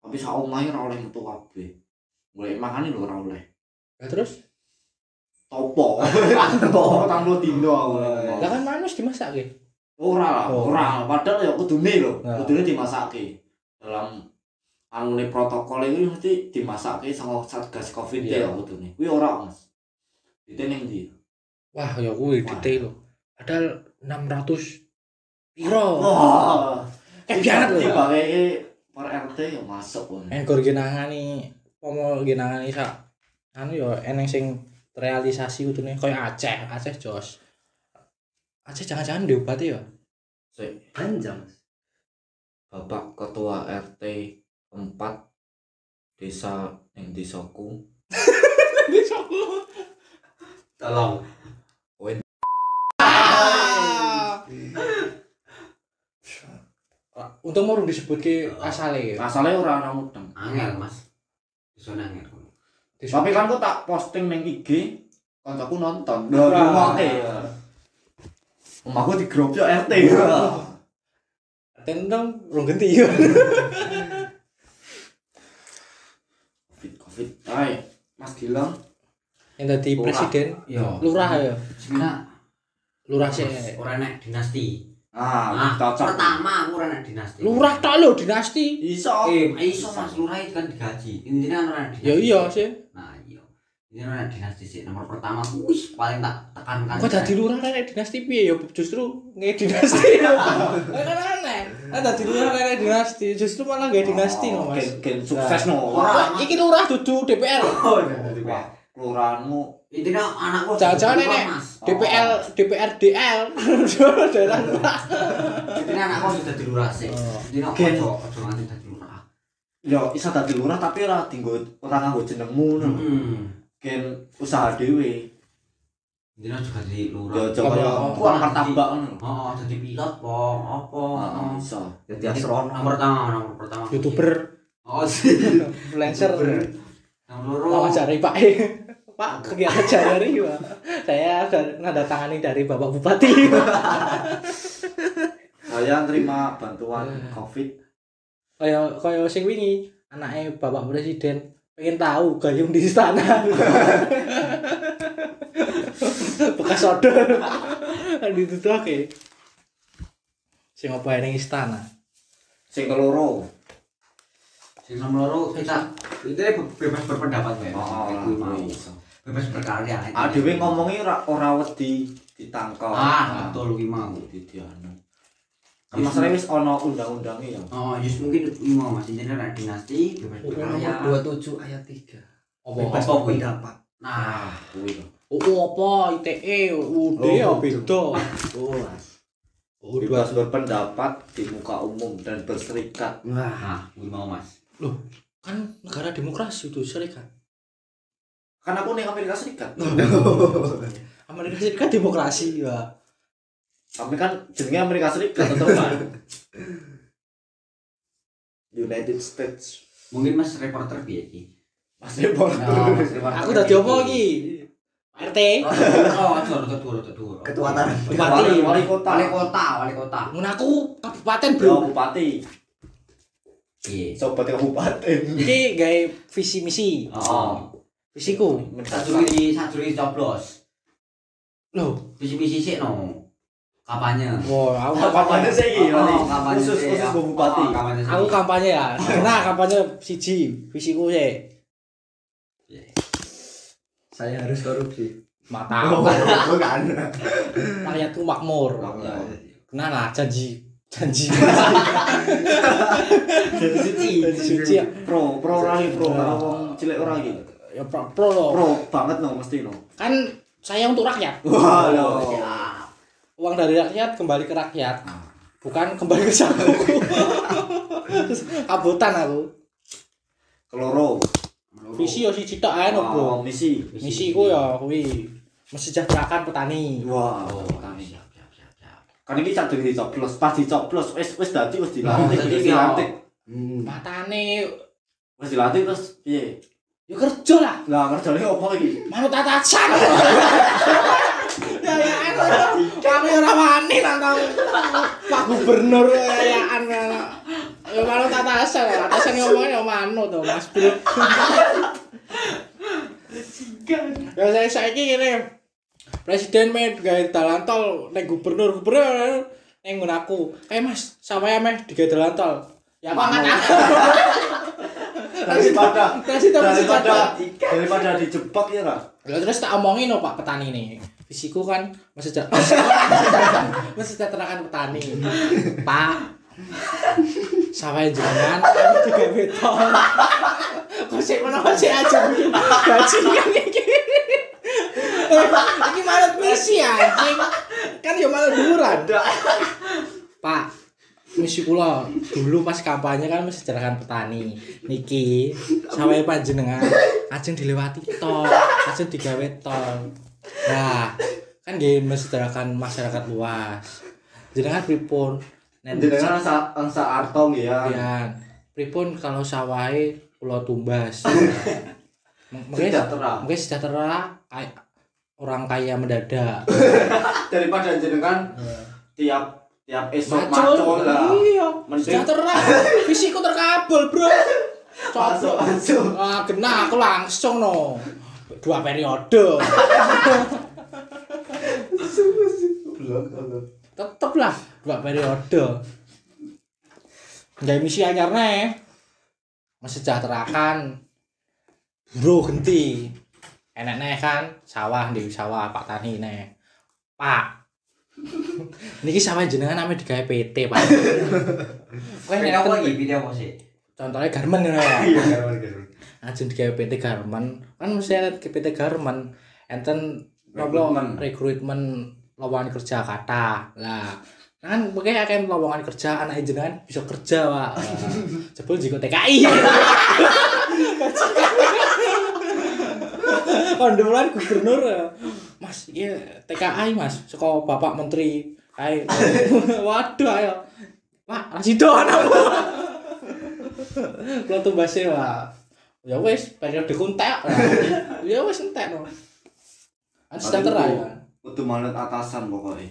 Speaker 2: tapi sak omahe ora oleh metu kabeh mulai makan lho ora oleh
Speaker 1: Terus,
Speaker 2: [laughs] topo topo tanggo dino aku
Speaker 1: lah kan manus dimasak ke?
Speaker 2: ora lah
Speaker 1: Oh.
Speaker 2: ora padahal ya kudune lho
Speaker 1: Nah.
Speaker 2: kudune dimasake dalam anune protokol iki mesti dimasake sama satgas covid
Speaker 1: Iya.
Speaker 2: ya kudune kuwi ora Mas Dite ning ndi
Speaker 1: Wah, ya kuwi
Speaker 2: Wah.
Speaker 1: detail lho. Padahal 600
Speaker 2: Oh.
Speaker 1: piro?
Speaker 2: wah
Speaker 1: Eh, banget lho.
Speaker 2: Dipakai iki per RT ya masuk kon
Speaker 1: Engkor ginangani, pomo ginangani sak anu ya eneng sing realisasi kudune koyo Aceh, Aceh jos. Aceh jangan-jangan diobati ya.
Speaker 2: Sik,
Speaker 4: panjang mas
Speaker 2: Bapak Ketua RT 4 Desa ning desaku
Speaker 1: [laughs]
Speaker 3: tolong
Speaker 1: Untung mau disebutke asale ya.
Speaker 2: Asale ora ana mudeng.
Speaker 5: Angel mas. Bisa angel.
Speaker 2: Tapi kan kok tak posting ning IG, kancaku nonton.
Speaker 1: Lah,
Speaker 2: Lah rumote.
Speaker 1: iya.
Speaker 2: Omahku digrobyo RT.
Speaker 1: kan Tendang rong genti ya.
Speaker 2: Covid Covid. Hai, Mas Gilang.
Speaker 1: [laughs] Yang dadi
Speaker 2: Lurah.
Speaker 1: presiden,
Speaker 5: Yo.
Speaker 1: lurah ya.
Speaker 5: Sekarang
Speaker 1: Lurah sih.
Speaker 5: Mas, ora nek dinasti.
Speaker 2: Ah,
Speaker 5: Ah,
Speaker 2: cocok.
Speaker 5: pertama aku ora nek dinasti.
Speaker 1: Lurah tok lho dinasti.
Speaker 2: Iso.
Speaker 5: Eh, iso Mas, lurah itu kan digaji. Intinya ora nek dinasti.
Speaker 1: Ya iya sih.
Speaker 5: Nah, iya. Ini ora nek dinasti sih nomor pertama. Wis paling tak tekankan.
Speaker 1: Kok dadi
Speaker 5: [laughs]
Speaker 1: lurah nek dinasti piye ya justru nge [laughs] dinasti. Lah kan aneh. Nek dadi lurah nek dinasti justru malah nggak dinasti no Mas.
Speaker 2: Gen, gen sukses no.
Speaker 5: Wah.
Speaker 1: Wah, iki lurah dudu DPR.
Speaker 5: Oh,
Speaker 2: Wah, kelurahanmu
Speaker 5: Intinya anakku
Speaker 1: Jangan-jangan
Speaker 5: harus
Speaker 1: nenek.
Speaker 5: dibuang, Mas.
Speaker 1: DPL, DPRDL, [laughs] daerah lurah.
Speaker 5: Intinya anakku harus dadi lurah sih.
Speaker 1: Oh.
Speaker 5: Intinya
Speaker 2: Gen.
Speaker 5: ojo ojo nganti dadi lurah.
Speaker 2: yo iso dadi lurah tapi ora dinggo ora nganggo jenengmu ngono.
Speaker 5: Hmm.
Speaker 2: Gen usaha dhewe.
Speaker 5: Intinya juga dadi lurah.
Speaker 2: Yo coba
Speaker 1: Apa?
Speaker 2: yo Ya, tukang martabak Ah, ngono.
Speaker 5: Oh, jadi pilot po, apa?
Speaker 2: Heeh, iso.
Speaker 3: jadi asrono
Speaker 5: Nomor pertama, nomor pertama.
Speaker 1: YouTuber,
Speaker 5: Oh, sih. [laughs]
Speaker 1: influencer,
Speaker 5: Nomor
Speaker 1: nama
Speaker 5: loro.
Speaker 1: cari Pak. [laughs] Pak, kegiatan sehari-hari Pak. Saya dari- nanda tangani dari Bapak Bupati.
Speaker 2: Saya terima bantuan
Speaker 5: Eh.
Speaker 2: Covid.
Speaker 1: Kayak kayak sing wingi, anaknya Bapak Presiden pengen tahu gayung di istana. [laughs] Bekas odol. Ditutuke. Sing apa ning istana?
Speaker 2: Sing keloro.
Speaker 5: Sing nomor loro kita intinya be- bebas berpendapat ya. Iku mau.
Speaker 2: iso.
Speaker 5: Bebas
Speaker 2: Oh,
Speaker 5: berkarya.
Speaker 2: iya,
Speaker 5: gitu.
Speaker 2: Ah dhewe ngomongi ora ora wedi ditangkap.
Speaker 5: Ah, betul iki mau.
Speaker 2: Didiano. Masalahnya wis ana undang-undangnya ya.
Speaker 5: Oh, just mungkin iki mau Mas intinya nek dinasti bebas
Speaker 4: UU
Speaker 5: berkarya.
Speaker 4: nomor 27 ayat 3
Speaker 1: Oh,
Speaker 5: Bebas
Speaker 4: Bebas berpendapat
Speaker 5: Nah,
Speaker 2: Kuwi to.
Speaker 1: UU Oh, apa ITE UUD
Speaker 4: Oh,
Speaker 1: ya
Speaker 4: betul.
Speaker 1: beda
Speaker 4: oh mas
Speaker 1: UUD
Speaker 2: Bebas berpendapat di muka umum dan berserikat.
Speaker 4: wah
Speaker 5: nah, iki mau Mas.
Speaker 1: kan negara demokrasi itu serikat
Speaker 2: Kan aku ning Amerika
Speaker 5: [laughs]
Speaker 2: Serikat.
Speaker 1: Amerika Serikat demokrasi ya
Speaker 2: Tapi kan jenenge Amerika Serikat tetep kan. United States.
Speaker 5: Mungkin Mas reporter piye iki?
Speaker 2: Mas Depok.
Speaker 5: Nah, Mas reporter
Speaker 1: aku dadi apa
Speaker 5: piye
Speaker 1: iki Pak RT
Speaker 5: Oh, oh, aja ora ketua, ora ketua.
Speaker 3: ketua tanah
Speaker 1: Bupati
Speaker 2: wali kota.
Speaker 5: Wali kota, wali kota.
Speaker 1: Mun aku kabupaten
Speaker 2: Ya,
Speaker 1: bro
Speaker 2: bupati.
Speaker 5: Iya.
Speaker 2: Sobat kabupaten.
Speaker 1: iki gawe visi misi
Speaker 5: Oh,
Speaker 1: visiku
Speaker 5: sajuri sajuri coblos.
Speaker 1: lho
Speaker 5: Bisi-bisi sik no. Kampanye.
Speaker 1: wah aku kampanye
Speaker 2: Kampanye sih iki,
Speaker 5: Oh,
Speaker 2: Mali.
Speaker 5: kampanye
Speaker 2: Iya. khusus
Speaker 5: sih,
Speaker 2: khusus
Speaker 5: ya.
Speaker 2: Bu bupati.
Speaker 5: Oh, kampanye sih.
Speaker 1: aku kampanye ya nah kampanye siji visiku sih
Speaker 3: saya harus korupsi
Speaker 1: mata
Speaker 3: kan
Speaker 1: rakyatku makmur
Speaker 2: Ya.
Speaker 1: nah lah janji janji
Speaker 2: Jadi suci.
Speaker 1: janji suci ya
Speaker 2: Pro, pro ora iki, pro ora wong cilik ora iki.
Speaker 1: ya pro, pro lo
Speaker 2: Pro banget no mesti no.
Speaker 1: kan saya untuk rakyat
Speaker 2: Wah, lho.
Speaker 5: Siap.
Speaker 1: uang dari rakyat kembali ke rakyat bukan kembali ke sakuku [laughs] abotan aku
Speaker 2: Keloro.
Speaker 1: visi yo siji tok ae no bro
Speaker 2: Oh, misi.
Speaker 1: misi ku ya kuwi mesejahterakan petani
Speaker 2: Wah,
Speaker 5: Oh,
Speaker 2: petani.
Speaker 5: siap, siap, siap, siap.
Speaker 2: kan ini cak dadi coblos pas dicoblos wis wis dadi wis dilantik
Speaker 5: Jadi
Speaker 2: wis
Speaker 1: Hmm.
Speaker 5: ya.
Speaker 2: dilantik
Speaker 1: matane
Speaker 2: wis dilantik terus piye
Speaker 1: Ya kerja lah.
Speaker 2: Lah ngerjane opo iki?
Speaker 1: Manut tatasan. Yayaan ora. kami ora wani nantang Pak Gubernur yayaan. ora. Ya manut tatasan, tatasan ngomongnya ya manut tuh Mas Bro. Ya saya saiki ngene. Presiden main gawe dalan tol ning gubernur, gubernur ning nggon aku. Eh Mas, sampeyan meh digawe dalan tol. Ya mangan aku.
Speaker 2: Daripada
Speaker 1: Transit apa sih,
Speaker 2: daripada
Speaker 1: Pak?
Speaker 2: daripada dijebak ya ra.
Speaker 1: Lah terus tak omongin no Pak petani ini. Visiku kan [laughs] mesejak mesejahterakan petani. Pak. Sawah jenengan kami juga beton. Kok sik menawa sik aja bajingan iki. Eh, Iki malah misi anjing. Kan ya malah duran. Pak, misi kula dulu pas kampanye kan mesejahterakan petani. Niki sawahe panjenengan ajeng dilewati tol, ajeng digawe tol. Nah, kan nggih mesejahterakan masyarakat luas. Jenengan pripun? Nen-
Speaker 2: Jenengan angsa angsa artong ya.
Speaker 1: Pian. Pripun kalau sawahe kula
Speaker 2: [laughs]
Speaker 1: tumbas. M- Mungkin ya.
Speaker 2: Sejahtera.
Speaker 1: mungkin sejahtera kaya- orang kaya
Speaker 2: [laughs]
Speaker 1: mendadak.
Speaker 2: Daripada jenengan tiap tiap esok
Speaker 1: Macul.
Speaker 2: macul lah.
Speaker 1: Iya.
Speaker 2: Mending- [laughs]
Speaker 1: Sejahtera. Fisiku terkabul, Bro.
Speaker 2: Masuk
Speaker 1: Coba.
Speaker 2: masuk.
Speaker 1: Ah, kena aku langsung no. Dua periode. Tetep lah dua periode. Nggak misi anyarnya. Mesejahterakan buruh genti. Enaknya kan sawah di sawah Pak Tani ne. Pak. Niki sawah jenengan namanya digawe PT, Pak. Kowe
Speaker 5: Pengen
Speaker 1: nek
Speaker 5: apa lagi video apa sih?
Speaker 1: contohnya garmen ngono ya.
Speaker 3: Iya, garwan garwan.
Speaker 1: ajeng digawe PT Garmen kan mesti ada PT Garmen enten
Speaker 2: Rekrutmen.
Speaker 1: rekrutmen rekrutmen lowongan kerja kata lah kan mungkin akan lowongan kerja anak jenengan bisa kerja pak Wah, jebul jiko TKI kondoran Kan gubernur ya. mas iya TKI mas saka bapak menteri ayo waduh ayo pak rasido anakmu kalau tumbasnya pak ya wis periode kuntek ya wis entek no kan sudah
Speaker 2: Tapi
Speaker 1: terai
Speaker 2: kudu- Kudu manut atasan pokoknya.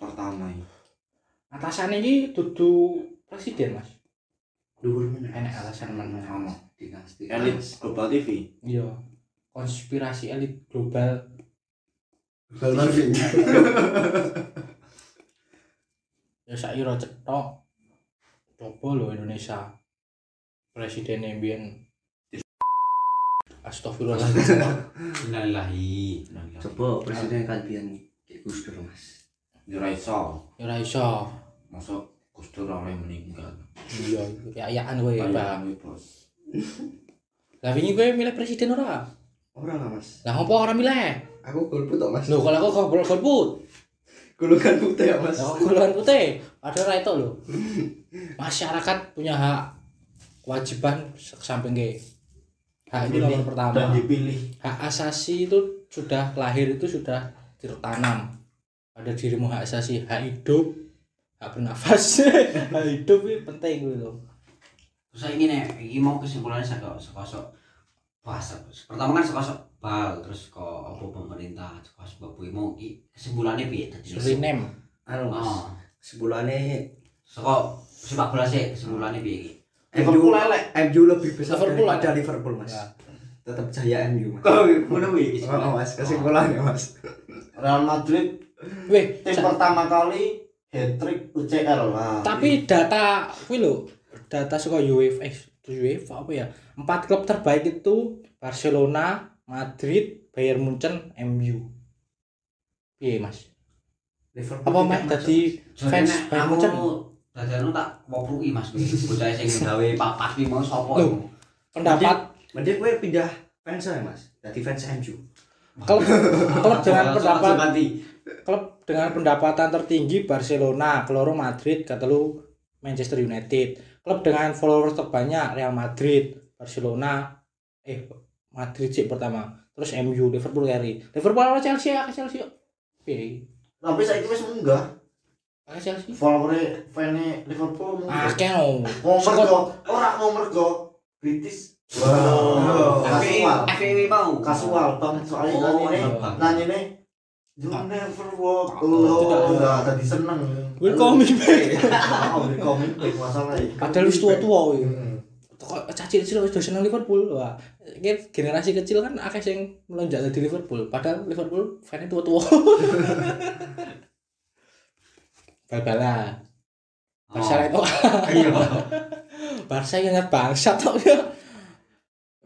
Speaker 2: Pertama iki.
Speaker 1: atasan ini dudu presiden mas
Speaker 4: Dhuwur meneh.
Speaker 1: enak alasan mana
Speaker 2: Sama.
Speaker 5: Dinasti.
Speaker 2: Elit Global TV.
Speaker 1: iya konspirasi elit global
Speaker 4: Bal Marvin.
Speaker 1: ya sairo cetok coba lo Indonesia presiden yang bian Astagfirullahaladzim
Speaker 5: Innalillahi.
Speaker 4: Coba presiden kalian kayak Gus Dur Mas.
Speaker 2: Yo ra iso.
Speaker 1: ya ora iso
Speaker 2: Masuk Gus Dur ora oleh meninggal.
Speaker 1: iya kayaan gue bang
Speaker 2: Bayangin, Bos.
Speaker 1: lah ini gue milih presiden ora
Speaker 4: Ora lah Mas.
Speaker 1: lah apa orang milih
Speaker 4: Aku golput tok Mas.
Speaker 1: lo kalau aku kau golput
Speaker 4: Golongan putih ya Mas.
Speaker 1: Lah, golongan putih ada ra itu
Speaker 2: [laughs]
Speaker 1: loh masyarakat punya hak kewajiban samping ke hak itu nomor
Speaker 2: Dan
Speaker 1: pertama
Speaker 2: dipilih.
Speaker 1: hak asasi itu sudah lahir itu sudah tertanam pada dirimu hak asasi hak hidup hak bernafas [laughs] hak hidup itu penting gitu
Speaker 5: Terus saya ingin ya, ini mau kesimpulannya saka sekosok bahasa. Pertama kan sekosok bal, terus ke apa pemerintah, sekosok bapak ibu mau ki- kesimpulannya piye tadi?
Speaker 1: Suriname
Speaker 4: Anu
Speaker 1: Ah.
Speaker 4: Mas.
Speaker 5: Oh,
Speaker 4: Sebulane
Speaker 5: saka sepak bola sih kesimpulannya piye ki?
Speaker 4: MU
Speaker 2: ya?
Speaker 4: MU lebih besar
Speaker 1: Liverpool
Speaker 4: daripada
Speaker 1: ada.
Speaker 4: Liverpool Mas.
Speaker 1: Ya.
Speaker 4: Tetap jaya MU Mas.
Speaker 2: Kau ngono kuwi.
Speaker 4: Oh, Mas, kesimpulannya Mas.
Speaker 2: Real Madrid
Speaker 1: weh
Speaker 2: tim
Speaker 1: sa-
Speaker 2: pertama kali hat trick UCL lah.
Speaker 1: tapi data kuwi lho data suka UEFA eh UEFA apa ya empat klub terbaik itu Barcelona Madrid Bayern Munchen MU iya mas
Speaker 4: Liverpool
Speaker 1: apa
Speaker 4: tidak
Speaker 1: mas
Speaker 4: masuk.
Speaker 1: tadi
Speaker 5: Soalnya
Speaker 1: fans
Speaker 5: nek
Speaker 1: Bayern
Speaker 5: aku
Speaker 1: Munchen
Speaker 5: dadi anu tak wopruki Mas kuwi. Bocah sing gawe papat ki mau sapa?
Speaker 1: Loh. pendapat
Speaker 4: mending gue pindah fans aja Mas. Jadi fans MU.
Speaker 1: klub klub dengan
Speaker 5: Langsung-
Speaker 1: pendapat
Speaker 5: langsung ganti.
Speaker 1: klub dengan pendapatan tertinggi Barcelona keloro Madrid katelu Manchester United klub dengan followers terbanyak Real Madrid Barcelona eh Madrid sih pertama terus MU Liverpool keri Liverpool apa Chelsea ya Chelsea yuk Piye?
Speaker 2: Tapi saya itu wis munggah.
Speaker 1: Akeh Chelsea Ah,
Speaker 4: Ah.
Speaker 2: Follower fans Liverpool munggah.
Speaker 1: Akeh no.
Speaker 2: Mau mergo,
Speaker 1: Scott-
Speaker 2: ora mau mergo British
Speaker 4: Oh.
Speaker 2: Wow. Kasual.
Speaker 5: FEW mau.
Speaker 2: Kasual banget soalnya
Speaker 5: Oh,
Speaker 2: nanya
Speaker 4: eh.
Speaker 2: ini.
Speaker 5: hebat.
Speaker 2: Nanya ini. You
Speaker 4: Ah.
Speaker 2: never walk alone. Nah, tadi seneng.
Speaker 1: Welcome back.
Speaker 2: Oh, [laughs] welcome Hmm. back masalah ya.
Speaker 1: Padahal wis tua-tua kowe.
Speaker 2: Heeh.
Speaker 1: Kok caci cilik wis seneng Liverpool. Wah, iki generasi kecil kan akeh sing melonjak di Liverpool. Padahal Liverpool fan tua-tua. [laughs] Bal-balan. Barca lain oh,
Speaker 5: [laughs] Iya.
Speaker 1: Barca yang ingat bangsa tok ya.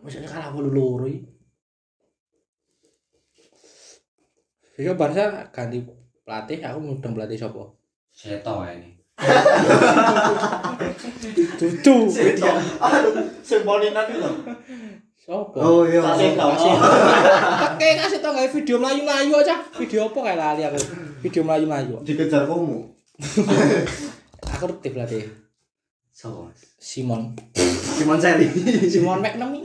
Speaker 1: Maksudnya kalah aku loro iki. Jadi Iya, Barca ganti pelatih, aku mudeng pelatih sapa?
Speaker 5: Seto ya ini.
Speaker 1: Dudu.
Speaker 2: Seto. Aduh, sembolinan itu.
Speaker 1: Sapa?
Speaker 4: Oh iya.
Speaker 2: Kasih tau.
Speaker 1: Oke, kasih tau nggak video melayu-melayu aja. Video apa kayak lali aku? Video melayu-melayu.
Speaker 2: Dikejar kamu.
Speaker 1: Aku aktif berarti.
Speaker 4: Sopo? Mas?
Speaker 1: Simon. [laughs]
Speaker 4: Simon Seri.
Speaker 1: Simon McNamee.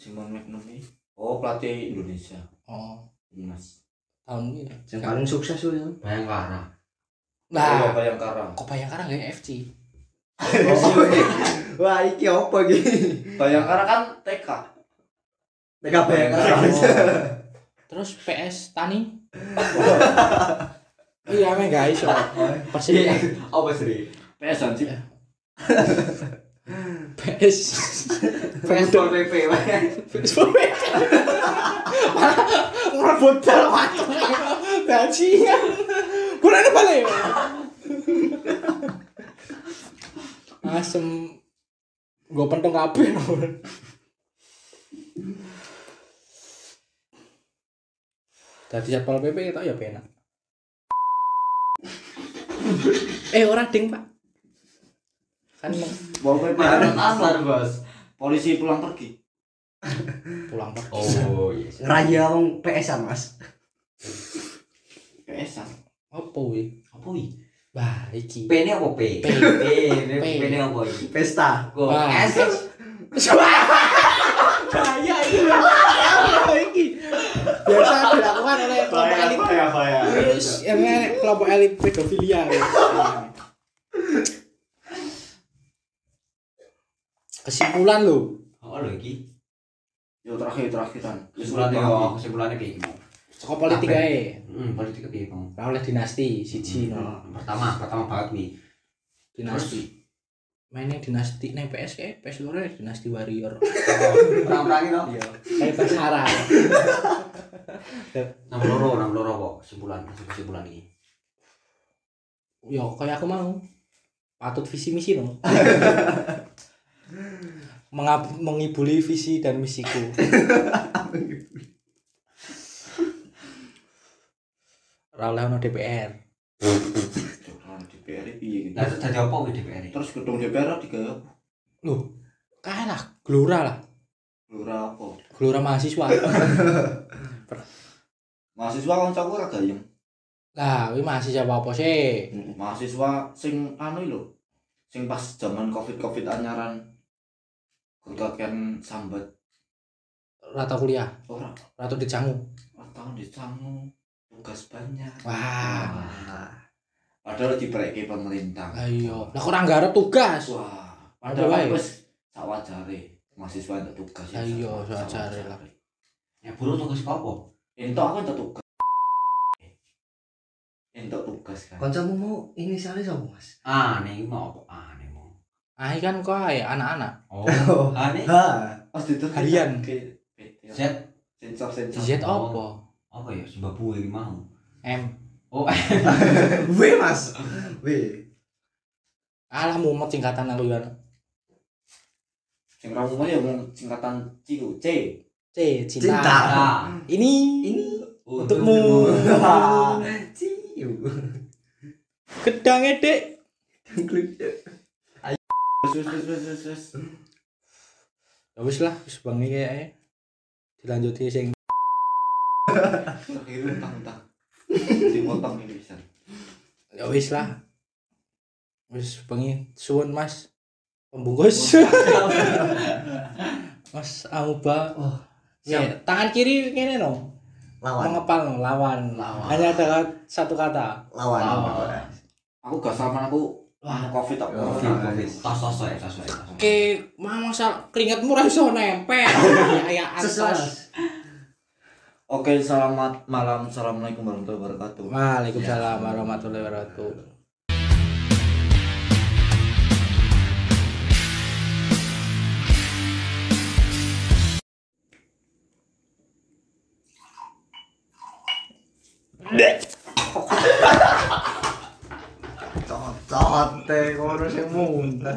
Speaker 2: Simon Magnum ini. Oh, pelatih Indonesia.
Speaker 1: Oh,
Speaker 2: Mas.
Speaker 1: tahun ini.
Speaker 4: Yang paling sukses tuh ya.
Speaker 5: Bayangkara.
Speaker 1: Nah,
Speaker 2: yang Bayangkara.
Speaker 1: kok bayangkara nggak ya, FC?
Speaker 4: Wah, iki apa iki?
Speaker 2: Bayangkara kan TK.
Speaker 4: TKB.
Speaker 1: Iya, Oh. [laughs] Terus PS Tani. [laughs] Iya, emang nggak iso. Persib
Speaker 4: Iya.
Speaker 3: Apa sih?
Speaker 2: PS Anji.
Speaker 1: [laughs] PS
Speaker 3: PS PP.
Speaker 1: PS Malah ngerebut bal waktu. Bajingan. Kurangnya balik. Asem gue pentong kabeh. Tadi jadwal PP itu ya penak. eh orang ding pak. Kan mau
Speaker 2: Mau PP
Speaker 5: Iya.
Speaker 3: Marat asar, Bos.
Speaker 2: Polisi pulang pergi.
Speaker 1: pulang pergi.
Speaker 5: Oh iya.
Speaker 4: Raya wong PS-an, Mas.
Speaker 2: PS Anji.
Speaker 1: Apa wih?
Speaker 5: Apa iki?
Speaker 1: Bah iki.
Speaker 5: [laughs] P ini apa P?
Speaker 1: P.
Speaker 5: P.
Speaker 1: P.
Speaker 5: P ini apa iki?
Speaker 4: Pesta.
Speaker 5: Kok
Speaker 1: Wah.
Speaker 5: S
Speaker 1: bahaya ini bahaya ini biasa dilakukan oleh kelompok elit
Speaker 2: bahaya.
Speaker 1: Terus, yang enak, kelompok elit pedofilia ya. kesimpulan lo
Speaker 5: Oh lho iki.
Speaker 2: Yo terakhir terakhiran.
Speaker 5: Kesimpulannya kok kesimpulannya piye mau?
Speaker 1: saka politik ae
Speaker 5: Hmm, politik piye mau?
Speaker 1: Lah, oleh dinasti siji no
Speaker 5: Hmm. Pertama, pertama banget nih.
Speaker 1: dinasti mainnya dinasti nih PS kayak PS loro ya, dinasti warrior
Speaker 5: Perang-perang itu.
Speaker 1: iya kayak PS Arab
Speaker 5: Enam loro, enam loro kok kesimpulan, masuk kesimpulan iki.
Speaker 1: yo kayak aku mau patut visi misi dong Mengab- mengibuli visi dan misiku Rauleh ono DPR
Speaker 2: DPR piye
Speaker 1: Iya.
Speaker 2: gitu.
Speaker 5: Lah terus dadi apa iki DPR?
Speaker 2: Terus gedung DPR tiga
Speaker 1: loh kalah lah gelora lah
Speaker 2: lura apa?
Speaker 1: gelora mahasiswa
Speaker 2: Mahasiswa kancaku ora gayeng.
Speaker 1: lah ini mahasiswa apa apa sih
Speaker 2: Mahasiswa sing anu lho. Sing pas zaman Covid-Covid anyaran kekakian sambat
Speaker 1: rata kuliah
Speaker 2: ora
Speaker 1: rata dijangu
Speaker 2: tahun di sangu tugas banyak.
Speaker 1: wah
Speaker 2: Padahal diperike pemerintah.
Speaker 1: ayo lah kurang garap tugas
Speaker 2: Wah,
Speaker 1: Ada
Speaker 2: padahal
Speaker 1: wae.
Speaker 2: kan wis sak wajare mahasiswa entuk tugas.
Speaker 1: Ya iya, sawajare lah.
Speaker 5: Ya buruh tugas apa?
Speaker 2: Entuk aku entuk tugas. Entuk tugas kan.
Speaker 4: Kancamu mau inisialnya sapa, Mas?
Speaker 5: Ah, nih mau apa? Ah, nih mau.
Speaker 1: ah ini kan kok ae, anak-anak
Speaker 5: [laughs] Oh,
Speaker 4: Oh.
Speaker 5: ah nih.
Speaker 4: Ha.
Speaker 2: Pas ditutup
Speaker 1: Harian.
Speaker 2: ke-
Speaker 5: Z
Speaker 2: Sensor sensor.
Speaker 1: Z
Speaker 5: Oh.
Speaker 1: apa
Speaker 5: apa ya? Zimbabwe ini mau.
Speaker 1: M
Speaker 5: Oh,
Speaker 4: W, Mas. W.
Speaker 1: alah mumet singkatan aku ya
Speaker 2: Sing ramu ya mung singkatan C ku, C.
Speaker 1: C
Speaker 4: Cinta.
Speaker 1: cinta.
Speaker 5: ah,
Speaker 1: Ini
Speaker 4: Ini
Speaker 1: untukmu. [laughs]
Speaker 4: Ciu.
Speaker 1: Gedang edek.
Speaker 2: Wis wis wis wis, wis wis.
Speaker 1: Ya wis lah, wis bengi kayaknya. Dilanjuti sing
Speaker 2: Terakhir utang-utang. [laughs] Dipotong ini
Speaker 1: [laughs]
Speaker 2: bisa.
Speaker 1: ya wis lah. Wis bengi suwun Mas. Pembungkus. [laughs] mas Auba.
Speaker 4: Oh,
Speaker 1: Ya, tangan kiri ngene no,
Speaker 4: Lawan.
Speaker 1: mengepal no, lawan.
Speaker 5: Lawan.
Speaker 1: Hanya ada satu kata.
Speaker 4: Lawan.
Speaker 5: Lawan.
Speaker 2: Aku gak sama aku Wah, covid tak
Speaker 3: Ya,
Speaker 2: corona.
Speaker 3: Covid.
Speaker 5: tos tos wae, tos wae, tos.
Speaker 1: Oke, mah masa keringetmu ra iso [laughs] nempel. Ya ya atas.
Speaker 4: Seselas.
Speaker 2: Oke, selamat malam. Assalamualaikum warahmatullahi wabarakatuh.
Speaker 1: Waalaikumsalam warahmatullahi wabarakatuh.
Speaker 4: Cocot teh kono sing muntah.